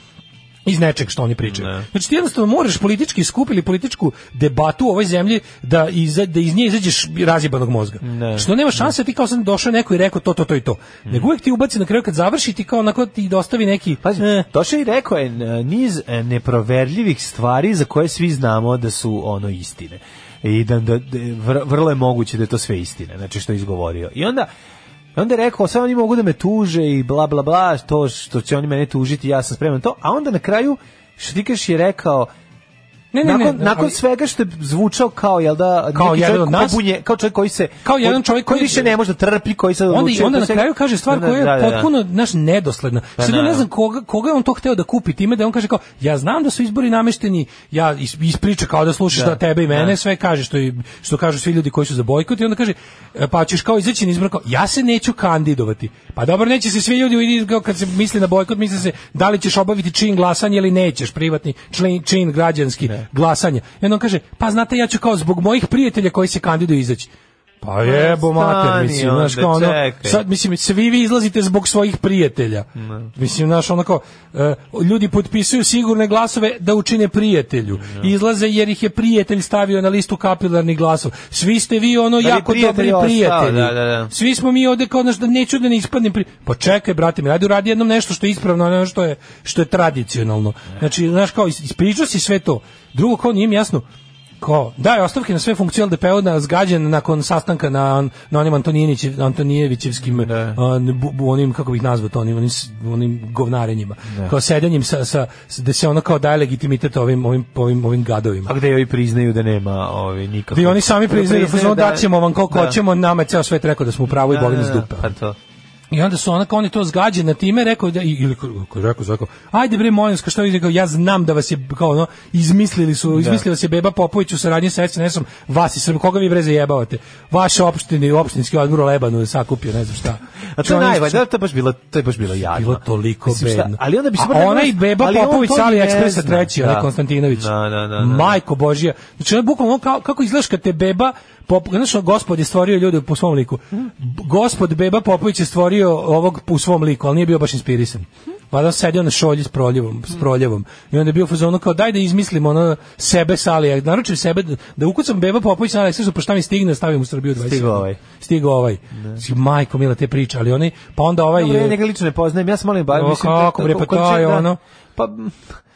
iz nečeg što oni pričaju.
Da.
Znači ti jednostavno moraš politički skup ili političku debatu u ovoj zemlji da, iza, da iz nje izađeš razjebanog mozga.
Da.
Što nema šanse, ti kao sam došao neko i rekao to, to, to i to.
Mhm.
Nego uvek ti ubaci na kraju kad završi ti kao onako ti dostavi neki...
Pazi,
eh,
Toša i rekao je e, niz e, neproverljivih stvari za koje svi znamo da su ono istine. I da, da, da- vr- vrlo je moguće da je to sve istine, znači što je izgovorio. I onda i onda je rekao, sad oni mogu da me tuže i bla bla bla, to što će oni mene tužiti, ja sam spreman na to. A onda na kraju, što ti kažeš, je rekao,
ne, ne, ne,
nakon,
ne,
nakon
ali-
svega što je zvučao kao jel da
Kao
neki
jedan
čovjek
od nas?
pobunje- kao čovjek koji se
Kao jedan čovjek
koji
koji-
više ne može da trpi koji se
onda,
odlučio
onda
da
na
se-
kraju kaže stvar
Da,
koja je
da, Pa da, da.
potpuno naš nedosledna. Sad ja ne znam koga, koga je on to hteo da kupi time da je on kaže kao ja znam da su izbori namešteni, ja is- ispriča kao da slušaš da, tebe i mene sve kaže što i, što kažu svi ljudi koji su za bojkot i onda kaže e, pa ćeš kao izaći na izbor kao ja se neću kandidovati. Pa dobro neće se svi ljudi vidi kao kad se misli na bojkot misli se da li ćeš obaviti čin glasanja ili nećeš privatni čin, čin građanski
Da.
glasanje. I onda on kaže pa znate ja ću kao zbog mojih prijatelja koji se kandiduju izaći. Pa jebo mater,
stani
mislim, znaš,
onda,
kao ono,
čekaj. Da.
sad, mislim, svi vi izlazite zbog svojih prijatelja. Mislim, znaš, onako, e, ljudi potpisuju sigurne glasove da učine prijatelju.
Da.
Izlaze jer ih je prijatelj stavio na listu kapilarnih glasova. Svi ste vi, ono,
Da bi
jako
prijatelj
dobri
ostao,
prijatelji.
da, da, da.
Svi smo mi ovde kao, znaš, da neću da ne ispadnem pri... Pa čekaj, brate, mi radi uradi jednom nešto što je ispravno, a ne ono što je, što je tradicionalno. Znači, znaš, kao, is- ispričao si sve to. Drugo, kao, nije mi jasno, Ko? Daje ostavke na sve funkcije LDP-a na zgađen nakon sastanka na, na onim Antonijenić, Antonijevićevskim on, bu- bu- onim, kako bih nazvao to, onim, onim, s- onim govnarenjima. Kao sedanjem sa, sa, s- da se ono kao daje legitimitet ovim, ovim, ovim, ovim gadovima.
A Pa gde ovi priznaju da nema ovi nikakve...
Da oni sami priznaju da, da, ćemo vam koliko
da.
hoćemo, nama je ceo svet rekao da smo u pravu i boli nas dupe.
Pa to.
I onda su onako, oni to zgađe na time, rekao da, i- ili ko- ko- rekao, rekao, ajde bre, molim vas, kao što je rekao, ja znam da vas je, kao ono, izmislili
Da.
su, izmislio vas je Beba Popović u saradnji sa SNS-om, vas i Srb, koga vi bre zajebavate? Vaš opštini, opštinski odbor u Lebanu je sakupio, ne znam šta.
A to je da, najvažnije, to je baš bilo, to je baš bilo jadno.
Bilo toliko
Mislim, šta,
bedno.
Ali onda bi se
A
morali-
ona i Beba
ali on
Popović
to
sa
ne
AliExpressa
zna.
treći, da.
Da.
Konstantinović.
Da, da, da, da.
Majko Božija. Znači, ono je bukvalno ono kao, kako izgledaš kad te Beba Pop, znaš, ono, gospod je stvorio ljude po svom liku. B- Gospod Beba Popović je stvorio ovog po svom liku, ali nije bio baš inspirisan. Valjda on sedio na šolji s proljevom, s proljevom. I onda je bio u fazonu kao daj da izmislim ono sebe sa AliEx, naručim sebe da, da ukucam Beba Popović na AliExpressu pa šta mi stigne stavim u Srbiju 20.
Stigao ovaj. Da.
Stigao ovaj. Majko mila te priče, ali oni pa onda ovaj
Dobro, ja
je-
njega lično ne poznajem, ja sam molim bar...
O,
mislim,
kako bre, pa
koliko
to
će
je
da-
ono.
Pa,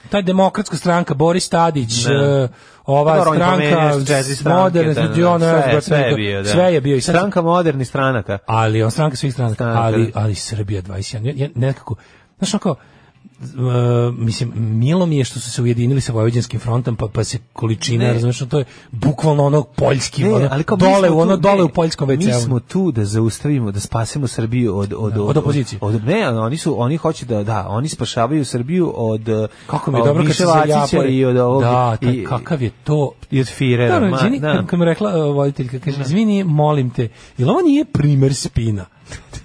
ta demokratska stranka, Boris Tadić,
Ne.
e, ova
Da. Dobro, on je
stranka,
promenio četiri stranke,
moderne,
da, da,
znači, ono,
sve,
razgovor,
sve je bio, da.
sve je bio i sad,
Stranka modernih stranaka.
ali on stranka svih stranaka,
Stranka,
ali,
da.
ali Srbija 21, ja, ja nekako, znaš, onako, e, mislim, milo mi je što su se ujedinili sa Vojvođanskim frontom, pa, pa se količina,
Ne.
razumiješ, to je bukvalno ono poljski,
Ne,
ono,
ali kao mi
dole,
smo
u
tu-
ono,
ne,
dole u poljskom WC-u. Da,
Mi smo tu da zaustavimo, da spasimo Srbiju od od
od opozicije.
Od, ne, oni su oni hoće da da, oni spašavaju Srbiju od eh,
Kako mi je
od
dobro kad se
Miše Vacića
zajapali.
i od ovog
Da, taj-
i-
kakav je to
i od Firera,
Dobro,
ma,
izvini,
da.
kad, kad mi je rekla uh, voditeljka, kaže, izvini, molim te, jel ovo nije primer spina?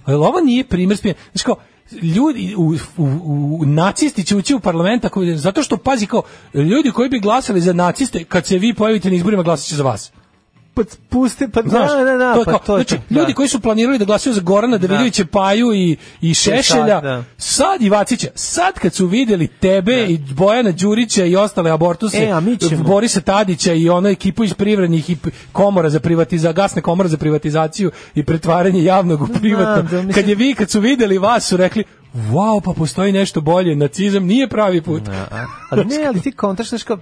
Jel ovo nije primer spina? Znači kao, ljudi, u, u, u, nacisti će ući u parlament ako, zato što, pazi, kao, ljudi koji bi glasali za naciste, kad se vi pojavite na izborima, glasat će za vas.
pa puste, pa
Znaš,
da, da, da,
to je
pa
kao,
to je
znači,
to, da.
ljudi koji su planirali da glasaju za Gorana Davidovića, Paju i, i Šešelja,
sad, da.
sad i Vacića, sad kad su vidjeli tebe i Bojana Đurića i ostale abortuse,
E, a mi ćemo.
Borisa Tadića i ono ekipu iz privrednih i p- komora za privatizaciju, gasne komora za privatizaciju i pretvaranje javnog u privatno,
da, mislim-
kad je vi, kad su vidjeli vas, su rekli, wow, pa postoji nešto bolje, nacizam nije pravi put.
A, ali ne, ali ti kontraš, znaš, kao,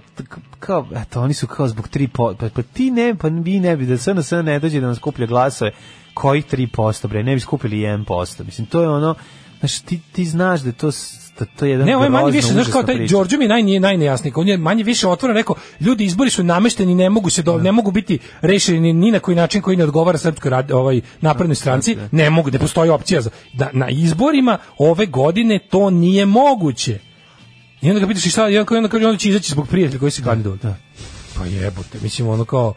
kao, eto, oni su kao zbog 3%, pa, pa ti ne, pa vi ne bi, da SNS ne dođe da nam skuplja glasove, koji 3%, bre, ne bi skupili 1%, mislim, to je ono, znaš, ti, ti znaš da je to, s- da to je jedan
Ne, ovo je manje
grozno,
više, znaš kao
užasna
taj
priča.
Đorđo mi naj, nije najnejasniji, on je manje više otvoreno rekao, ljudi izbori su namešteni, ne mogu se do,
Da.
ne mogu biti rešeni ni na koji način koji ne odgovara srpskoj rad- ovaj naprednoj
Da,
stranci, ne mogu, ne postoji opcija za da na izborima ove godine to nije moguće. I onda ga pitaš i šta, i onda kao- i onda kaže onda će izaći zbog prijatelja koji se
Da.
kandidovali. Pa jebote, mislim ono kao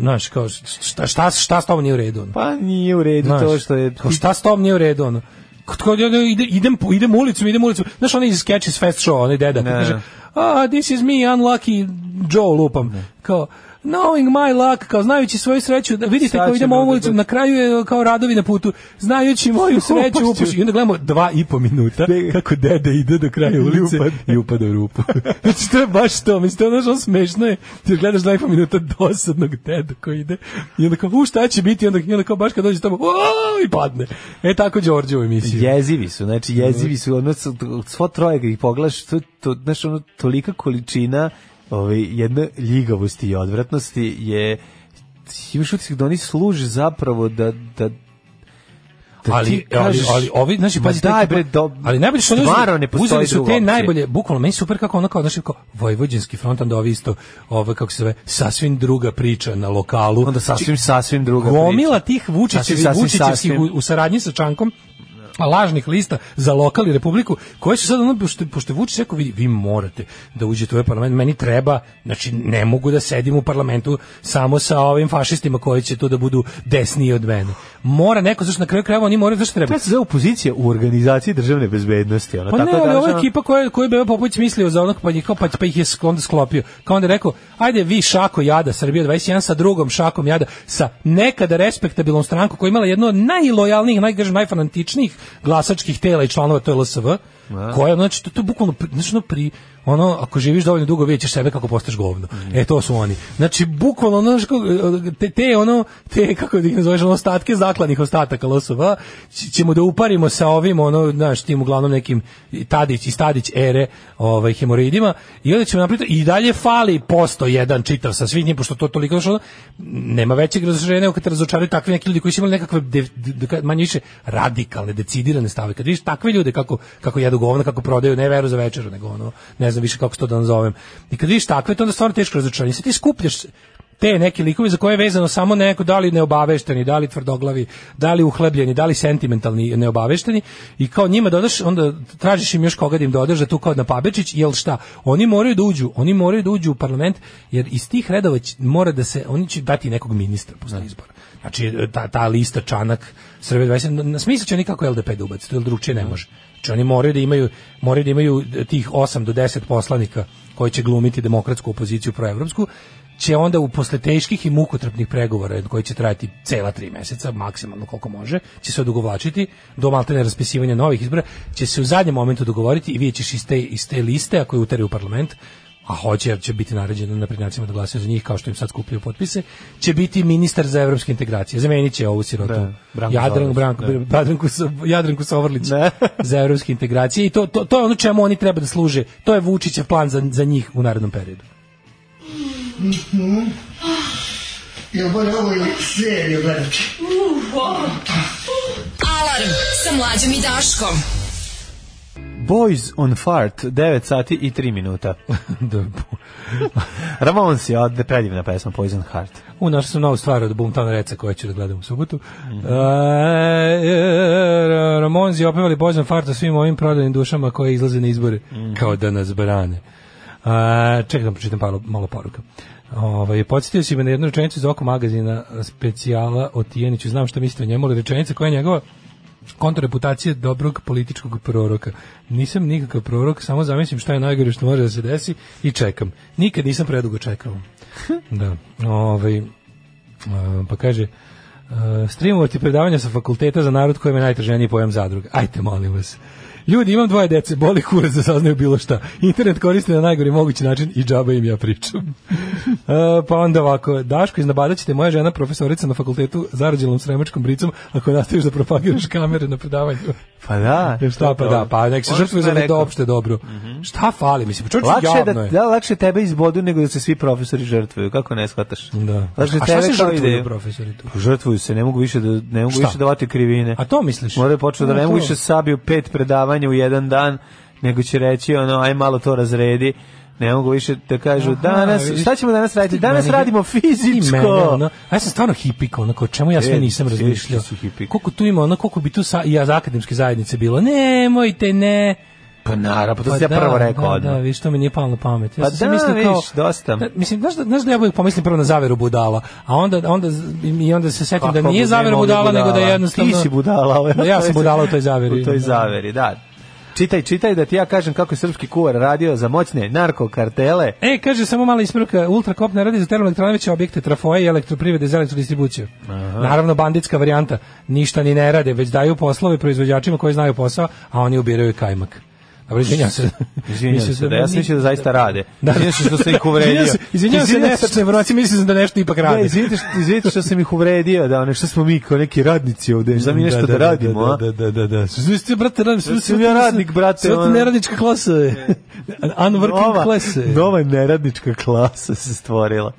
znaš, kao šta, šta, šta s tobom nije u redu? ono?
Pa nije u redu
Znaš,
to što je...
kao šta s tom nije u redu ono. Kad kad ja ide, idem po- idem ulicom, idem ulicom. Znaš onaj iz Sketches Fest show, onaj deda, kad
Ne.
kaže: "Ah, this is me unlucky Joe lupam." Kao Knowing my luck, kao znajući svoju sreću, da vidite
Sad
kao
će
idemo ovom
drugi
ulicom,
put.
na kraju je kao radovi na putu, znajući moju sreću
Upašću.
upuš. I onda gledamo dva i po minuta kako deda ide do kraja ulice i upada u rupu. znači to je baš to, mislim, to je ono što smešno je, ti gledaš dva i po minuta dosadnog deda koji ide i onda kao, u šta će biti, I onda, i onda kao baš kad dođe tamo, "O", i padne. E tako Đorđe u emisiji.
Jezivi su,
Mhm.
znači jezivi su, ono, s- svo troje kad ih pogledaš, to, to, znaš, ono, tolika količina ovaj, jedne ljigavosti i odvratnosti je, imaš utisak da oni služe zapravo da, da, da
ali,
ti
ali,
kažeš,
ali ovi, znači,
"Ma
pazi,
daj
taj-
bre, do,
ali najbolje što oni uzeli-
stvarno ne postoji
uzeli su
druga
te
opcija."
najbolje, bukvalno, meni je super kako ono kao, znači, kao vojvođanski front, onda ovi isto, ovo, kako se zove, sasvim druga priča na lokalu.
onda
Znači,
sasvim, sasvim druga
gomila
priča.
tih Vučićevi,
Sasvim, sasvim,
Vučićevskih
sasvim.
u, u saradnji sa Čankom a lažnih lista za lokal i republiku koje su sad ono, pošto, pošto je Vučić rekao vi, vi morate da uđete u ovaj parlament meni treba, znači ne mogu da sedim u parlamentu samo sa ovim fašistima koji će tu da budu desniji od mene mora neko, zašto na kraju krajeva oni moraju, zašto treba
To se zove opozicija u organizaciji državne bezbednosti. Ono,
pa
tako
ne, ali
da,
ova
ono-
ekipa koja, koju je Beba Popović mislio za onog, pa, njih, kao, pa, pa ih je sk- onda sklopio. Kao onda je rekao, ajde vi šako jada, Srbija 21 sa drugom šakom jada, sa nekada respektabilnom strankom koja je imala jedno od najlojalnijih, najgažem, najfanantičnijih glasačkih tela i članova, to je LSV, koja, znači, to, to je bukvalno, pri- znači, ono, pri, ono, ako živiš dovoljno dugo, vidjet ćeš sebe kako postaješ govno. E, to su oni. Znači, bukvalno, ono, znaš kako, te, te, ono, te, kako da ih nazoveš, ono, ostatke zaklanih ostataka losova, ć- ćemo da uparimo sa ovim, ono, znaš, tim uglavnom nekim Tadić i Stadić ere ovaj, hemoroidima, i onda ćemo napraviti, i dalje fali posto jedan čitav sa svih njih, pošto to toliko, znaš, ono, nema većeg razočarenja nego kad te razočaraju takvi neki ljudi koji su imali nekakve de, de, de, manje više radikalne, decidirane stave. Kad vidiš takve ljude kako, kako jedu govno, kako prodaju, ne veru za večeru, nego ono, ne znam više kako se to da nazovem. I kad vidiš takve, to onda je stvarno teško razočaranje. Sad ti skupljaš te neki likovi za koje je vezano samo neko da li neobavešteni, da li tvrdoglavi, da li uhlebljeni, da li sentimentalni neobavešteni i kao njima dodaš, onda tražiš im još koga da im dodaš da tu kao na Pabečić, jel šta? Oni moraju da uđu, oni moraju da uđu u parlament jer iz tih redova će- mora da se, oni će dati nekog ministra posle izbora. Znači ta, ta lista Čanak, Srbije 20, na- na smislu će oni kako LDP da ubaci, to je drugčije ne može. Znači oni moraju da imaju, moraju da imaju tih 8 do 10 poslanika koji će glumiti demokratsku opoziciju proevropsku, će onda u posle teških i mukotrpnih pregovora koji će trajati cela tri meseca, maksimalno koliko može, će se odugovlačiti do maltene raspisivanja novih izbora, će se u zadnjem momentu dogovoriti i vidjet ćeš iz te, iz te liste, ako je uteraju u parlament, a hoće jer će biti naređeno na da glasaju za njih kao što im sad skupljaju potpise, će biti ministar za evropske integracije. Zamenit će ovu sirotu.
Da, Branko
Jadran,
Zorlić,
Branko,
da.
Jadranku, So- Jadranku Sovrlić
Da.
za evropske integracije i to, to, to je ono čemu oni treba da služe. To je Vučićev plan za, za njih u narednom periodu.
Ja moram ovo seriju gledati.
Alarm sa mlađom i Daškom.
Boys on Fart, 9 sati i 3 minuta.
da,
Ramones je od predivna pesma Poison Heart.
u našao sam novu stvar od Bumtana Reca koju ću da gledam u subotu. E, Ramonzi opevali Božan Farta svim ovim prodanim dušama koje izlaze na izbore. Kao da nas brane. A, čekaj da pročitam malo, malo poruka. Ovaj, podsjetio si me na jednu rečenicu iz oko magazina specijala o Tijeniću. Znam što mislite o njemu, ali rečenica koja je njegova kontrareputacije dobrog političkog proroka. Nisam nikakav prorok, samo zamislim šta je najgore što može da se desi i čekam. Nikad nisam predugo čekao. Da. Ovaj, e, pa kaže, e, streamovati predavanja sa fakulteta za narod kojem je najtraženiji pojam zadruga. Ajte, molim vas. Ljudi, imam dvoje dece, boli kurac da saznaju bilo šta. Internet koriste na najgori mogući način i džaba im ja pričam. E, pa onda ovako, Daško, iznabadat ćete moja žena profesorica na fakultetu zarađenom sremačkom bricom ako nastaviš da propagiraš kamere na predavanju.
Pa da.
E, šta pa da, pa nek se
Ono što
žrtvuje za
sam
neko
rekao. Mhm.
opšte dobro. Šta fali, mislim, čovječe,
Lakše je
javno
da,
je.
da, lakše je tebe izbodu nego da se svi profesori žrtvuju. Kako ne shvataš?
Da.
Lakše
A šta
tebe
se
kao
žrtvuju
ideju.
profesori tu?
Pa Žrtvuju se, ne mogu više da ne mogu
Šta?
više da vate krivine.
A to misliš?
Moraju početi da
A,
ne mogu
to.
više sabiju pet predavanja u jedan dan, nego će reći ono, aj malo to razredi. Ne mogu više da kažu,
Aha,
danas,
vidiš.
šta ćemo danas raditi?
Ti
Danas
meni-
radimo
Ti mene,
fizičko.
ono, a ja sam stvarno hipik, onako, čemu ja sve
E,
nisam
teški
razmišljao.
si hipik.
Koliko tu ima, ono, koliko bi tu sa, i za akademske zajednice bilo, nemojte, ne.
Pa naravno, pa to sam ja prvo rekao
da,
odmah.
Da, viš, to mi nije palo na pamet. Ja
Pa
sam se
da,
mislio kao,
viš, dosta.
Da, mislim, znaš, da, znaš da ja uvijek pomislim prvo na zaveru budala, a onda, onda, i onda se setim da
Kako
nije
bi
zaveru
mogli
budala, nego da je jednostavno...
Ti si budala. Ovo, je-
Da, ja sam budala u toj zaveri.
U toj
Da.
zaveri, da. Čitaj, čitaj da ti ja kažem kako je srpski kuvar radio za moćne narkokartele.
E, kaže, samo mala ispravka, Ultrakop ne radi za termoelektrane, već objekte trafoje i elektroprivrede za elektrodistribuciju. Naravno, banditska varijanta, ništa ni ne rade, već daju poslove proizvođačima koji znaju posao, a oni ubiraju kajmak. Dobro, izvinjam se.
Izvinjam
Mislio
se,
sam
da ja sam
ni-
mislio da zaista rade.
Da.
Izvinjam se što sam ih uvredio.
Izvinjam se, izvinjam se, nestačne informacije, mislio sam da nešto ipak
Da,
rade.
izvinite, što- izvinite što sam ih uvredio, da ono što smo mi kao neki radnici ovde, da mi nešto da, radimo, a?
Da, da, da, da. Sve ste, brate, radim, sve
sam ja radnik, brate,
Sve ste
ono.
neradnička klasa. Unworking
Nova,
class.
nova neradnička klasa se stvorila.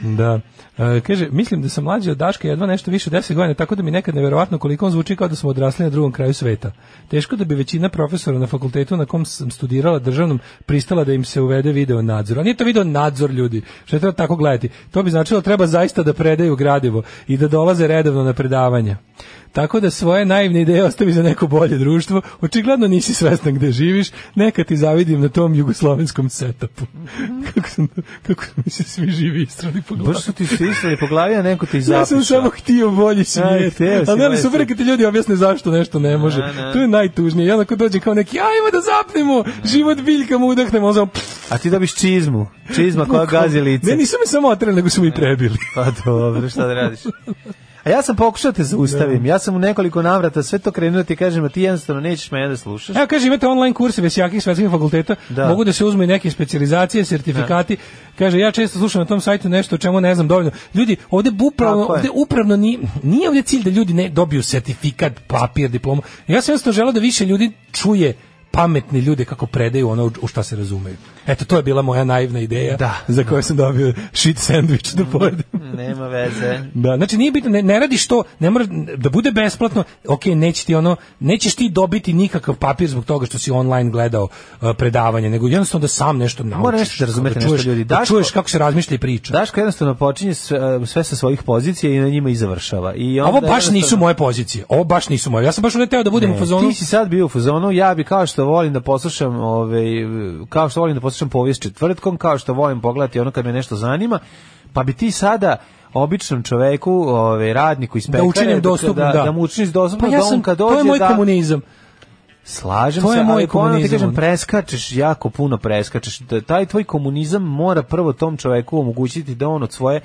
Da. E, kaže, mislim da sam mlađi od Daška jedva nešto više od 10 godina, tako da mi nekad neverovatno koliko on zvuči kao da smo odrasli na drugom kraju sveta. Teško da bi većina profesora na fakultetu na kom sam studirala državnom pristala da im se uvede video nadzor. A nije to video nadzor ljudi, što je treba tako gledati. To bi značilo da treba zaista da predaju gradivo i da dolaze redovno na predavanja. Tako da svoje naivne ideje ostavi za neko bolje društvo. Očigledno nisi svestan gde živiš. Neka ti zavidim na tom jugoslovenskom setupu. kako, sam, kako mi se svi živi istrali po glavi.
Baš su ti sisali po glavi, a neko te i
Ja sam
zapiša.
samo htio bolji
Aj,
svijet.
hteo si
A ne li
bolji
super
svijet.
kad ti ljudi objasne zašto nešto ne može.
Da, da.
To je najtužnije. I onda ko dođe kao neki, ajmo da zapnemo, život biljkama udahnemo, on samo... pff,
A ti dobiš čizmu. Čizma koja gazi lice.
Ne, nisu me samo otrali, nego su mi i prebili.
Pa dobro, šta da radiš? A ja sam pokušao te zaustavim.
Da.
Ja sam u nekoliko navrata sve to krenuo da ti kažem, a ti jednostavno nećeš mene da slušaš.
Evo kaže imate online kurse Vesjakih svetskih fakulteta,
Da.
mogu da se uzmu i neke specijalizacije, sertifikati. Kaže ja često slušam na tom sajtu nešto o čemu ne znam dovoljno. Ljudi, ovde bu- upravno,
Tako je.
ovde upravno nije, nije ovde cilj da ljudi ne dobiju sertifikat, papir, diplomu. Ja sam jednostavno želeo da više ljudi čuje pametni ljude kako predaju ono u- u šta se razumeju. Eto, to je bila moja naivna ideja
Da. Mhm.
za koju sam dobio shit sandvič da pojedem.
Nema veze.
Da, znači nije bitno, ne, ne radiš to, ne mora da bude besplatno. Ok, neće ti ono, nećeš ti dobiti nikakav papir zbog toga što si online gledao uh, predavanje, nego jednostavno da sam nešto naučiš.
nešto da razumete,
čuješ,
nešto ljudi.
Da
Daško- Da,
čuješ kako se razmišlja i priča.
Daško jednostavno počinje sve, sve sa svojih pozicija i na njima i završava. I onda
Ovo baš nisu
jednostavno-
moje pozicije. Ovo baš nisu moje. Ja sam baš uleteo da budem u
Ne,
fazonu.
Ti si sad bio u fazonu, ja bi kao što volim da poslušam, ovaj, kao što volim da poslušam povijest četvrtkom, kao što volim pogledati ono kad me nešto zanima, pa bi ti sada običnom čoveku, ovaj radniku iz pekare,
da učinim dostupno, da.
da, da mu učiniš dostupno,
pa ja
da on
sam,
kad
to
dođe
je moj
da
komunizam.
slažem
to je
se,
moj
ali ponovno ti
komunizam,
kažem
ono.
preskačeš jako puno preskačeš. Da, taj tvoj komunizam mora prvo tom čoveku omogućiti da on od svoje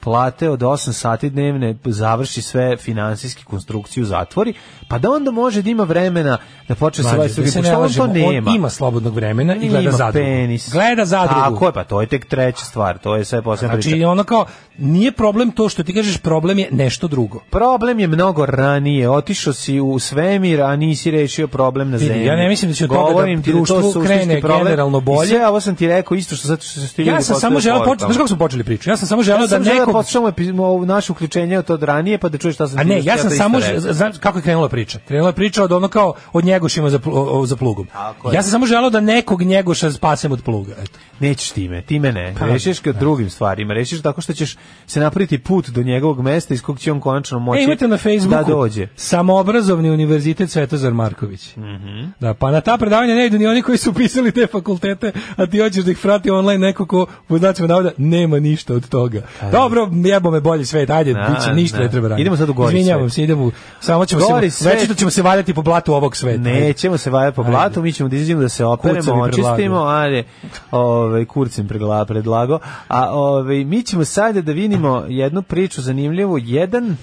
plate od 8 sati dnevne završi sve finansijski konstrukciju zatvori, pa da onda može da ima vremena da počne sa
Mlađe,
ovaj
da
drugi,
se ne
pošto on to
lažemo,
nema.
on ima slobodnog vremena i gleda
Ima
zadrugu.
penis.
Gleda zadrugu.
Tako je, pa to je tek treća stvar, to je sve posebna priča.
Znači, ono kao, nije problem to što ti kažeš, problem je nešto drugo.
Problem je mnogo ranije, otišao si u svemir, a nisi rešio problem na
Vidi,
zemlji.
ja ne mislim da će od toga da
Govorim ti to
društvu
suštinski
krene
problem.
generalno bolje.
I sve ovo sam ti rekao isto što sad što ste ljudi
Ja sam samo
postavili
želeo
porukama.
početi, znaš kako smo počeli priču? Ja sam samo želeo
Ja sam
da
želeo da
nekog
poslušamo epi- ovo naše uključenje od od ranije, pa da čuješ šta sam
A
ti
ne,
nešto
ja sam
to
samo
isto rekao.
znam kako je krenula priča. Krenula je priča od ono kao od njegošima za plu- o- o- za plugom.
Tako je.
Ja sam samo želeo da nekog njegoša spasem od pluga. Eto.
Nećeš time, time ne.
Pa,
rešiš ga drugim stvarima, rešiš tako što ćeš se napraviti put do njegovog mesta iz kog će on konačno moći
E, imate na Facebooku
da dođe.
Samoobrazovni univerzitet Svetozar Marković.
Mhm.
Da, pa na ta predavanja ne idu ni oni koji su pisali te fakultete, a ti hoćeš da ih frati online neko ko, po znacima navoda, nema ništa od toga. Dobro, jebo me bolji svet, ajde,
Da,
bit će, ništa
da.
ne treba raditi.
Idemo sad u gori
Izvinjavam
svet.
se, idemo, u- samo ćemo
Gori
se,
svet.
već da ćemo se valjati po blatu ovog sveta. Ajde.
Nećemo se vajati po blatu, mi ćemo da izađemo da se
Kurca mi
operemo,
predlagao.
očistimo, ali ovaj kurcem pregla predlago. A ovaj mi ćemo sada da vidimo jednu priču zanimljivu, jedan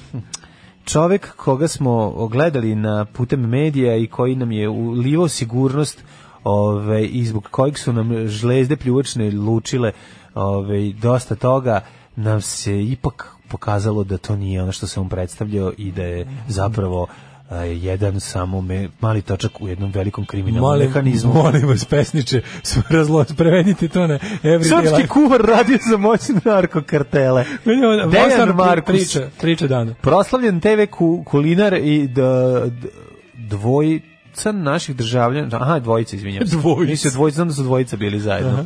čovek koga smo ogledali na putem medija i koji nam je ulivao sigurnost ovaj i zbog kojeg su nam žlezde pljuvačne lučile ovaj dosta toga nam se ipak pokazalo da to nije ono što se on predstavljao i da je zapravo a, jedan samo me, mali točak u jednom velikom kriminalnom mehanizmu.
Molim vas, pesniče, s- razlo- prevedite to na everyday
Srpski
life.
kuvar radio za moćne narkokartele.
Meni je ovo-
Dejan
Mostar
Markus.
Priča, priča dana.
Proslavljen TV ku- kulinar i d, d, dvojica naših državljana, da, aha, dvojica, izvinjam se.
Dvojica.
Nisu dvojica, onda su dvojica bili zajedno.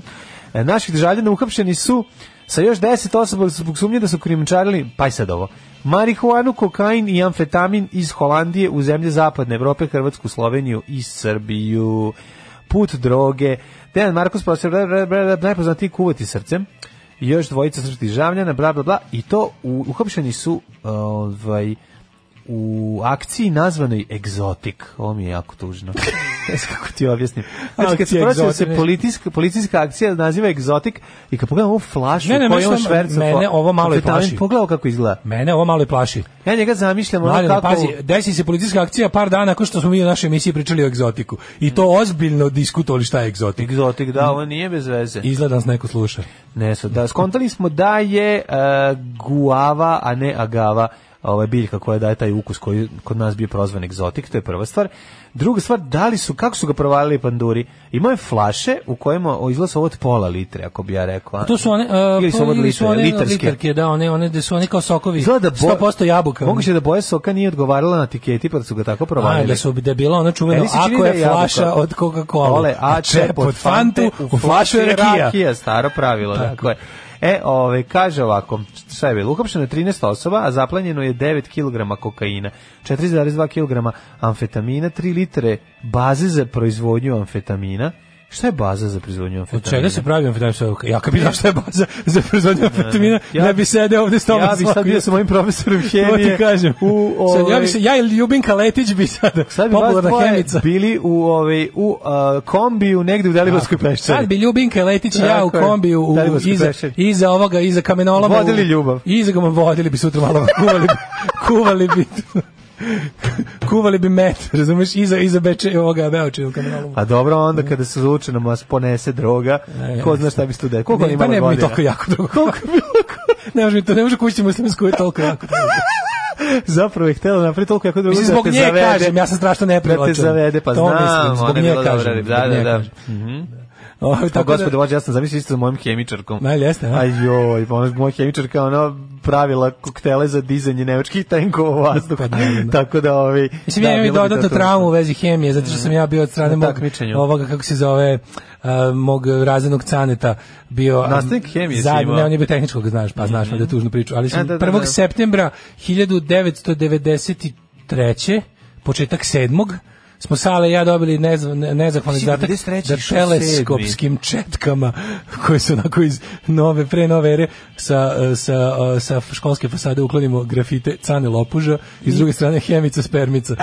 E, Naših državljana uhapšeni su sa još 10 osoba zbog sumnje da su krijumčarili, pa i sad ovo, marihuanu, kokain i amfetamin iz Holandije u zemlje zapadne Evrope, Hrvatsku, Sloveniju i Srbiju. Put droge. Dejan Markus Prostor, najpoznatiji kuvati srcem i još dvojica srpskih državljana, bla, bla, bla, i to u, uhapšeni su ovaj, u akciji nazvanoj Egzotik. Ovo mi je jako tužno. Ne znam kako ti objasnim. Znači, kad se
Akcija
prosim se
Egzotik,
policijska, policijska akcija da naziva Egzotik i kad pogledam ovu flašu
Ne, ne,
koju
meni
on
sam-
šverca...
mene ovo malo i plaši.
Pogledao kako izgleda.
Mene ovo malo i plaši.
Ja njega zamišljam ono
Mladine,
kako...
pazi, desi se policijska akcija par dana nakon što smo mi u našoj emisiji pričali o egzotiku. I to ozbiljno diskutovali šta je egzotik.
Egzotik, da,
Mm.
ovo nije bez veze.
Izgleda nas neko sluša.
Ne, sad, da, skontali smo da je e, guava, a ne agava, ovaj biljka koja daje taj ukus koji je kod nas bio prozvan egzotik, to je prva stvar. Druga stvar, da li su, kako su ga provalili panduri? Imao je flaše u kojima o, izgleda su ovo od pola litre, ako bi ja rekao. a?
To su one, uh,
Ili su ovo od litre,
one
litarske.
litarke, da, one, one gde su oni kao sokovi.
Izgleda da bo-
100% jabuka.
Moguće da boja soka nije odgovarala na tiketi, pa da su ga tako
A,
provalili.
da su da je bila ona čuvena
Meni se čini
ako
da
je,
je jabuka.
flaša od Coca-Cola,
Ole, a čep od Fante,
u flašu je rakija.
staro pravilo, tako je. E, ove, kaže ovako, šta je bilo, uhapšeno je 13 osoba, a zaplanjeno je 9 kg kokaina, 4,2 kg amfetamina, 3 litre baze za proizvodnju amfetamina, Šta je baza za proizvodnju amfetamina?
Od čega se pravi amfetamina? Ja kad bi znao šta je baza za proizvodnju amfetamina, ja, ne bi sedeo ovde s tobom.
Ja bi sad bio sa mojim profesorom hemije.
To ti kažem.
U,
Sad, ja,
ovaj-
bi se, ja i Ljubinka Letić bi sad,
Sad bi vas
popularna
dvoje
hemica.
bili u, ovaj, u a, kombiju negde u Delibarskoj peščari.
Sad bi Ljubinka Letić i ja u
Tako je.
kombiju u,
Daliborski
iza,
peščar.
iza ovoga, iza kamenoloma. u-
Vodili ljubav.
Iza ga vodili bi sutra malo, kuvali bi, kuvali bi, kuvali bi met, razumeš, iza, iza beče ovoga beoče u kamenolomu.
A dobro onda kada se zvuče nam vas ponese droga,
E,
ko
jasno.
zna šta bi se tu desilo. Koliko
Ne,
oni
pa
imali
ne bi mi
godina?
toliko jako dugo.
Koliko bi
ne može mi to, ne može kući muslimansko je toliko jako.
Zapravo je htela napraviti toliko jako drugo da
Mislim, zbog
te
nje kažem, ja sam strašno neprivlačan.
Da te zavede, pa
To
znam,
mislim, zbog
ona je
nje
bila dobra,
kažem,
da,
zbog
da,
nje
da.
kažem. Ovaj,
Pa
tako da-
gospode, vođe, ja sam zamislio isto sa mojim hemičarkom.
Ma, jeste, a?
Aj joj, pa ona moj hemičar kao ona pravila koktele za dizanje nemačkih tenkova u vazduh.
Pa, naravno.
Tako da ovi
Mislim, ja imam i
bilo bi
dodatnu
to to.
traumu u vezi hemije, zato što sam ja bio od strane
Na
mog,
takmičenju.
ovoga, kako se zove, a, mog razrednog caneta, bio... a,
Nastavnik hemije si
zadnji-
imao?
Ne, on je bio tehničkog, znaš, pa znaš, mm tužnu priču, ali sam
E, da, da,
1.
da.
septembra 1993. početak sedmog, smo Sale i ja dobili nez- ne- nezahvalni
Mislim,
zadatak
93.
da
išao
teleskopskim četkama koje su onako iz nove, pre nove ere sa, e, sa, e, sa školske fasade uklonimo grafite Cane Lopuža i s druge strane Hemica Spermica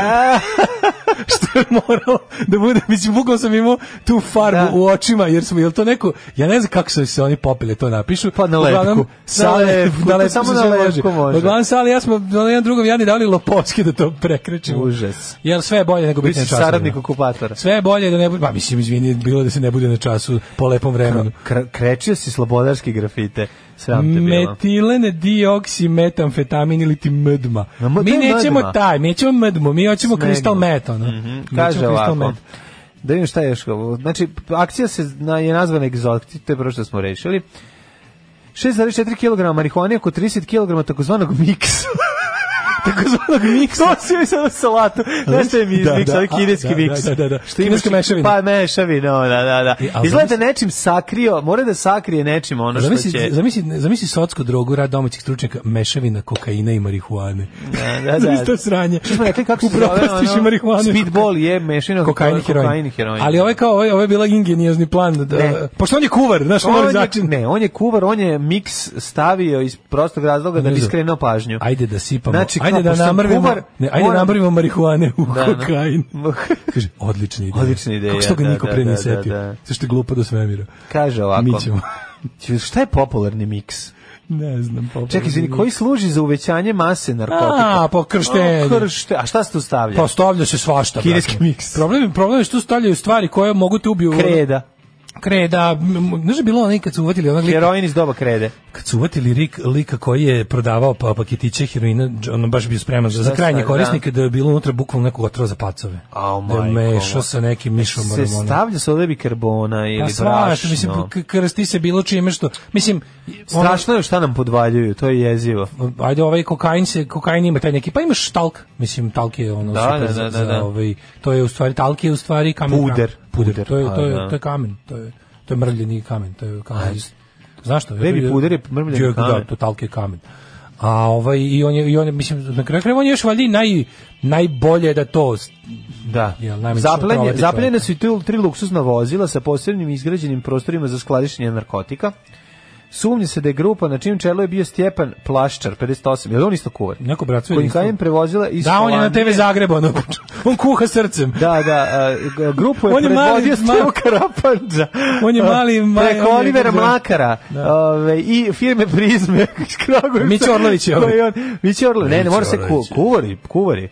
što je moralo da bude, mislim, bukao sam imao tu farbu
Da.
u očima, jer smo, jel to neko, ja ne znam kako su se oni popili to napišu.
Pa na lepku.
Uglavnom,
Na
Sale,
lepku,
da
to
lepku
samo
se
na
sve
lepku
može.
može.
Uglavnom, Sale, i ja smo na jedan drugom jadni dali lopovski da to prekrećemo.
Užas.
Jer sve je da. bolje nego
Biti
biti na času.
saradnik okupatora.
Sve je bolje da ne bude, pa mislim, izvini, bilo da se ne bude na času po lepom vremenu.
Kra- Krečio si slobodarski grafite. Sram te bilo.
Metilene dioksi metamfetamin ili ti mdma.
A ma to
Mi
je
nećemo
mdma.
taj, mi nećemo mdmu, mi hoćemo
Smegma.
kristal met, ono. Mi hoćemo
Mhm, Kaže
crystal
ovako.
meth.
Da vidim šta je još. ovo. Znači, akcija se na, je nazvana egzotik, to je prvo što smo rešili. 6,4 kg marihuane, oko 30 kg takozvanog miksa. takozvanog miksa? To si mi sad u salatu. Znaš šta je mi
Da,
da, miks,
da,
ovaj kineski
da, da,
miks.
da, da, da.
Što imaš-
Kineska mešavina.
Pa mešavina, o, da, da, da.
E, ali
Izgleda
zamisli-
da nečim sakrio, mora da sakrije nečim ono što
Zamisli,
će...
zamisli, zamisli sotsku drogu rad domaćih stručnjaka, mešavina kokaina i marihuane.
Da, da,
Zamisli to
da.
sranje.
Što smo rekli, kako se zove,
Upropastiš i
ono,
marihuanu.
speedball je mešavina
kokain i heroin.
kokain i heroin.
Ali ovaj ovo je kao ovo je, ovo je bila ingenijozni plan da,
Ne.
pošto on je kuvar, znaš, on, mora
On je,
začin.
ne, on je kuvar, on je miks stavio iz prostog razloga da bi
Analizu.
skrenuo pažnju.
Ajde da sipamo.
Znači, kao,
ajde da
pošto sam
namrvimo,
kuvar,
ne, ajde da
moram-
namrvimo marihuane u
Da, da.
kokain. Kaže, odlična ideja.
Odlična ideja,
Kako što ga
da,
niko
da,
pre
da,
nije
da,
setio?
da.
Sve što je glupo do svemira.
Kaže ovako.
Mi ćemo.
Ću- Šta je popularni miks?
ne znam. popularno.
Čekaj, izvini, koji služi za uvećanje mase narkotika?
A, pa krštenje.
O, kršte- A šta se tu stavlja?
Pa stavlja se svašta. brate.
Kineski miks.
Problem, problem je što stavljaju stvari koje mogu te ubiju.
Kreda.
Kreda. m- m- Znaš da je bilo onaj kad su uvatili onog lika,
Heroin iz doba krede.
kad su uvatili rik, lika koji je prodavao pa paketiće heroina, dž- ono baš bio spreman za, za
Šta
krajnje
sad,
korisnike da je bilo unutra bukvalno nekog otrova za pacove.
Au,
da je
majko
mešao
moja. E,
sa nekim mišom.
Se
hormona.
stavlja soda bikarbona ili
Pa
brašno.
svašta, mislim, k- krsti se bilo čime što, mislim, ono-
Strašno je šta nam podvaljuju, to je jezivo.
ajde ovaj kokain se kokain ima taj neki pa imaš talk mislim talk je ono
Da,
super
da,
za-
da,
za
da.
ovaj to je u stvari talk je u stvari kamen
Puder.
kamen. puder,
Puder,
to je to
a,
je
da.
to je kamen to je to je mrvljeni kamen to je kamen znaš što
Baby puder je
da
mrvljeni kamen.
to talk je kamen a ovaj i on je i on je, mislim na kraju krajeva on je još valjda i naj najbolje da to
Da.
Jel, najmanje što
Zaplenje,
provati
zaplenjene
čoveka.
su i tu tri luksuzna vozila sa posebnim izgrađenim prostorima za skladištenje narkotika. Sumnje se da je grupa na čijem čelu je bio Stjepan Plaščar, 58. Je li on isto kuvar?
neko bratstvo
Koji je prevozila iz
da on je na
Holandije.
TV Zagreb ono on kuha srcem
Da, da, a, g- grupu je
On je mali,
predvodio
mali-
Stevo Karapanđa.
On je mali,
A,
mali-
Preko
on je-
Olivera
da.
Mlakara
Da.
ove, i firme Prizme iz Kragujevca.
Mića Orlović je ovaj.
Koji on- Mića Orlović, ne, ne, mora se ku,
Orlović je.
kuvari, kuvari.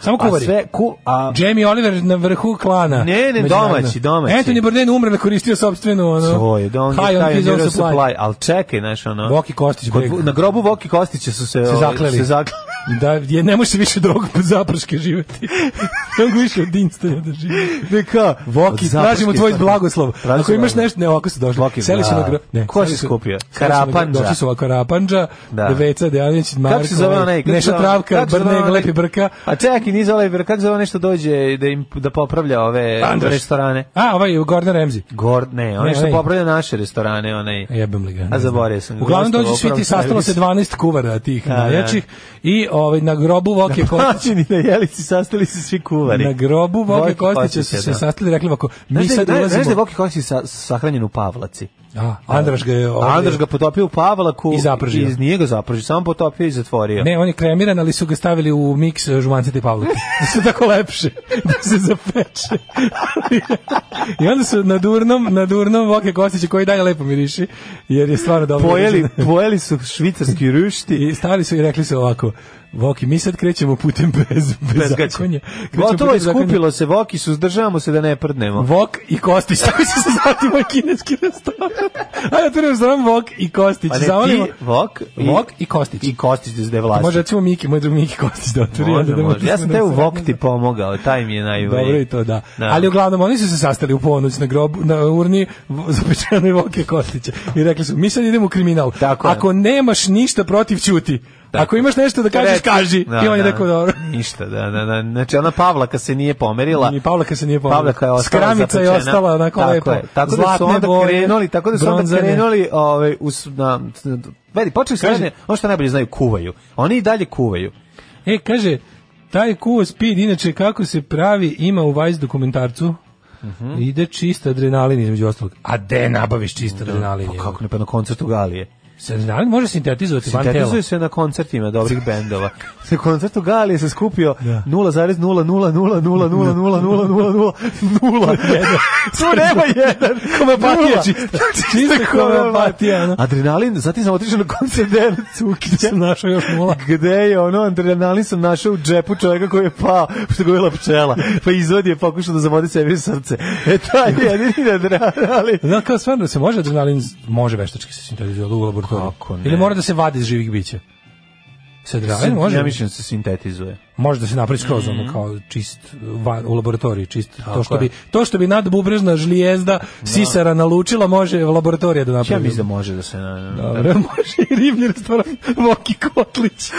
samo
A
kuvari
sve, ku, a,
Jamie Oliver na vrhu klana.
Ne, ne,
Međunarodno.
domaći, domaći.
Anthony Bourdain umrle koristio sopstvenu ono.
Svoje, da on
high on his own supply.
ali čekaj, znaš, ono...
Voki Kostić,
Kod-
breg.
na grobu Voki Kostića su se...
Se
ovaj,
zakleli.
Se zakleli.
Da, je, ne može se više drugog pod zapraške živeti. ne mogu više od Instana da živi.
Neka,
Voki, tražimo tvoj blagoslov.
Tražimo
Ako imaš
blagoslov.
nešto, ne, ovako se došli.
Voki,
seli su
da.
na gro... Ne,
Ko
seli
si
su-
skupio?
seli su na gro-
Karapandža.
Došli su ovako Karapandža,
Da.
Deveca, Dejanović, Marko,
Kako se zove onaj? kako se
Neša
zove-
Travka,
kako se zove
Brneg,
onaj-
Lepi Brka.
A čekaj, nije zove Brka, kako se zove nešto dođe da im da popravlja ove
Andraš.
restorane?
A, ovaj Gordon Ramsay.
Gord, ne, on
Ne,
je što
onaj.
popravlja naše restorane, onaj...
Jebem li ga. ne
A zaboravio
znam.
sam.
Uglavnom
Gostovo
dođe svi ti
upravo
sastalo se
servis.
12 kuvara tih
Da,
najjačih i ovaj, na grobu Voke Kostića.
Plaćeni Znači, na jelici, sastali se svi kuvari.
Na grobu Voke
Voke
Kostića
Kostića,
su se
da.
sastali i rekli ovako, mi
Znaš da-
sad
znaš- Znaš da je
ulazimo...
Voki Kostić sa, sahranjen u Pavlaci?
A, Andraš ga je... ovaj-
Andraš ga potopio u Pavlaku
I zapržio.
Iz, nije ga zapržio, samo potopio i zatvorio.
Ne, on je kremiran, ali su ga stavili u miks e, žumancita i pavlaka. Da su tako lepše, da se zapeče. I onda su na durnom, na durnom Voke Kostića, koji dalje lepo miriši, jer je stvarno dobro.
Pojeli,
miriši.
pojeli su švicarski rušti.
I stali su i rekli su ovako, Voki, mi sad krećemo putem bez, bez zakonja. Krećemo
Gotovo
putem
je
zakonja.
skupilo se, Voki, suzdržavamo se da ne prdnemo.
Vok i Kostić, tako će se zvati moj kineski restoran. Ajde, otvorimo restoran Vok i Kostić.
Pa ne,
Zamolimo-
ti, Vok i-
Vok i Kostić.
I Kostić da je vlasnik.
Može, recimo Miki, moj drug Miki Kostić da otvori. onda
Može,
da
može. Ja sam te u
restoran.
Vok ti pomogao, taj mi je najbolji.
Dobro i to, da.
Da.
Ali uglavnom, oni su se sastali u ponoć na grobu, na urni v- zapečenoj Voke Kostića. I rekli su, mi sad idemo u kriminal.
Tako je.
Ako nemaš ništa protiv, ćuti. Ako imaš nešto da kažeš,
Reci.
kaži.
Da,
I on je
da.
rekao, dobro.
Ništa, da, da, da. Znači, ona Pavlaka se nije pomerila.
Ni Pavlaka se nije pomerila.
Pa, Pavlaka je ostala
Skramica je
zatečena.
ostala onako
tako
lepo.
Je. Tako da su
Zlatne
onda
boje,
krenuli, tako da su onda
bronzane.
krenuli, ovaj, us, na, vedi, počeli su,
Kaže-
one, ono što najbolje znaju, kuvaju. Oni i dalje kuvaju.
E, kaže, taj kuo speed, inače kako se pravi, ima u Vice dokumentarcu.
Mhm.
Ide čist adrenalin između ostalog. A de nabaviš čist adrenalin?
Pa
je?
kako ne, pa na koncertu Galije.
Se Adrenalin može sintetizovati van tela.
Sintetizuje se na koncertima dobrih bendova. Na koncertu Galije se skupio 0,00000000000. Tu nema jedan.
Homeopatija
Nula.
čista. Čista homeopatija, ono.
Adrenalin, zatim sam otišao na koncert Dejana Cukića.
Sam našao još nula.
Gde je ono, adrenalin sam našao u džepu čovjeka koji je pao, što ga je bila pčela. Pa izvodi je pokušao da zavodi sebi srce. E, taj je jedini adrenalin.
Da, kao stvarno se može adrenalin, z- može veštački se sintetizovati u laboratoriju.
Kako ne?
Ili mora da se vadi iz živih bića. Se adrenalin može?
Ja mislim da se sintetizuje.
Može da se napravi skroz ono kao čist van, u laboratoriji, čist. to što
Mhm. je. Da.
bi to što bi nadbubrežna žlijezda sisara nalučila, može laboratorija da napravi.
Ja mislim da može da se... na- na- na-
Dobro, može i ribni restoran Voki Kotlić.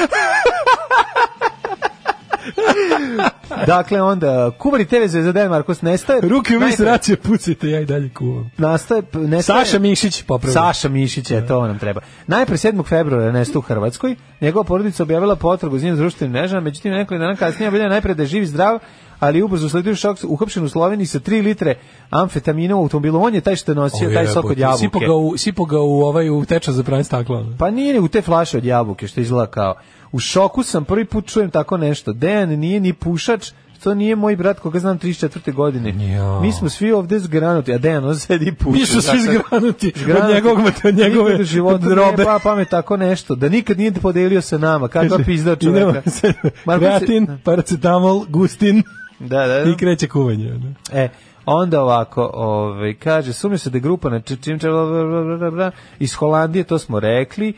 Dakle, onda, kuvari TV za Dan Markos nestaje.
Ruke u vis
Najpre-
racije pucite, ja i dalje kuvam.
Nastaje, p- nestaje.
Saša Mišić popravlja.
E, Saša Mišić, je, to nam treba. Najpre 7. februara nestao u Hrvatskoj, njegova porodica objavila potrebu za njim društvenim mrežama, međutim nekoliko dana kasnije bila najpre da je živ i zdrav, ali je ubrzo sledio šok uhapšen u Sloveniji sa 3 litre amfetamina u automobilu. On je taj što je nosio, taj sok od jabuke.
Sipo ga u, sipo ga u, ovaj, u tečan za pranje stakla. ono.
Pa nije u te flaše od jabuke što izgleda kao. U šoku sam, prvi put čujem tako nešto. Dejan nije ni pušač, to nije moj brat koga znam 34. godine.
Ja.
Mi smo svi ovde zgranuti, a Dejan on sedi i puši.
Mi su svi
Zato-
zgranuti od
Zgranuti.
njegovog, od njegove
Nikad u životu
drobe.
nije pa pamet tako nešto, da nikad nije podelio sa nama, kakva pizda
I nema
čoveka.
se-
Marko se-
Kreatin, paracetamol, gustin
Da, da, da.
i kreće kuvanje. ono.
E, onda ovako, ovaj, kaže, sumnja se da je grupa na či- čim čelo- bla, bla, bla, bla, bla, iz Holandije, to smo rekli,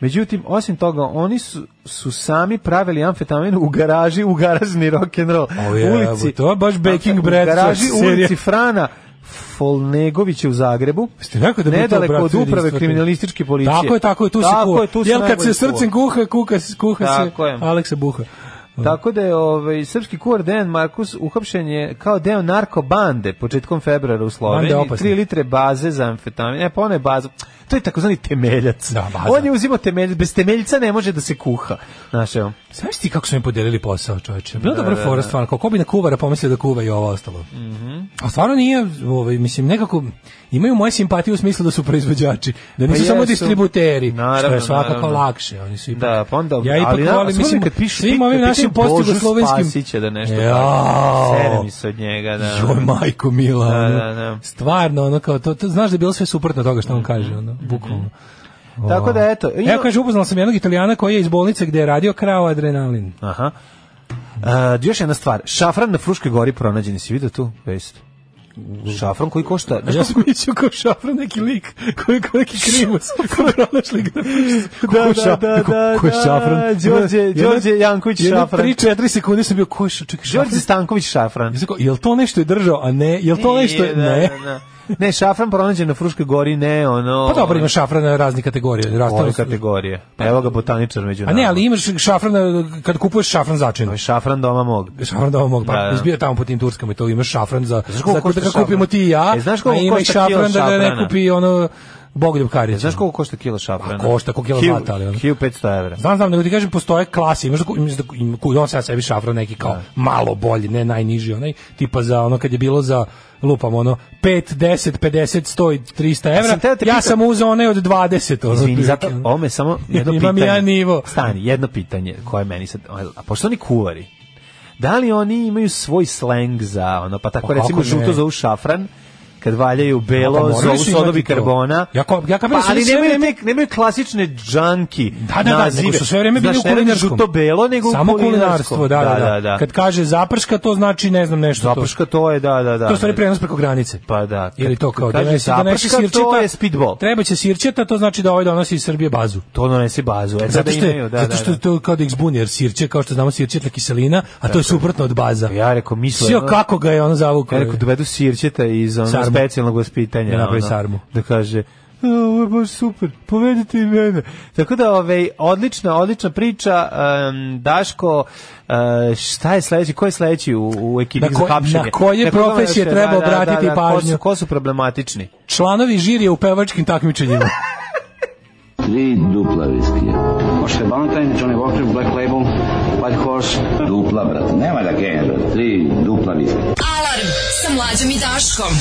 Međutim, osim toga, oni su, su sami pravili amfetamin u garaži, u garažni rock'n'roll.
O je, evo, to je baš baking bread,
U garaži
to
u
je serija.
ulici Frana Folnegovića u Zagrebu.
Jeste rekao da bi to,
nedaleko
brate,
od uprave
jedinstvo?
kriminalističke policije.
Tako je, tako je, tu se
Tako
kuva.
je, tu se
Jel kad
najbolje
se srcem
kuva.
kuha, kuka, se- kuha se,
Tako je.
Aleksa buha. Pa.
Tako da je ovaj, srpski kuvar Dejan Markus uhapšen je kao deo narkobande početkom februara u Sloveniji.
Bande opasne.
3 litre baze za amfetamin. E, pa ona je baza. To je takozvani temeljac.
Da, baza.
On je uzimao temeljac. Bez temeljca ne može da se kuha. Znaš, evo.
Znaš ti kako su mi podelili posao, čoveče? Bilo da, dobro fora stvarno, kao ko bi na kuvara pomislio da kuva i ovo ostalo.
Mhm.
A stvarno nije, ovaj, mislim, nekako imaju moje simpatije u smislu da su proizvođači, da nisu samo
Pa jesu.
distributeri, što
Naravno,
je svakako
naravno.
lakše. Oni su ipak,
Da, pa onda-
ja ipak
ali na-
volim,
a
mislim,
kad pišu-
svim ovim
kad
našim
pišu Božu
postjugoslovenskim...
Spasića da nešto
Jao!
Sere mi se od njega. Da.
Joj, majko mila.
Da,
ono.
da, da.
Stvarno, ono kao, to, to, znaš da je bilo sve suprotno toga što on kaže, ono, bukvalno.
Tako da, eto. ima-
Evo kaže, upoznala sam jednog italijana koji je iz bolnice gde je radio krao adrenalin.
Aha. Uh, još jedna stvar, šafran na Fruškoj gori pronađen, si vidio tu? Vest. Šafran koji košta...
A ja sam mislio kao šafra neki lik, koji je kao neki krimus, ko je pronašli ga.
Da, da, da, da,
ko je
da,
šafran?
Đorđe-
Jedna-
Đorđe Janković
jedna
šafran.
Tri, četiri sekunde sam bio, ko je ša- čekaj, šafran?
Đorđe Stanković šafran.
Ja sam kao, jel to nešto je držao, a ne, jel to nešto je,
Da,
ne.
da, da. Ne, šafran pronađen na Fruškoj gori, ne, ono...
Pa dobro, ima šafrana raznih kategorija.
ove
rastavno su-
kategorije. Pa Evo ga botaničar među
A
nama.
ne, ali imaš šafrana, kad kupuješ šafran začinu.
Ovo je šafran doma mog.
Šafran da vam mogu, pa
Da, da.
izbio je tamo po tim Turskama i to imaš šafran za,
znaš koliko
za da
košta
ga
šafran?
kupimo ti i ja,
E, znaš
a
koliko
ima i
košta kilo
šafran da ga ne
šafrana? E,
kupi ono Bogoljub Karić.
Znaš koliko Pa košta kilo šafrana?
A košta ko kilo
Hil-
zlata, ali ono.
1500 evra.
Znam, znam, nego ti kažem, postoje klase, imaš da ku- imaš da ku- im- kuj, on sad sebi šafra neki kao
Da.
malo bolji, ne najniži, onaj, tipa za ono kad je bilo za, lupam, ono, 5, 10, 50, 100 i 300 evra,
sam teo da te
ja
pitam-
sam uzao onaj od 20. Ono,
Izvini,
otprilike,
zato
ono.
ome samo jedno pitanje.
Imam ja nivo.
Stani, jedno pitanje koje meni sad... A pošto oni kuvari, da li oni imaju svoj sleng za ono, pa tako
Pa kako
recimo žuto
ne?
zovu šafran, kad valjaju
Pa
belo,
morali
zovu
su imati
sodovi
to.
karbona.
Ja ko- ja kapiram
pa,
da su
ali
sve
nemaju,
vreme-
nek, nemaju klasične džanki
Da, da, da, nego su sve vreme bili u kulinarstvom.
Žuto belo, nego u
Samo kulinarstvo,
kulinarstvom.
da, da, da, Kad kaže zaprška, to znači ne znam nešto
Zaprška to je, da,
to.
da, da.
To je u stvari prenos preko granice.
Pa da.
Ili to
Kad
kao
kaže
donesi, donesi
zaprška,
sirčeta.
to je speedball.
Treba će sirčeta, to znači da ovaj donosi iz Srbije bazu.
To donese bazu. E,
Zato što,
da
je-
imaju, da,
zato što
da,
je to kao da ih zbuni, jer sirće, kao što znamo, sirće je kiselina, a to je suprotno od baza.
da. Ja rekao, misle...
Sio kako ga je ono
Ja
zavukao.
rekao, dovedu sirćeta iz ono
E. Sarmu.
specijalnog vaspitanja.
Da napravi
ono,
sarmu.
Da kaže, "E, ovo je baš super, povedite i mene. Tako da, ovaj, odlična, odlična priča. em, Daško, e, šta je sledeći, ko je sledeći u, u ekipi
Na
za
koje-
hapšenje?
na koje
Na koga
profesije
još-
treba
da, da, da,
obratiti
da, ko su-
pažnju?
Ko su problematični?
Članovi žirija u pevačkim takmičenjima.
Tri dupla viskija. Možete Valentine, Johnny Walker, Black Label, White Horse. Dupla, brate, nema da genja, brate. Tri dupla viskija.
Alarm sa mlađom i Daškom.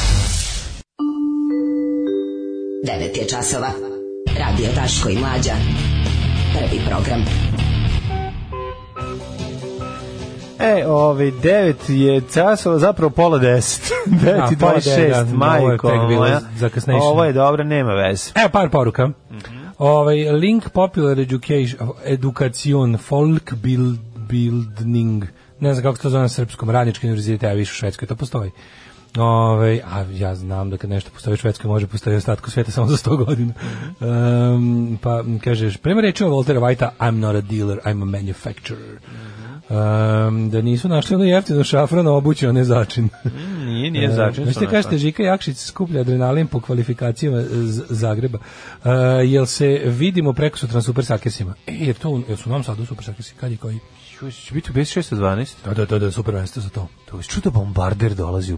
9 je časova. Radio Daško i Mlađa. Prvi program.
E, ovaj, 9 je časova, zapravo pola 10. 9 i
Da, pola devet, da,
26,
ovo je
majko.
tek bilo
moja.
zakasnešeno.
Ovo je dobro, nema veze.
Evo par poruka. ovaj, link Popular Education, Education, Folk build, Building, ne znam kako se to zove na srpskom, radnički univerzitet, a više u Švedskoj, to postoji. Ove, a ja znam da kad nešto postoji u Švedskoj može postoji u ostatku sveta samo za 100 godina. Um, pa m, kažeš, prema rečima Voltera Whitea, I'm not a dealer, I'm a manufacturer. Um, da nisu našli ono jeftino šafrano obuće, one začin.
Nije,
Da,
nije začin.
Ehm, Znaš ti kažete, Žika Jakšić skuplja adrenalin po kvalifikacijama eh, Z- Zagreba. E, jel se vidimo preko sutra na Super Sakersima? E, jer, to, jel su nam sad u Super Sakersi? Kad je koji?
Će biti u B612?
Da, da, da, da, super prvenstvo za to.
To je čudo bombarder dolazi u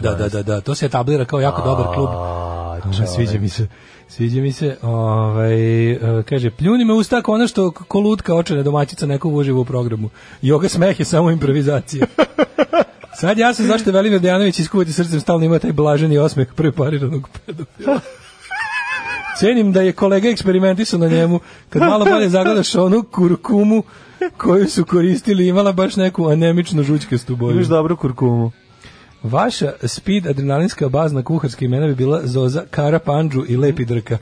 Da, da, da, da, da, to se etablira kao jako dobar klub.
A,
A,
čovek.
Sviđa mi se. Sviđa mi se. Ovaj, e, kaže, pljuni me u ustak ono što k- ko lutka očene domaćica neko uživo u programu. Joga smeh je samo improvizacija. Sad ja sam zašto Velimir Dejanović iskuvati srcem stalno ima taj blaženi osmeh prepariranog pedofila. Cenim da je kolega eksperimentisao na njemu. Kad malo bolje zagledaš onu kurkumu koju su koristili, imala baš neku anemičnu žućkastu boju.
Imaš dobru kurkumu.
Vaša speed adrenalinska bazna kuharska imena bi bila Zoza, Kara Pandžu i Lepi Drka.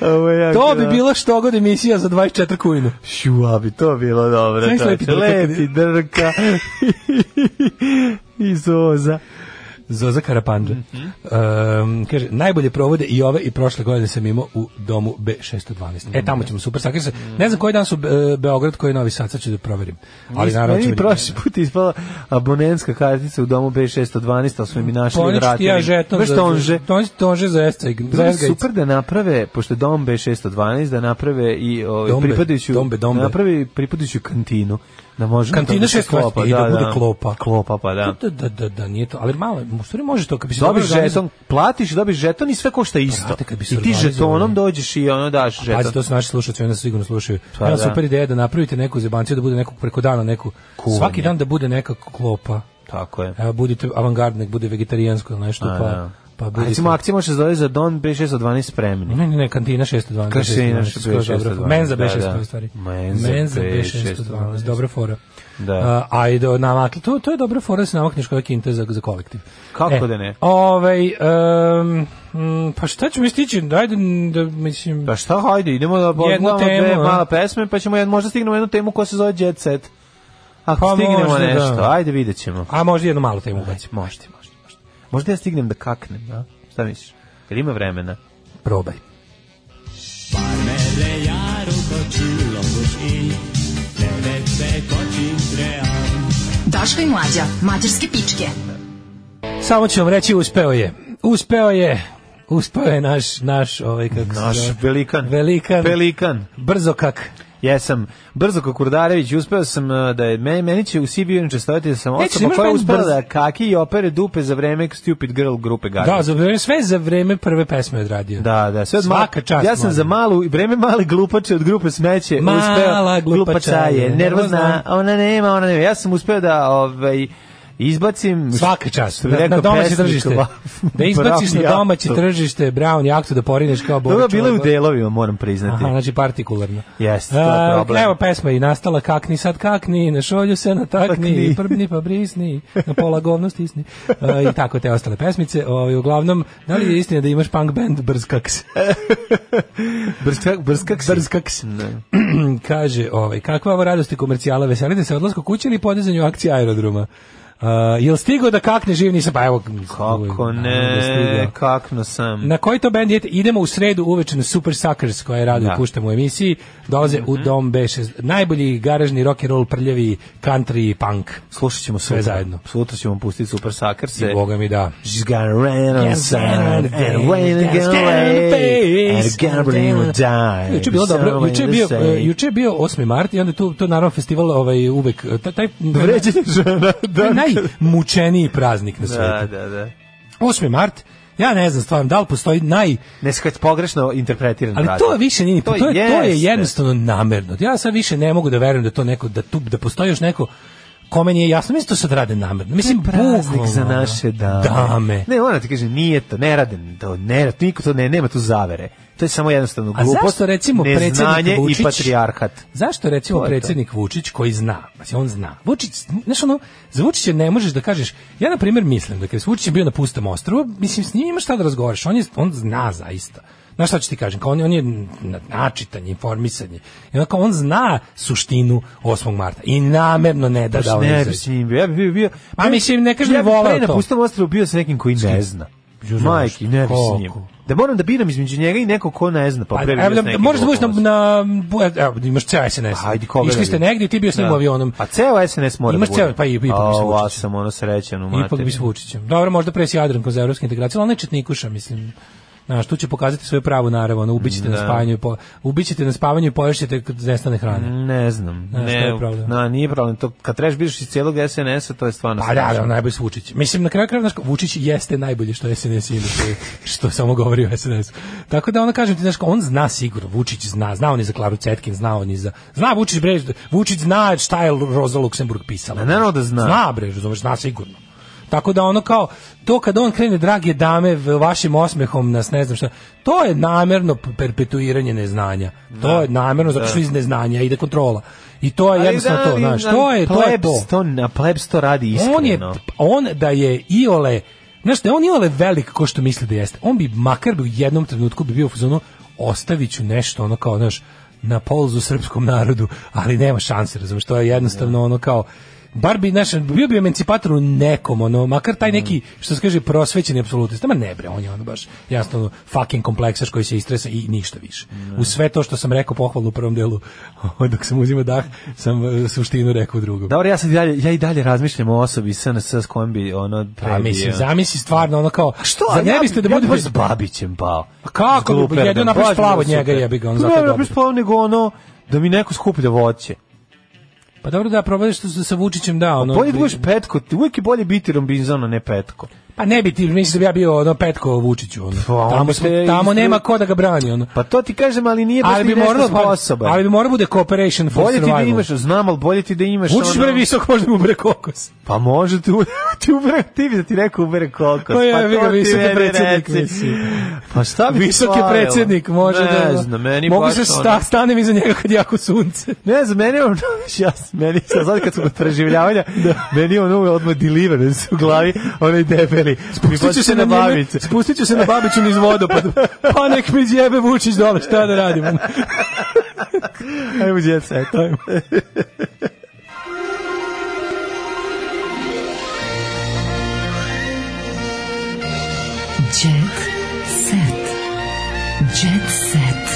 Ovo je jako
To bi
dobro.
bila što god emisija za 24 kujnu.
Šua bi to bilo dobro.
Znaš
čoveče.
lepi drka kad je-
Lepi drka. I zoza. Mhm.
Zoza Karapandža. um, kaže, najbolje provode i ove i prošle godine sam imao u domu B612. E,
Da.
tamo ćemo super sakrisa. Ne znam koji dan su e, Beograd, koji je Novi Sad, sad ću da proverim. Ali naravno da ću
Meni
vidjeti.
prošli put ispala abonentska kartica u domu B612, ali smo mi našli i
Poniću ti
vratili.
ja da- žeton
Baš
za,
tonže.
tonže, tonže za Escaj.
Bilo
Za
bi
Escaj.
super da naprave, pošto je Dom B612, da naprave i ovaj,
Dombe,
pripadajuću,
Dombe, Dombe.
da naprave pripadajuću kantinu. Da može
Kantina
da se
6
klopa,
i da bude klopa.
Klopa, pa da.
Da, da, da, da, nije to. Ali malo, u stvari može to. Kad bi se dobro
Dobiš
organizovao-
žeton, platiš, dobiš žeton i sve košta isto.
Brate, kad bi se
I ti
organizovali-
žetonom dođeš i ono daš žeton.
Pazi, to su naši slušalci, oni nas sigurno slušaju.
Pa,
Pa, Evo
da.
super ideja da napravite neku zebanciju, da bude nekog preko dana, neku,
Kuvanje.
svaki dan da bude neka klopa.
Tako je.
Evo, budite avangardni, nek bude vegetarijansko ili nešto,
A,
pa,
da.
pa
A
budite... Mhm.
recimo, akcija može se zove za Don B612 spremni.
Ne, ne, ne, kantina 612.
Kantina
612, skroz dobra fora. Menza
da,
B612,
da.
u stvari.
Menza
B612, dobra fora.
Da.
A, a i do namakli, to, to je dobra fora da se namakneš koja kinte za, za kolektiv. E,
Kako da ne?
Ovaj, em, mm, pa šta ćemo istići? Ajde, da, mislim...
Pa šta, hajde, idemo da pogledamo
temu,
dve
a?
mala pesme, pa ćemo jed, možda stignemo jednu temu koja se zove Jet Set. Ako
Pa
stignemo
možda,
nešto,
da.
ajde vidjet ćemo.
A možda jednu malu temu ubacimo.
Možda, možda, možda. Možda ja stignem da kaknem, da? Šta misliš? Jer ima vremena.
Probaj.
Daško i Mlađa. Mađarske pičke.
Samo ću vam reći, uspeo je. Uspeo je. Uspeo je naš, naš, ovaj, kako se
Naš
zove?
velikan.
Velikan.
Pelikan.
Brzo kak.
Jesam. Brzo kao Kurdarević, uspeo sam uh, da je, meni, meni će u Sibiju inače stojati da sam
Nećeš,
osoba
imaš
koja je
meni
uspela
brz-
da kaki i opere dupe za vreme Stupid Girl grupe Garden.
Da, za vreme, sve za vreme prve pesme je odradio.
Da, da, sve od
Svaka
ma-
čast.
Ja sam
mladen.
za malu vreme male glupače od grupe smeće
Mala
uspeo.
glupača da, je,
nervozna,
nervozna.
ona nema, ona nema. Ja sam uspeo da ovaj izbacim
Svaka čast.
što bi
Na, na
rekao
domaće
pesnik,
tržište.
ba-
Da izbaciš na
Brown
domaće
Jachtu.
tržište Brown jahtu da porineš kao Boga.
Dobro, bilo je u delovima, moram priznati.
Aha, znači partikularno.
Jeste, to je
A,
problem.
Evo pesma i nastala kakni sad kakni, ne šolju se
Takni.
natakni, prbni pa brisni, na pola govno stisni. A, I tako te ostale pesmice. Ovaj, uglavnom, da li je istina da imaš punk band Brzkaks?
Brskak, brskak, brskak. Ne.
Kaže, ovaj, kakva ovo radost i komercijala, veselite se odlasku kući ili podizanju akcije aerodroma? Uh, jel stigo da kakne živ nisam? Pa evo, da
Kako ne,
stigao.
kakno sam.
Na koji to bend idete? Idemo u sredu uveče na Super Suckers koje rado
Da. Mhm.
puštamo u emisiji. Dolaze u Dom B6. Najbolji garažni rock and roll prljavi country i punk.
Slušat ćemo
Sve
sutra.
zajedno.
Sutra ćemo pustiti Super Sakarse.
I Boga mi da.
She's gonna rain on
Can't
the sun
stand
and
the day,
rain
can't
again
stand the
away and
face,
gonna rain will die.
Juče je bilo
The sun
dobro,
will
juče je bio,
say.
e, juče je bio 8. mart i onda tu to je naravno festival ovaj uvek e, taj, taj
Vređanje žena.
to je
Da,
najmučeniji praznik na svijetu.
da, da. da.
8. mart, ja ne znam stvarno da li postoji naj...
Ne skać pogrešno interpretiran
Ali to
razlog.
više nije, ni- to, je, to je
jeste.
jednostavno namerno. Ja sad više ne mogu da verujem da to neko, da tu, da postoji još neko kome nije jasno. Mislim, da to sad rade namerno. Mislim,
praznik
bukvalno,
za
ono,
naše dame.
dame.
Ne, ona ti kaže, nije to, ne rade, to, ne rade, niko to ne, nema tu zavere. To je samo jednostavno
A
glupost,
zašto, recimo, predsjednik
neznanje i
Vučić-
patrijarhat.
Zašto recimo
To je to.
predsjednik Vučić koji zna, znači on zna. Vučić, znaš ono, za Vučića ne možeš da kažeš, ja na primjer mislim da kad je Vučić bio na pustom ostrvu, mislim s njim imaš šta da razgovaraš, on, je, on zna zaista. Znaš šta ću ti kažem, kao on, je- on je na- načitan, informisan je. I onako on zna suštinu 8. marta i namerno ne da
Baš
da on
Pa ne bi
izađe.
s njim bio. Ja bi bio, bio
Pa mislim, ne kažem
ja bi
voleo to.
pre na pustom ostrovu bio sa nekim koji ne zna.
znaš,
Majki, ne bi s njim.
kako?
Da moram da biram između njega i neko ko ne zna, pa
Pa,
pre bi
evo,
bio s
da,
nekim
možeš da budeš na,
drugom ostrovu.
na, evo, imaš ceo SNS.
Ajde, koga da
Išli ste
vidim?
negdje i ti bio s njim
Da.
u avionom.
A ceo SNS mora
Imaš
da bude.
ceo- pa i- ipak bi s
A, ova
Vučićem.
sam ono srećan u
Ipak
materinu.
bi s Vučićem. Dobro, možda presi Jadranko za evropske integracije, ali on je četnikuša, mislim. Znaš, tu će pokazati svoju pravu narav, ono, ubićete na spavanju, i po, ubićete na spavanju i poješćete kad nestane hrane.
Ne znam.
Znaš, to
Ne,
je problem.
na, nije problem. To, kad trebaš biš iz cijelog SNS-a, to je stvarno
Pa da, da,
strašno.
on najbolji s Vučić. Mislim, na kraju krajeva, znaš, Vučić jeste najbolje što SNS ima, to je što samo govori o SNS. Tako da, ono, kažem ti, znaš, on zna sigurno, Vučić zna, zna on i za Klaru Cetkin, zna on i za... Zna Vučić, bre, Vučić zna šta je Roza Luksemburg pisala.
Ma, naravno da zna.
Zna, bre, razumeš, zna sigurno. Tako da ono kao, to kad on krene, drage dame, v- vašim osmehom nas ne znam šta, to je namerno perpetuiranje neznanja. To je namerno zato što iz neznanja ide kontrola. I to je
Da, Ali
jednostavno
da,
to,
ali
znaš,
na
to je, to je
plebs
to.
na plebs to radi iskreno.
On je, on da je Iole, znaš da je on Iole velik ko što misli da jeste, on bi makar bi u jednom trenutku bi bio u fazonu, ostavit ću nešto ono kao, znaš, na polzu srpskom narodu, ali nema šanse, razumiješ, to je
Da.
jednostavno ono kao, bar bi, znaš, bio bi emancipator u nekom, ono, makar taj neki,
Mm.
što se kaže, prosvećeni apsolutista, ma ne bre, on je ono baš, jasno, ono, fucking kompleksaš koji se istresa i ništa više.
Da.
U sve to što sam rekao pohvalno u prvom delu, dok sam uzimao dah, sam e, suštinu rekao u drugom.
Dobro, ja, sad i dalje, ja i dalje razmišljam o osobi SNS s kojom bi ono prebio.
Pa mislim, zamisli stvarno ono kao, što? Zar ne
ja
biste
bi-
da
ja bi
budete
baš s Babićem pa? da pao.
A kako
S
bi-
Gluperdom.
jedino napraviš
Baš bi
plav
bilo
od njega,
super.
jebi ga, on
Ne,
zato je
ne napraviš
dobar.
plav, nego ono, da mi neko skuplja voće.
Pa dobro da probadiš što sa Vučićem da, ono.
bolje
bi-
da budeš petko, ti uvijek je bolje biti rombinzon, a ne petko.
Pa ne bi ti, mislim da bi ja bio ono Petko Vučiću, ono.
Pa, on bi
tamo smo-
te
tamo
iz-
nema ko da ga brani, ono.
Pa to ti kažem, ali nije baš
ali
ni
bi
nešto
moralo
sposoban.
ali bi moralo bude cooperation for
Bolje ti da
survival.
imaš, znam, ali bolje ti da imaš
Vučić bre visok možda mu bre kokos.
Pa može ti, u- ti ubere, ti bi da ti neko ubere kokos.
Pa je,
pa
vi
to
ga
ti
visoki
meni
predsjednik,
reci.
mislim.
Pa šta bi ti
Visok je
falilo?
predsjednik, može
ne
da...
znam, meni
Mogu
baš
se
ono-
sta, stanem iza njega kad je jako sunce.
Ne znam, meni je ono, ja, meni, sad sad kad su kod preživljavanja, meni je ono odmah deliverance u glavi, onaj debeli. da
Spustit ću se na babicu.
babice.
Spustit ću se na babicu niz vodopada. Pa nek mi djebe Vučić dole, šta da radimo?
Ajmo, djeca, eto.
Jet set. Jet set.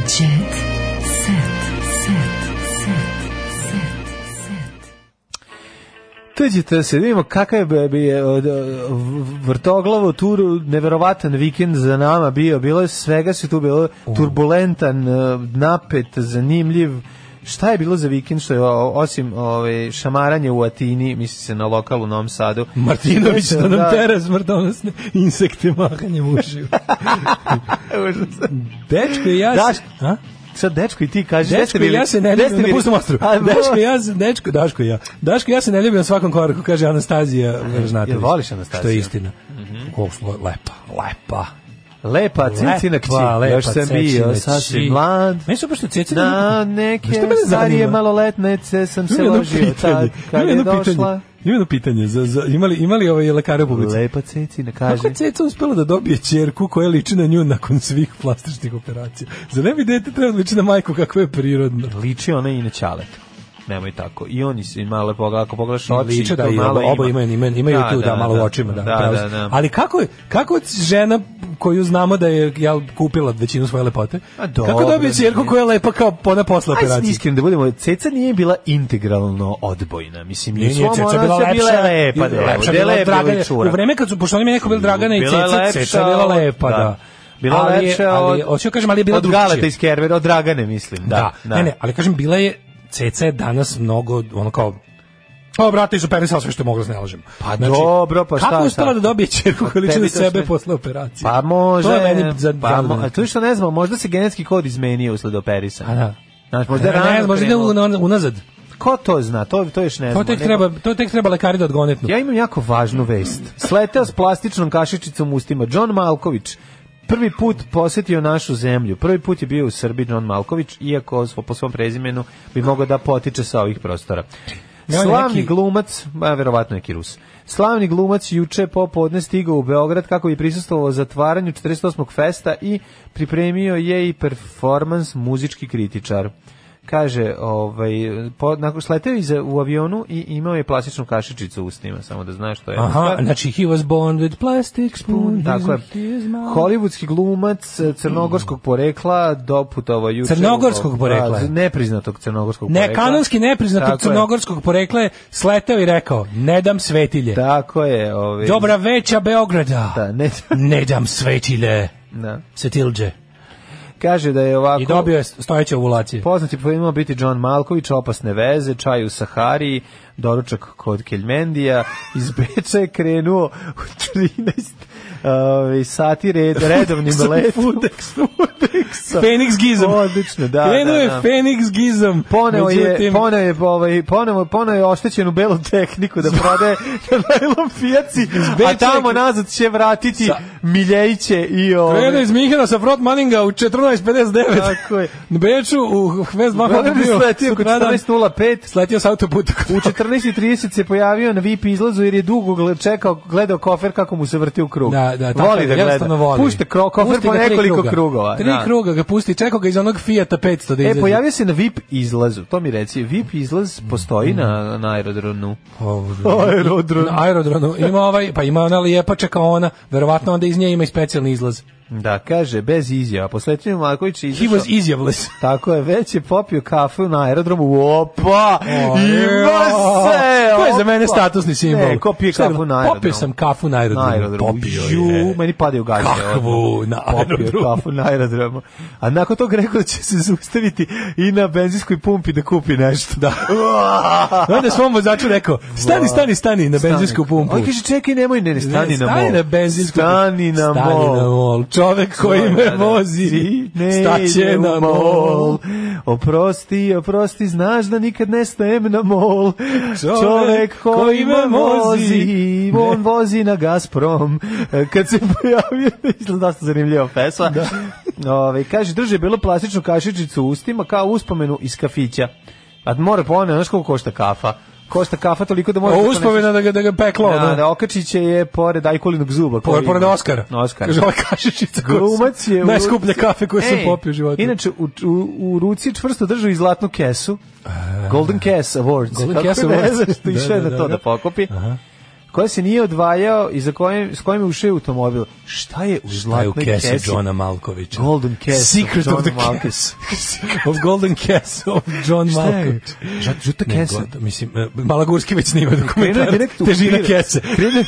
Jet set. Set. Set. Set. Set.
Dođite se, vidimo kakav je bebi je od, uh, vrtoglavo turu, neverovatan vikend za nama bio, bilo je svega se tu bilo, turbulentan, uh, napet, zanimljiv, Šta je bilo za vikend što je o- osim ove šamaranje u Atini, misli se na lokalu u Novom Sadu.
Martinović
Sve
da
se,
nam tera smrtonosne insekte mahanjem ušiju. Dečko i ja... se-
Daš-
A?
Sad dečko i ti kažeš, gde ste
Dečko i
bili?
ja se ne
Gde
ljubim
ste
na
bili?
pustom ostru.
A,
Dečko i ja se, dečko, Daško i ja. Daško i ja se ne ljubim na svakom koraku, kaže Anastazija Veržnatović.
Jel voliš Anastaziju? Mhm.
Što je istina. Koliko smo lepa, lepa.
Lepa cicina kći,
lepa
Pa još sam bio
cecina
sasvim
kći.
mlad.
Meni su pošto cecina...
Na neke starije maloletnice sam se ložio tad kad je došla.
Ima jedno pitanje, za, za, imali, imali ovaj lekara u publici?
Lepa cecina,
Kako
kaže.
je ceca uspela da dobije čerku koja liči na nju nakon svih plastičnih operacija? Za ne bi dete trebalo da liči na majku kako je prirodno.
Liči ona i na ćalet. Nemoj tako. I oni su i malo pogledaj, ako pogledaš oči,
Liče da
to
i
malo
oba, oba imaju, imaju, imaju
Da,
tu da,
da,
malo
da.
u očima. Da,
Da,
pravo
da,
si.
da.
Ali kako je, kako je žena koju znamo da je jel, kupila većinu svoje lepote,
A dobro,
kako dobije čerku
nije.
koja je lepa kao ona posle
Ajde sad
operacije?
iskreno da budemo, ceca nije bila integralno odbojna, mislim,
Nije,
i u
nije,
svom
Ceca je
ona
bila lepša.
se bila lepa, da,
lepša
da
bila
lepa
Dragana.
ličura.
U vreme kad su, pošto oni mi neko bili Dragana i
Bila
Ceca,
lepša
Ceca je bila
od-
lepa,
da.
da.
Bila
Ali je-
lepša
ali
od,
je- hoću da kažem, ali je bila
od
drugčija.
Galeta iz Kervera, od Dragane, mislim. Da, da.
Ne, ne, ali kažem, bila je, Ceca je danas mnogo, ono kao, Pa brate, izoperisala sve što je mogla, se ne lažem.
Pa dobro, pa šta
Kako je
sad?
uspela da dobije čerku koja liči
tebi
na
to
sebe
sve-
posle operacije?
Pa može.
To je meni za
pa, mo, a to je što ne znamo, možda se genetski kod izmenio usled
A
operisanja.
da.
Znaš, možda
Ne,
je
ne,
rano
ne, možda ide
krenuo.
un- unazad.
Ko to zna, to, to još ne
To
znamo.
tek
Nego-
treba, to tek treba lekari da odgonetnu.
Ja imam jako važnu vest. Sleteo s plastičnom kašičicom u ustima. John Malković prvi put posetio našu zemlju. Prvi put je bio u Srbiji John Malković, iako svo- po svom prezimenu bi mogao da potiče sa ovih prostora.
Ja,
Slavni
neki-
glumac, a verovatno je Kirus. Slavni glumac juče popodne stigao u Beograd kako bi prisustvovao zatvaranju 48. festa i pripremio je i performans muzički kritičar. Kaže, ovaj, po, nakon sleteo je iza, u avionu i imao je plastičnu kašičicu u ustima, samo da znaš što je.
Aha, znači he was born with plastic spoon.
Tako je.
his mouth.
Hollywoodski glumac eh, crnogorskog porekla doputovao juče. u-
Crnogorskog porekla?
Da, nepriznatog crnogorskog
Ne,
porekla.
kanonski nepriznatog
Tako je.
crnogorskog porekla je sleteo i rekao, ne dam svetilje.
Tako je. Ovaj,
Dobra veća Beograda.
Da, ne,
Ne dam svetilje.
da.
Svetilđe.
Kaže da je ovako...
I dobio je stojeće ovulacije.
Poznati po imao biti John Malković, opasne veze, čaj u Sahari, doručak kod Keljmendija, iz Beča je krenuo u 13 ovaj, sati red, redovnim
Fudex,
letom.
Fudex,
Fudex.
Fenix gizom.
Odlično, da,
Krenuo
da,
je
da.
Fenix gizom.
Poneo je,
međutim-
poneo je, ovaj, poneo, poneo je oštećenu belu tehniku da prodaje na najlom pijaci, a
Beča
tamo
je-
nazad će vratiti
Sa-
Miljejiće i
Krenuo
ovaj,
je iz Minhena sa Front Manninga u 14.59.
Tako je.
Na Beču u Hvez Mahu
Beograd je sletio Pa, kod 14.05,
Sletio sa autoputa.
U 14.30 se pojavio na VIP izlazu jer je dugo gle- čekao, gledao kofer kako mu se vrti u krug.
Da, da, tako
voli
je,
da gleda.
jednostavno voli.
Pušte kro, kofer
Pusti
po
ga tri
nekoliko
kruga.
krugova.
Tri
da.
kruga ga pusti, čekao ga iz onog Fijata 500 da
E,
izađe.
pojavio se na VIP izlazu. To mi reci, VIP izlaz postoji na, na Da. aerodronu.
aerodronu. Na aerodronu. Ima ovaj, pa ima ona lijepa čekaona, verovatno onda iz nje ima i specijalni izlaz.
Da, kaže, bez izjava. Poslećenju Marković je
He
izašao...
was izjavless.
Tako je, već je popio kafu na aerodromu. Opa! Ima se!
To je za
opa!
mene statusni simbol.
Ne, ko pije
Šta je
kafu
bilo?
na aerodromu?
Popio sam kafu na aerodromu.
na aerodromu.
Popio
Ju,
je.
meni padaju gaće.
Kakvu na
Popio
aerodromu?
kafu na aerodromu. A nakon toga rekao da će se zaustaviti i na benzinskoj pumpi da kupi nešto. Da.
I Onda je svom vozaču rekao, stani, stani, stani na benzinsku pumpu.
On kaže, čekaj, nemoj, ne, ne, stani, na mol.
Stani na benzinsku pumpu.
Stani na
Stani
mol.
na mol. Čovek koji
Da,
me vozi,
ne ide
staće
u
na mol.
Oprosti, oprosti, znaš da nikad ne stajem na mol.
Čovek
Čovek koji
koji
me
me
vozi,
vozi.
on vozi na Gazprom. E, Kad se pojavio, izgleda dosta zanimljiva pesma.
Da.
Ove, kaže, drže bilo plastičnu kašičicu u ustima kao uspomenu iz kafića. A mora ponavljati, znaš koliko košta kafa? Košta kafa toliko da može...
Ovo uspomena da ga, da ga peklo.
Da,
Da,
da, Okačiće je pored Ajkulinog zuba. koji
Pored, pored
ima.
Oskara.
Oskara.
Kaže, ova kašičica koja
Glumac
sam-
je... u
najskuplja
ruci-
kafe koju sam
Ej,
popio u životu.
Inače, u, u, u ruci čvrsto držao i zlatnu kesu. Golden Case Awards.
da. Golden
Kako
Case
ne
Awards.
znaš,
Da,
što išao je
da,
na
da,
to
da.
da pokopi. koja se nije odvajao i za kojim, s kojim je ušao u automobil. Šta je u
Taj u
zlatnoj
kesu
kesi?
Johna Malkovića.
Golden Kess.
Secret of, the Malković. of Golden Kess of John
Šta je?
Malković.
Žut- žuta
Ne,
kesa.
god- Mislim, e, Malagurski već snima dokumentar.
direkt u
Težina
kupire.
kese.
Krenuo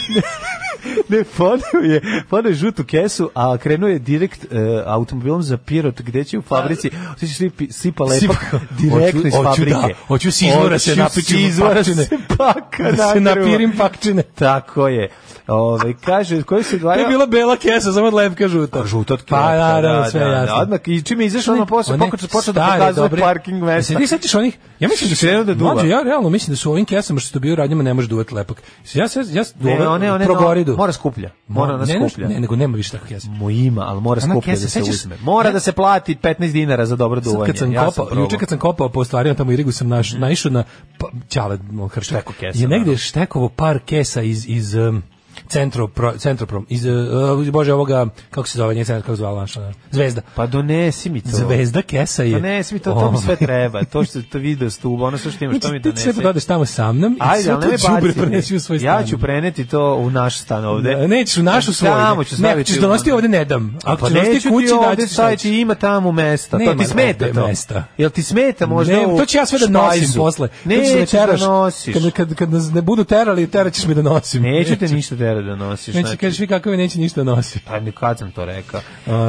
ne, podeo je, podeo je žutu kesu, a krenuo je direkt e, automobilom za Pirot, gde će u fabrici, svi će svi pi- sipa lepa,
Sipa-
direktno iz
pa- Hoću- hoću
fabrike.
da, hoću s izvora se
Hoću
napičim
s izvora
pakčine.
se paka
Da se
nagreva.
napirim pakčine.
Tako je. Ove, kaže, koji se
To je
dvaja...
bila bela kesa, samo od lepka žuta.
Pa žuta
Pa,
od kreveta,
naravno, sve jasno.
da. Odmah, i čim je izašao na posao,
One
pokušao počeo da
stare,
pokazuje
dobre-
parking mesta.
Jesi ti sećaš onih? Ja mislim da
Krenuo
se
da
da
duva.
Mlađe, ja realno mislim da su ovim kesama što dobiju radnjama ne može duvati lepak. Ja se ja se
Ne, one, one,
progoridu.
mora skuplja. Mora da ona
ne, ne,
skuplja.
Ne, nego nema više takvih kesa.
Mo ima, ali mora
Ona
skuplje
kesa,
da se
sećaš-
uzme. Mora
Ne-
da se plati 15 dinara za dobro
Sad
duvanje.
Kad sam
ja sam
kopao,
probao.
juče kad sam kopao po stvarima tamo u Irigu sam naš, naišao na pa, ćale moj hršak.
Šteko kesa,
Je negde
naravno.
štekovo par kesa iz, iz um, Centro, pro, Centroprom, iz, uh, bože, ovoga, kako se zove, nije Centro, kako se zvala naša, Zvezda.
Pa donesi mi to.
Zvezda kesa je.
Pa ne, svi to, to mi sve
Ovaj.
treba. To što to video stuba, ono sve što imaš, to mi
Znači, ti sve
donese.
to dodeš tamo sa mnom i
Ajde,
sve
ali
to
ne
džubre
baci.
prenesi u svoj stan.
Ja ću preneti to u naš stan ovde.
Ne, Nećeš u našu svoju.
Tamo ću
ne,
staviti.
ćeš donositi ovde ne dam. Ako
pa
ćeš donositi
neću
kući,
ti
da
ovde
ćeš šta
staviti, ima tamo mesta. to
Nema
ti smeta
ovde
to?
mesta.
Jel ti smeta možda
ne,
u
to ću ja sve da nosim
špajzu?
posle.
Nećeš
Nećeš
da nosiš.
Kad, kad, kad nas ne budu terali, teraćeš me da nosim.
Neću te ništa tera da nosiš.
Neće,
znači.
kažeš vi kako neće ništa nosi.
Pa ni kad sam to rekao.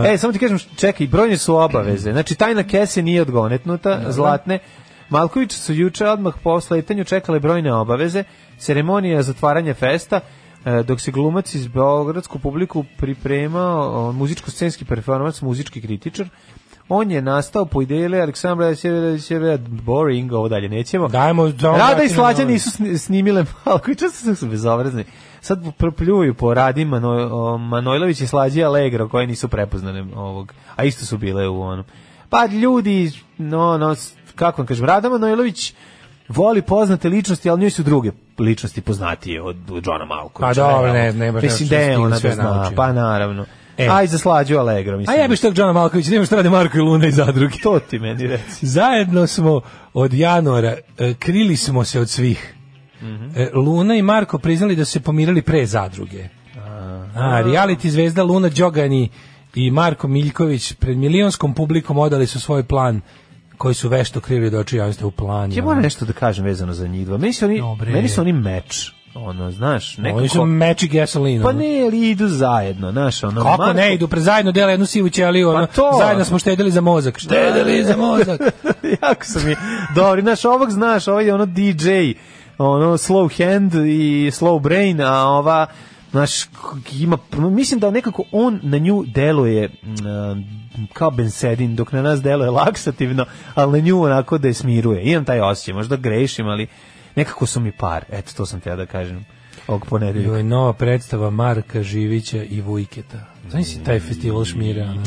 e, samo ti kažem, čekaj, brojne su obaveze. Znači, tajna kese nije odgonetnuta, zlatne. Malković su juče odmah po sletanju čekale brojne obaveze, ceremonija zatvaranja festa, e, dok se glumac iz Beogradsku publiku pripremao o, muzičko-scenski performans, muzički kritičar, on je nastao po ideji Aleksandra Jesevića, boring, ovo dalje nećemo.
Dajmo, dajmo
Rada i
Martinu
Slađa
Nović.
nisu sni- snimile Malkovića, su, su bezobrazni. Sad propljuju po Radi Mano, o, Manojlović i Slađi Allegro, koje nisu prepoznane ovog, a isto su bile u onom. Pa ljudi, no, no, s- kako vam kažem, Rada Manojlović voli poznate ličnosti, ali njoj su druge ličnosti poznatije od Johna Malkovića.
Pa dobro,
realno.
ne, ne baš
Mislim,
nešto
da
s
je
tim
ona
sve
to zna,
naučio.
pa naravno.
E.
Aj za Slađu Allegro,
A
mislim.
ja bih što Johna Malković, nema što rade Marko i Luna i zadruge.
To ti meni reci.
Zajedno smo od januara, e, krili smo se od svih.
Mhm.
E, Luna i Marko priznali da su se pomirili pre zadruge. A, reality zvezda Luna Đogani i Marko Miljković pred milionskom publikom odali su svoj plan koji su vešto krili od očiju javnosti u plan.
Ja moram nešto da kažem vezano za njih dva. Meni su oni,
Dobre.
meni su oni meč. Ono, znaš, nekako...
Oni su meči gasolina.
Pa ne, ali idu zajedno, znaš, ono...
Kako
Marko- Pa
ne idu, pre zajedno dele jednu sivu ćeliju, ono,
to.
zajedno smo štedili za mozak. Štedili za mozak.
jako sam je... Dobri, znaš, ovog znaš, ovaj je ono DJ, ono, slow hand i slow brain, a ova, znaš, k- ima... Mislim da nekako on na nju deluje mm, kao bensedin, dok na nas deluje laksativno, ali na nju onako da je smiruje. Imam taj osjećaj, možda grešim, ali nekako su mi par. Eto, to sam teo da kažem ovog ponedeljka.
Joj, nova predstava Marka Živića i Vujketa. Znaš si taj festival šmira? ono?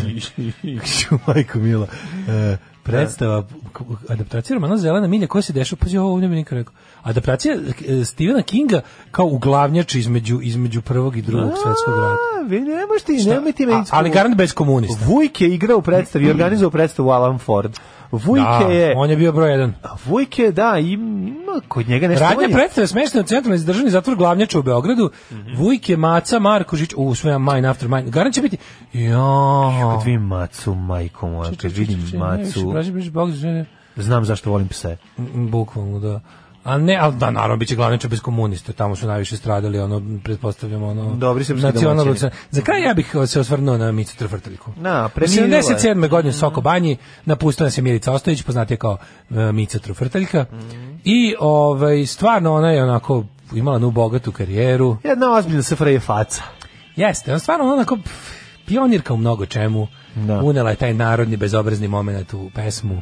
Ju, Majko Mila. E, predstava, k- adaptacija romana Zelena milja koja se dešava, pazi, ovo ovdje mi niko rekao. Adaptacija e, Stephena Kinga kao uglavnjač između, između prvog i drugog svetskog rata.
A, vi ne možete, nemoj ti
A,
meni
ali
iskuvo.
garant bez komunista.
Vujk je igrao u predstavi, i organizovao predstavu Alan Ford. Vujke
Da,
je...
on je bio broj jedan.
A Vujke, da, im- ima kod njega nešto...
Radnja
on je-
predstave smeštena u centralni zadržani zatvor Glavnjača u Beogradu. Vujke, Maca, Markožić, u sve mine after mine. Garant će biti. Ja.
Kad vidim macu, majko moja, Pa kad vidim macu,
Braži, braži, bog, žene.
znam zašto volim pse.
Mm, Bukvalno, da. A ne, ali da, naravno, bit će glavniča bez komunista, tamo su najviše stradali, ono, pretpostavljamo, ono...
Dobri srpski
nacionalno-
domaćini.
Za kraj ja bih o, se osvrnuo na Micu Trfrtaljku.
Na,
U
preminula je. Mhm.
77. godine u Soko Banji napustila nas je Milica Ostojić, poznatija kao e, Mica Trfrtaljka,
Mhm.
i ovaj, stvarno ona je onako imala nu bogatu karijeru,
Jedna ozbiljna sfra je faca.
Jeste, on stvarno onako pf, pionirka u mnogo čemu.
Da.
Unela je taj narodni bezobrazni moment u pesmu.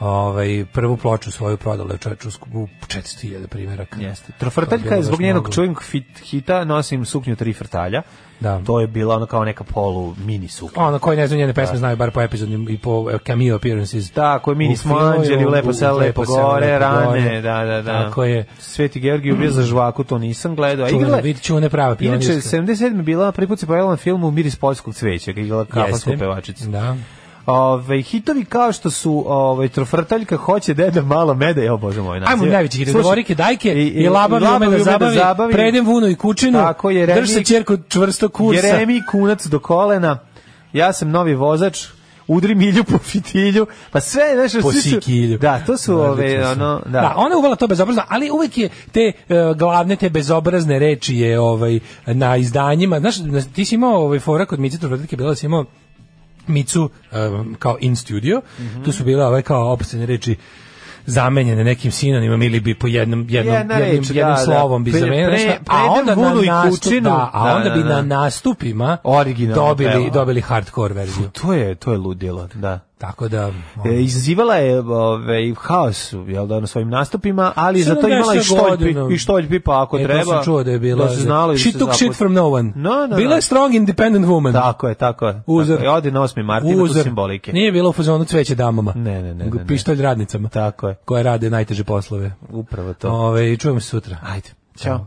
Ovaj prvu ploču svoju prodala je čoveču u 400.000 primjeraka.
Jeste.
To
Trfrtaljka
bilo
je zbog
baš
njenog
mnogo.
čuvenog fit- hita nosim suknju tri frtalja.
Da.
To je bila ono kao neka polu mini suknja.
Ono koji ne znaju njene
Da.
pesme znaju bar po epizodnim i po e, cameo appearances.
Tako je,
U
mini smo
filmu,
anđeli, u lepo
u
selo, lepo
Lepo selo,
gore,
Lepo
rane,
gore.
da, da, da.
Tako je.
Sveti Georgij ubio za žvaku, to nisam gledao. A
Čuvena,
igrala,
vidi čuvene prava pionirska.
inače, 77. je bila, prvi put se pojavila na filmu Miris poljskog cveća, kada je igrala kafarsku
Jeste.
pevačicu.
Da.
Ove, hitovi kao što su ove, trofrtaljka, hoće deda malo mede, evo bože moj naziv.
Ajmo najveći hit,
Slušaj,
Govorike dajke i, i,
i
labav
Labav
ume da
ume da
zabavi,
zabavi.
predem vunu i kučinu,
Tako je,
drž
Remi-
se čerko čvrsto kursa.
Jeremi kunac do kolena, ja sam novi vozač, udri milju po fitilju, pa sve, znaš,
po
svi su-
sikilju.
Da, to su ove, ono, da.
ona je uvala to bezobrazno, ali uvek je te e, glavne te bezobrazne reči je ovaj na izdanjima. Znaš, na- ti si imao ovaj fora kod Mice Trovrtke, bila da si imao Micu e, kao in studio.
Mhm.
Tu su bile ove kao opasne reči zamenjene nekim sinonimom ili bi po jednom jednom
Jedna
jednim,
reč,
jednim
da, da.
slovom bi
Pre-
zamenjeno,
pre-
znaš, a
predem
onda na
vunu i
nastup,
kučinu.
da, a
Da,
onda
da,
bi
da.
na nastupima
Originalno
dobili
pevao.
dobili hardcore verziju.
To je, to je ludilo, da.
Tako da ono,
E, izazivala je ovaj haos jel da na svojim nastupima, ali
Sedam
zato imala i
deset
štoljpi
godina.
i štoljpi pa ako
E, to
treba.
sam čuo da je bila.
Da se znalo i da
She
se
took shit
zaposli.
from no one.
No, no,
bila
no.
je strong independent woman.
Tako je, tako je.
Uzor.
Tako je. Odi na 8. martina tu simbolike.
Nije bila u fazonu cveće damama.
Ne, ne, ne,
Nego
ne, ne.
Pištolj radnicama.
Tako je.
Koje rade najteže poslove.
Upravo to.
Ove, i čujemo se sutra.
Ajde. Ćao.